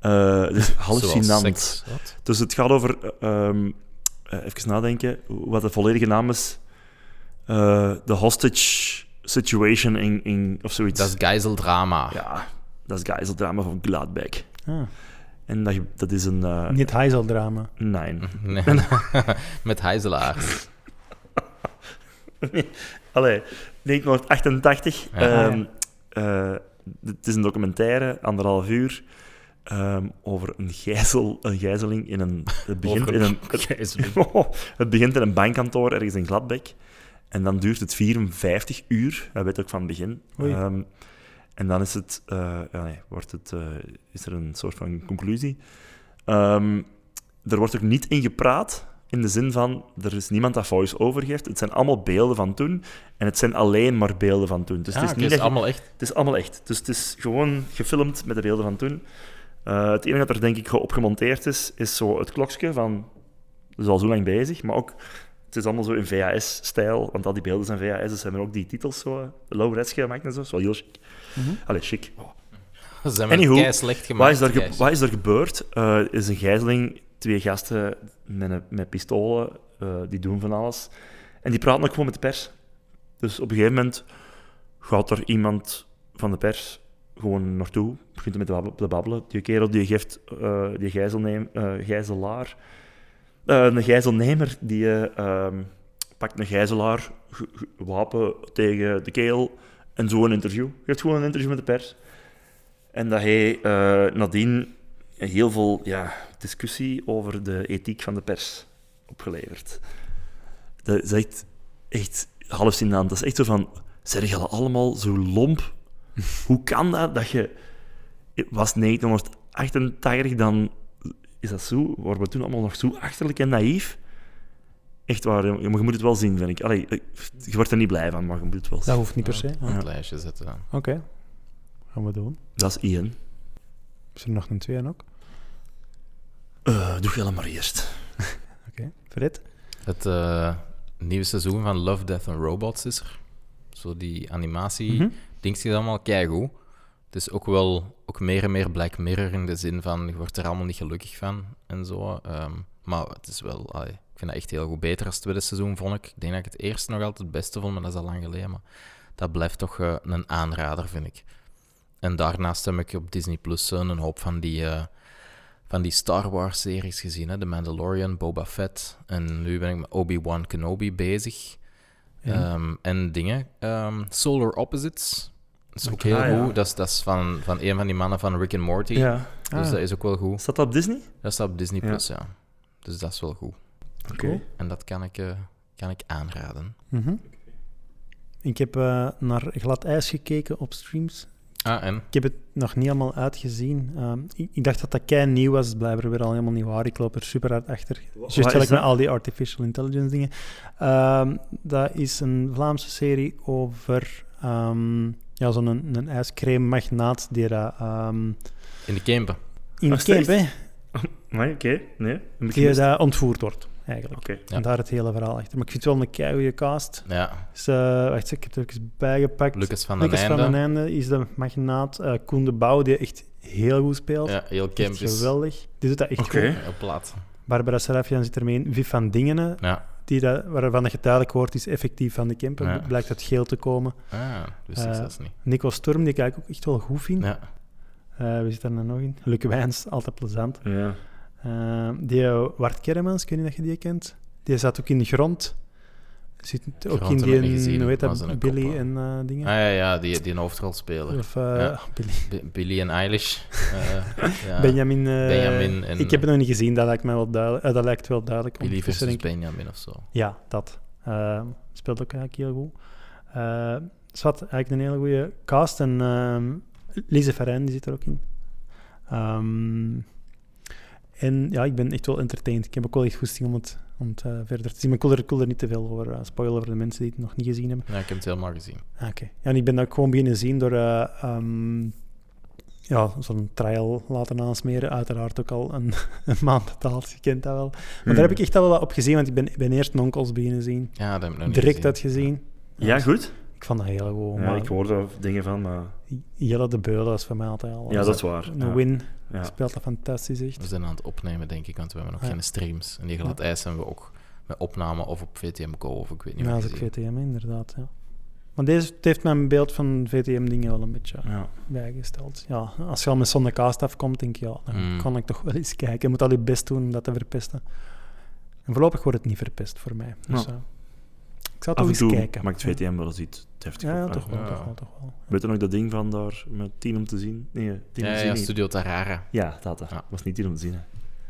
S2: Eh, het is
S3: Zoals
S2: hallucinant.
S3: seks. Wat?
S2: Dus het gaat over... ehm, eh, even nadenken wat de volledige naam is. Eh, De hostage situation in... in of zoiets.
S3: Dat is gijzeldrama.
S2: ja, dat is gijzeldrama van Gladbeck.
S1: Ah,
S2: En dat, je- dat is een... eh
S1: niet heizeldrama.
S2: Nee.
S3: Nee. Met
S2: Dus
S3: hijzelaars.
S2: Allee, 1988.
S3: Ja.
S2: Ehm, eh, het is een documentaire, anderhalf uur, ehm, over een, gijzel, een gijzeling in een... Het begint,
S3: Over
S2: in
S3: een
S2: een, het, het begint in een bankkantoor ergens in Gladbeck. En dan duurt het 54 uur, dat weet ik van het begin.
S1: Oei.
S2: Ehm, en dan is, het, eh, ja, nee, wordt het, eh, is er een soort van conclusie. Ehm, er wordt ook niet in gepraat, in de zin van, er is niemand dat voice-over geeft. Het zijn allemaal beelden van toen, en het zijn alleen maar beelden van toen. Dus
S3: Ja,
S2: het,
S3: Ah,
S2: is niet
S3: oké, is
S2: dat je-
S3: allemaal echt.
S2: het is allemaal echt. Dus het is gewoon gefilmd met de beelden van toen. Eh, het enige dat er denk ik opgemonteerd is, is zo het klokje van... We zijn al zo lang bezig, maar ook... Het is allemaal zo in VHS-stijl, want al die beelden zijn VHS, dus ze hebben ook die titels zo eh, low-res gemaakt en zo. Dat is wel heel chic.
S3: Mhm.
S2: Allee, chic. Oh,
S3: Ze hebben het
S2: Anywho,
S3: kei slecht
S2: wat
S3: gemaakt.
S2: is, daar ge-
S3: Gijs.
S2: wat is er gebeurd? Eh, is een gijzeling, twee gasten met, een- met pistolen, eh, die doen van alles. En die praten ook gewoon met de pers. Dus op een gegeven moment gaat er iemand van de pers gewoon naartoe, begint er met te babbelen- te babbelen. Die kerel die geeft eh, die gijzelneem, eh, gijzelaar, eh, een gijzelnemer, die eh, ehm, pakt een gijzelaar, ge- ge- wapen tegen de keel en zo een interview. Geeft gewoon een interview met de pers. En dat hij eh, nadien heel veel ja, discussie over de ethiek van de pers opgeleverd. Dat is echt, echt hallucinant. Dat is echt zo van, zijn jullie allemaal zo lomp? Hoe kan dat dat je... Het was 1988 dan... is dat zo, waren we toen allemaal nog zo achterlijk en naïef. Echt waar, jongen, maar je moet het wel zien, vind ik. Allee, ik- je wordt er niet blij van, maar je moet het wel zien.
S1: Dat hoeft niet per se.
S3: Op
S1: Ah,
S3: het
S2: Ja.
S3: lijstje zetten.
S1: Oké, gaan we doen.
S2: Dat is Ian.
S1: Is er nog een twee ook?
S2: Eh, doe jij maar eerst.
S1: Oké, Fred?
S3: Het eh, nieuwe seizoen van Love, Death and Robots is er. Zo die animatie,
S1: Mhm.
S3: dingetjes allemaal keigoed. Het is ook wel ook meer en meer Black Mirror in de zin van je wordt er allemaal niet gelukkig van en zo. Ehm, maar het is wel, allee, ik vind dat echt heel goed. Beter als het tweede seizoen vond ik. Ik denk dat ik het eerste nog altijd het beste vond, maar dat is al lang geleden. Maar dat blijft toch eh, een aanrader, vind ik. En daarnaast heb ik op Disney Plus een hoop van die, eh, van die Star Wars-series gezien. Hè? The Mandalorian, Boba Fett. En nu ben ik met Obi-Wan Kenobi bezig.
S1: Ja.
S3: Ehm, en dingen. ehm, Solar Opposites. Dat is ook
S1: Oké.
S3: heel
S2: Ah, ja.
S3: goed. Dat is, dat is van, van een van die mannen van Rick and Morty.
S2: Ja.
S3: Dus
S1: Ah,
S3: dat is ook wel goed.
S2: Staat dat op Disney?
S3: Dat staat op Disney+,
S2: Ja.
S3: Plus, ja. Dus dat is wel goed.
S2: Oké.
S1: Cool.
S3: En dat kan ik, eh, kan ik aanraden.
S1: mhm. Ik heb eh, naar glad ijs gekeken op streams.
S3: Ah, en?
S1: Ik heb het nog niet allemaal uitgezien. Ehm, ik, ik dacht dat dat kei nieuw was. Het is blijkbaar weer al helemaal niet waar. Ik loop er super hard achter. Juist
S2: wat
S1: gelijk
S2: is
S1: met
S2: dat?
S1: al die artificial intelligence dingen. Ehm, dat is een Vlaamse serie over ehm, ja, zo'n een, een ijscreme magnaat die dat ehm,
S3: In de Kempen.
S1: in
S2: Ah,
S1: Kemp, hè,
S2: Nee, oké. Nee. Een beetje
S1: die
S2: mis.
S1: dat ontvoerd wordt, eigenlijk.
S2: Oké.
S3: Ja.
S1: En daar het hele verhaal achter. Maar ik vind het wel een keiharde cast.
S3: Ja.
S1: Ze, wacht, ik heb het even bijgepakt.
S3: Lucas van den
S1: Lucas van
S3: Einde.
S1: den Einde is de magnaat. Eh, Koen de Bouw, die echt heel goed speelt.
S3: Ja, heel
S1: Echt
S3: Kemp is
S1: geweldig. Die doet dat echt
S2: Oké.
S1: goed.
S3: heel plaat.
S1: Barbara Serafian zit ermee in. Viv van Dingenen,
S3: Ja.
S1: die dat, waarvan dat je duidelijk hoort, is effectief van de Kempen.
S3: Ja.
S1: Blijkt uit geel te komen.
S3: Ah, wist ik
S1: Eh,
S3: zelfs niet.
S1: Nico Storm, die ik eigenlijk ook echt wel goed vind.
S3: Ja.
S1: Eh, wie zit daar nou nog in? Luc Wijns, altijd plezant.
S2: Ja.
S1: Eh, die eh, Wart Kermans, ik weet niet of je die kent. Die zat ook in de grond. Zit ook
S3: Grond
S1: in
S3: heb ik niet
S1: die,
S3: gezien,
S1: hoe heet
S3: maar zijn
S1: dat,
S3: een
S1: Billy
S3: kop, hè.
S1: en eh, dingen.
S3: Ah, ja, ja, die, die een hoofdrolspeler.
S1: Of eh,
S3: Ja.
S1: Billy.
S3: B- Billy en Eilish. Eh, ja.
S1: Benjamin. eh,
S3: Benjamin en-
S1: Ik heb het nog niet gezien, dat lijkt, mij wel duidelijk, eh, dat lijkt wel duidelijk.
S3: Billy
S1: Ondertussen
S3: versus
S1: denk ik-
S3: Benjamin of zo.
S1: Ja, dat. Eh, speelt ook eigenlijk heel goed. Eh, Zwat, eigenlijk een hele goede cast. En ehm Lise Ferrein, die zit er ook in. Ehm, en ja, ik ben echt wel entertained. Ik heb ook wel echt goesting om het, om het eh, verder te zien. Maar ik wil er, ik wil er niet te veel over eh, spoilen voor de mensen die het nog niet gezien hebben.
S3: Ja, ik heb het helemaal gezien.
S1: Ah, Oké. Ja, en ik ben dat ook gewoon beginnen zien door eh, ehm, ja, zo'n trial laten aansmeren. Uiteraard ook al een, een maand betaald, je kent dat wel. Maar
S2: Hmm.
S1: daar heb ik echt al wel wat op gezien, want ik ben, ik ben eerst Nonkels beginnen zien.
S3: Ja, dat heb ik nog niet
S1: Direct
S3: gezien.
S1: dat gezien.
S2: ja, goed.
S1: Ik vond dat heel goed.
S2: Ja,
S1: maar
S2: ik hoor er dingen van, maar...
S1: Jelle de Beulen Oh, is voor mij altijd al
S2: Ja, dat is waar.
S1: een
S2: Ja.
S1: win.
S2: Ja.
S1: Speelt dat fantastisch echt.
S3: We zijn aan het opnemen, denk ik, want we hebben nog
S1: Ja.
S3: geen streams. En die glad ijs hebben we ook met opname of op VTM Go of ik weet niet
S1: Ja,
S3: wat
S1: dat
S3: je
S1: is ook
S3: ziet.
S1: VTM inderdaad, ja. Maar deze het heeft mijn beeld van VTM-dingen wel een beetje
S2: Ja.
S1: bijgesteld. Ja, als je al met zo'n cast afkomt, denk je, ja, dan
S3: Mm.
S1: kan ik toch wel eens kijken. Je moet al je best doen om dat te verpesten. En voorlopig wordt het niet verpest voor mij. Dus,
S2: Ja.
S1: eh, ik zal toch
S2: Af en
S1: eens
S2: toe
S1: kijken.
S2: maakt VTM wel eens iets heftig
S1: Ja, ja,
S2: op.
S1: toch wel,
S3: Ja.
S1: toch wel, toch wel.
S2: Weet je nog dat ding van daar met tien om te zien? Nee, tien
S3: Ja,
S2: om te
S3: ja,
S2: zien niet.
S3: Studio Tarara.
S2: Ja, dat. dat.
S3: Ja.
S2: was niet tien om te zien. Hè.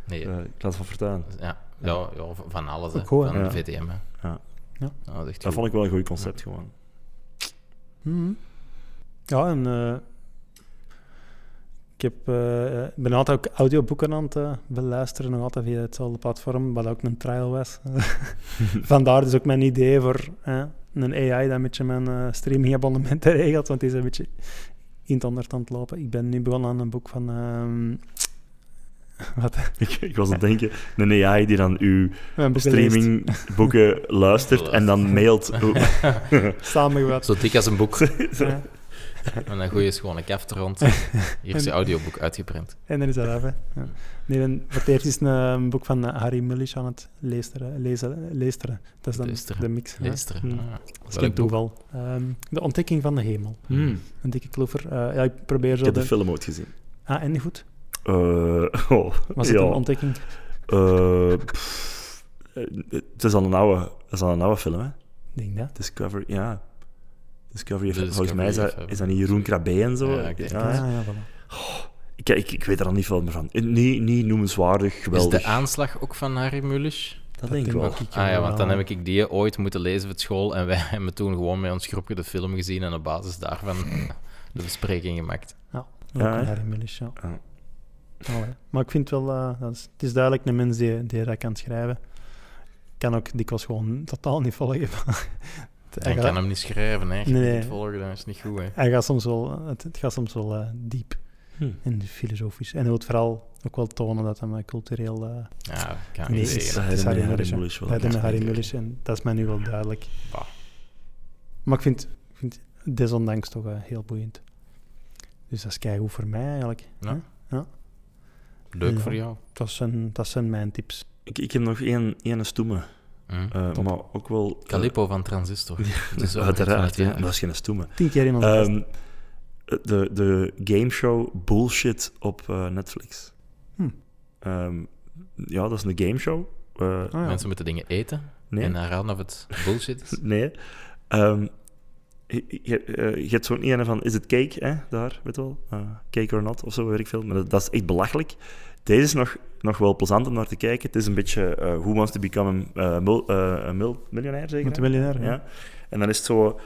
S3: Nee,
S2: Eh, ik laat het van vertuigen.
S3: ja, ja, ja, van alles, hè.
S1: Ook goed, hè.
S3: van
S2: Ja.
S3: VTM, hè.
S2: Ja.
S1: Ja.
S3: Nou, dat is echt
S2: Dat
S3: goed.
S2: vond ik wel een goed concept, gewoon.
S1: Mhm. Ja, en eh, ik heb, eh, ik ben altijd ook audioboeken aan het eh, beluisteren, nog altijd via hetzelfde platform, wat ook een trial was. Vandaar dus ook mijn idee voor eh, een AI dat een beetje mijn eh, streamingabonnement regelt, want die is een beetje in het ander aan het lopen. Ik ben nu begonnen aan een boek van... ehm, wat?
S2: ik, ik was aan het denken, een AI die dan uw
S1: Mijn boeken leest.
S2: streamingboeken luistert en dan mailt. Oh,
S1: Samengevat.
S3: eh, Zo dik als een boek.
S1: Ja.
S3: en dan gooi je eens gewoon een kaft rond. Hier is je audioboek uitgeprint.
S1: En dan is dat af, hè. Ja. Nee, ben voor het eerst is een, eh, een boek van eh, Harry Mullish aan het leesteren. lezen- leesteren. Dat is dan
S3: Leesteren.
S1: de mix. hè.
S3: Luisteren.
S1: Hm.
S3: Ah,
S1: Dat is geen toeval. Ehm, de ontdekking van de hemel.
S3: Hmm.
S1: Een dikke kloever. Eh, ja, ik probeer
S2: Hmm. Ik
S1: zo...
S2: heb de
S1: De...
S2: film ooit gezien.
S1: Ah, en goed.
S2: Eh, oh,
S1: Was het
S2: ja.
S1: een ontdekking?
S2: Eh, pff, eh, het is al een oude, het is al een oude film, hè?
S1: Ik denk dat.
S2: Discovery, ja. Discovery,
S3: De
S2: volgens mij is dat,
S3: Discovery
S2: is dat niet Jeroen Krabbe en zo.
S3: Ja, ik denk
S1: Ja,
S2: Ja,
S1: ja, voilà.
S2: ik, ik, ik weet er al niet veel meer van. Eh, Niet, niet noemenswaardig,
S3: Is
S2: geweldig.
S3: de aanslag ook van Harry Mulisch?
S2: dat denk ik wel.
S3: Ah ja, want dan
S1: wel.
S3: heb ik die ooit moeten lezen voor school. En wij hebben toen gewoon met ons groepje de film gezien en op basis daarvan de bespreking gemaakt.
S1: Ook
S2: Ja,
S1: een
S2: hè?
S1: Harry Mullish, ja.
S2: Ja.
S1: Allee. Maar ik vind wel, eh, dat is, het is duidelijk een mens die, die dat kan schrijven. Ik kan ook dikwijls gewoon totaal niet volgen. maar het- hij,
S3: Hij
S1: gaat,
S3: kan hem niet schrijven, hè. Als je
S1: Nee,
S3: het
S1: nee.
S3: niet volgen, dan is het niet goed, hè.
S1: hij gaat soms wel, het, het gaat soms wel eh, diep
S2: Hm.
S1: en filosofisch. En hij wil vooral ook wel tonen dat hij eh, cultureel... eh,
S3: Ja, ik kan
S1: Nee,
S3: niet
S1: het is-
S3: zeggen.
S2: Dat
S1: is Harry
S2: herinner
S1: Mulisch,
S2: Harry
S1: hè.
S2: Mulisch wel.
S1: Dat
S3: dat
S1: met
S3: is
S1: Harry
S3: natuurlijk.
S1: Mullis en dat is mij nu wel duidelijk.
S3: Bah.
S1: Maar ik vind, ik vind het desondanks toch eh, heel boeiend. Dus dat is keigoed voor mij eigenlijk.
S3: Ja.
S1: Ja.
S3: Leuk
S1: Ja.
S3: voor jou.
S1: Dat zijn, dat zijn mijn tips.
S2: Ik, ik heb nog één, één stoeme,
S3: Hm.
S2: eh, maar ook wel...
S3: Calippo van Transistor. Het is
S2: Dus
S3: wel
S2: uiteraard,
S3: echt,
S2: ja. Dat is geen stoeme.
S1: Tien keer in onze test.
S2: Ehm, de, de gameshow Bullshit op eh, Netflix.
S1: Hm.
S2: Ehm, ja, dat is een gameshow. Eh
S1: Ah, ja.
S3: Mensen moeten dingen eten
S2: nee,
S3: en eh, dan raden of het bullshit is. Dus
S2: nee. Ehm, je, je, eh, je hebt zo'n ene van, is het cake, hè? Daar, weet je wel? Eh, cake or not, of zo, weet ik veel. Maar dat, dat is echt belachelijk. Deze is nog, nog wel plezant om naar te kijken. Het is een beetje eh, Who Wants to Become a, eh, mil, eh, a mil, Miljonair, zeker? hè?
S1: Multimiljonair, ja.
S2: Ja. En dan is het zo...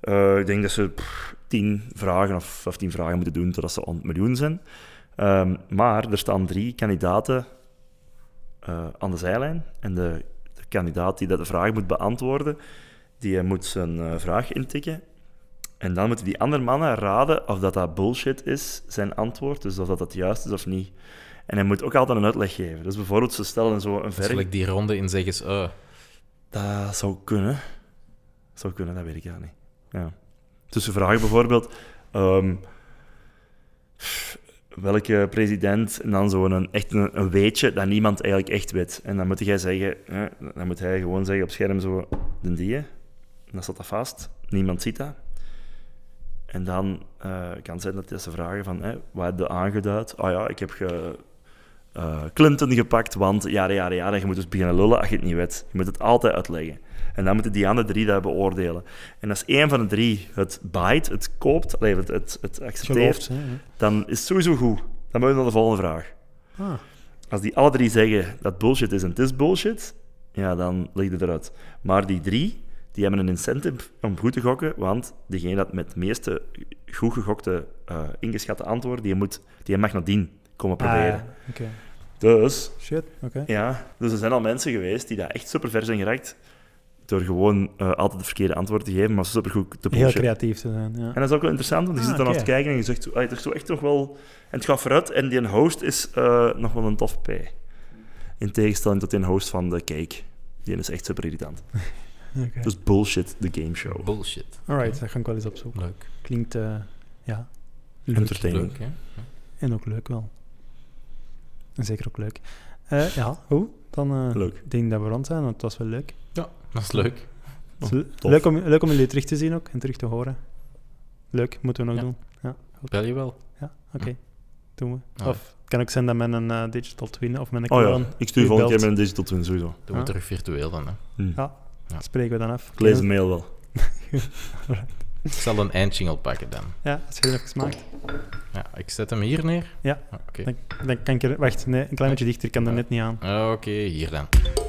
S2: eh, ik denk dat ze pff, tien vragen of 15 vragen moeten doen totdat ze 100 miljoen zijn. Ehm, maar er staan drie kandidaten eh, aan de zijlijn. En de, de kandidaat die dat de vraag moet beantwoorden, die eh, moet zijn eh, vraag intikken. En dan moeten die andere mannen raden of dat, dat bullshit is, zijn antwoord. Dus of dat, dat juist is of niet. En hij moet ook altijd een uitleg geven. Dus bijvoorbeeld, ze stellen zo een
S3: Zal
S2: verf.
S3: ik die ronde in zeggen? is, eh,
S2: Dat zou kunnen. Zou kunnen, dat weet ik ja niet. Ja. Dus ze vragen bijvoorbeeld... ehm, welke president... En dan zo'n een, echt een, een weetje dat niemand eigenlijk echt weet. En dan moet, jij zeggen, hè, dan moet hij gewoon zeggen op scherm zo... De die, en dan staat dat vast. Niemand ziet dat. En dan eh, kan het zijn dat ze vragen van... Hè, wat heb je aangeduid? Ah ja, ik heb ge, eh, Clinton gepakt, want ja, ja, ja, je moet dus beginnen lullen als je het niet weet. Je moet het altijd uitleggen. En dan moeten die andere drie dat beoordelen. En als één van de drie het bijt, het koopt, allee, het, het, het accepteert,
S1: Gelooft, hè, ja.
S2: dan is het sowieso goed. Dan moet je naar de volgende vraag.
S1: Ah,
S2: Als die alle drie zeggen dat bullshit is en het is bullshit, ja, dan ligt het eruit. Maar die drie, die hebben een incentive om goed te gokken, want degene dat met het meeste goed gegokte, eh, ingeschatte antwoord, die, moet, die mag nadien komen proberen.
S1: Ah, oké.
S2: Dus
S1: Shit, oké.
S2: ja, dus er zijn al mensen geweest die daar echt super ver zijn geraakt door gewoon eh, altijd het verkeerde antwoord te geven, maar supergoed te
S1: Heel
S2: bullshit.
S1: creatief te zijn, ja.
S2: En dat is ook wel interessant, want je
S1: Ah,
S2: zit dan aan
S1: oké.
S2: het kijken en je zegt, zo, "Allee, er is toch echt nog wel... En het gaat vooruit en die host is eh, nog wel een tof P. In tegenstelling tot die host van de cake. Die is echt super irritant.
S1: Oké.
S2: Dus bullshit, de game show.
S3: bullshit.
S1: Alright, dat ga ik wel eens opzoeken.
S3: Leuk.
S1: Klinkt, eh, ja, leuk.
S2: Entertaining.
S3: Leuk, hè?
S1: En ook leuk wel. En zeker ook leuk. Eh, ja, hoe? Dan eh,
S2: Leuk.
S1: ik denk dat we rond zijn, want het was wel leuk.
S3: Ja, dat is leuk.
S1: Het is
S2: Oh,
S1: le-
S2: tof.
S1: leuk, om, leuk om jullie terug te zien ook en terug te horen. Leuk, moeten we nog
S3: Ja.
S1: doen.
S3: Bel je wel?
S1: Ja, oké. Doen we.
S3: Ja.
S1: Of het kan ook zijn dat men een eh, digital twin of met een
S2: Oh
S1: clone
S2: ja, ik stuur
S1: u
S2: volgende keer
S1: belt.
S2: mijn digital twin sowieso.
S3: Doen we
S1: Ja.
S3: terug virtueel dan, hè?
S2: Hm.
S1: Ja.
S3: Ja.
S1: Spreken we dan af.
S2: Ik lees de mail wel.
S3: Ik zal een eindjingle pakken dan.
S1: Ja, als je even smaakt.
S3: Ja, ik zet hem hier neer.
S1: Ja.
S3: Ah, Oké.
S1: Dan, dan kan ik er... Wacht, nee, een klein beetje dichter. Ik kan er
S3: Ja.
S1: net niet aan.
S3: Ah, Oké, hier dan.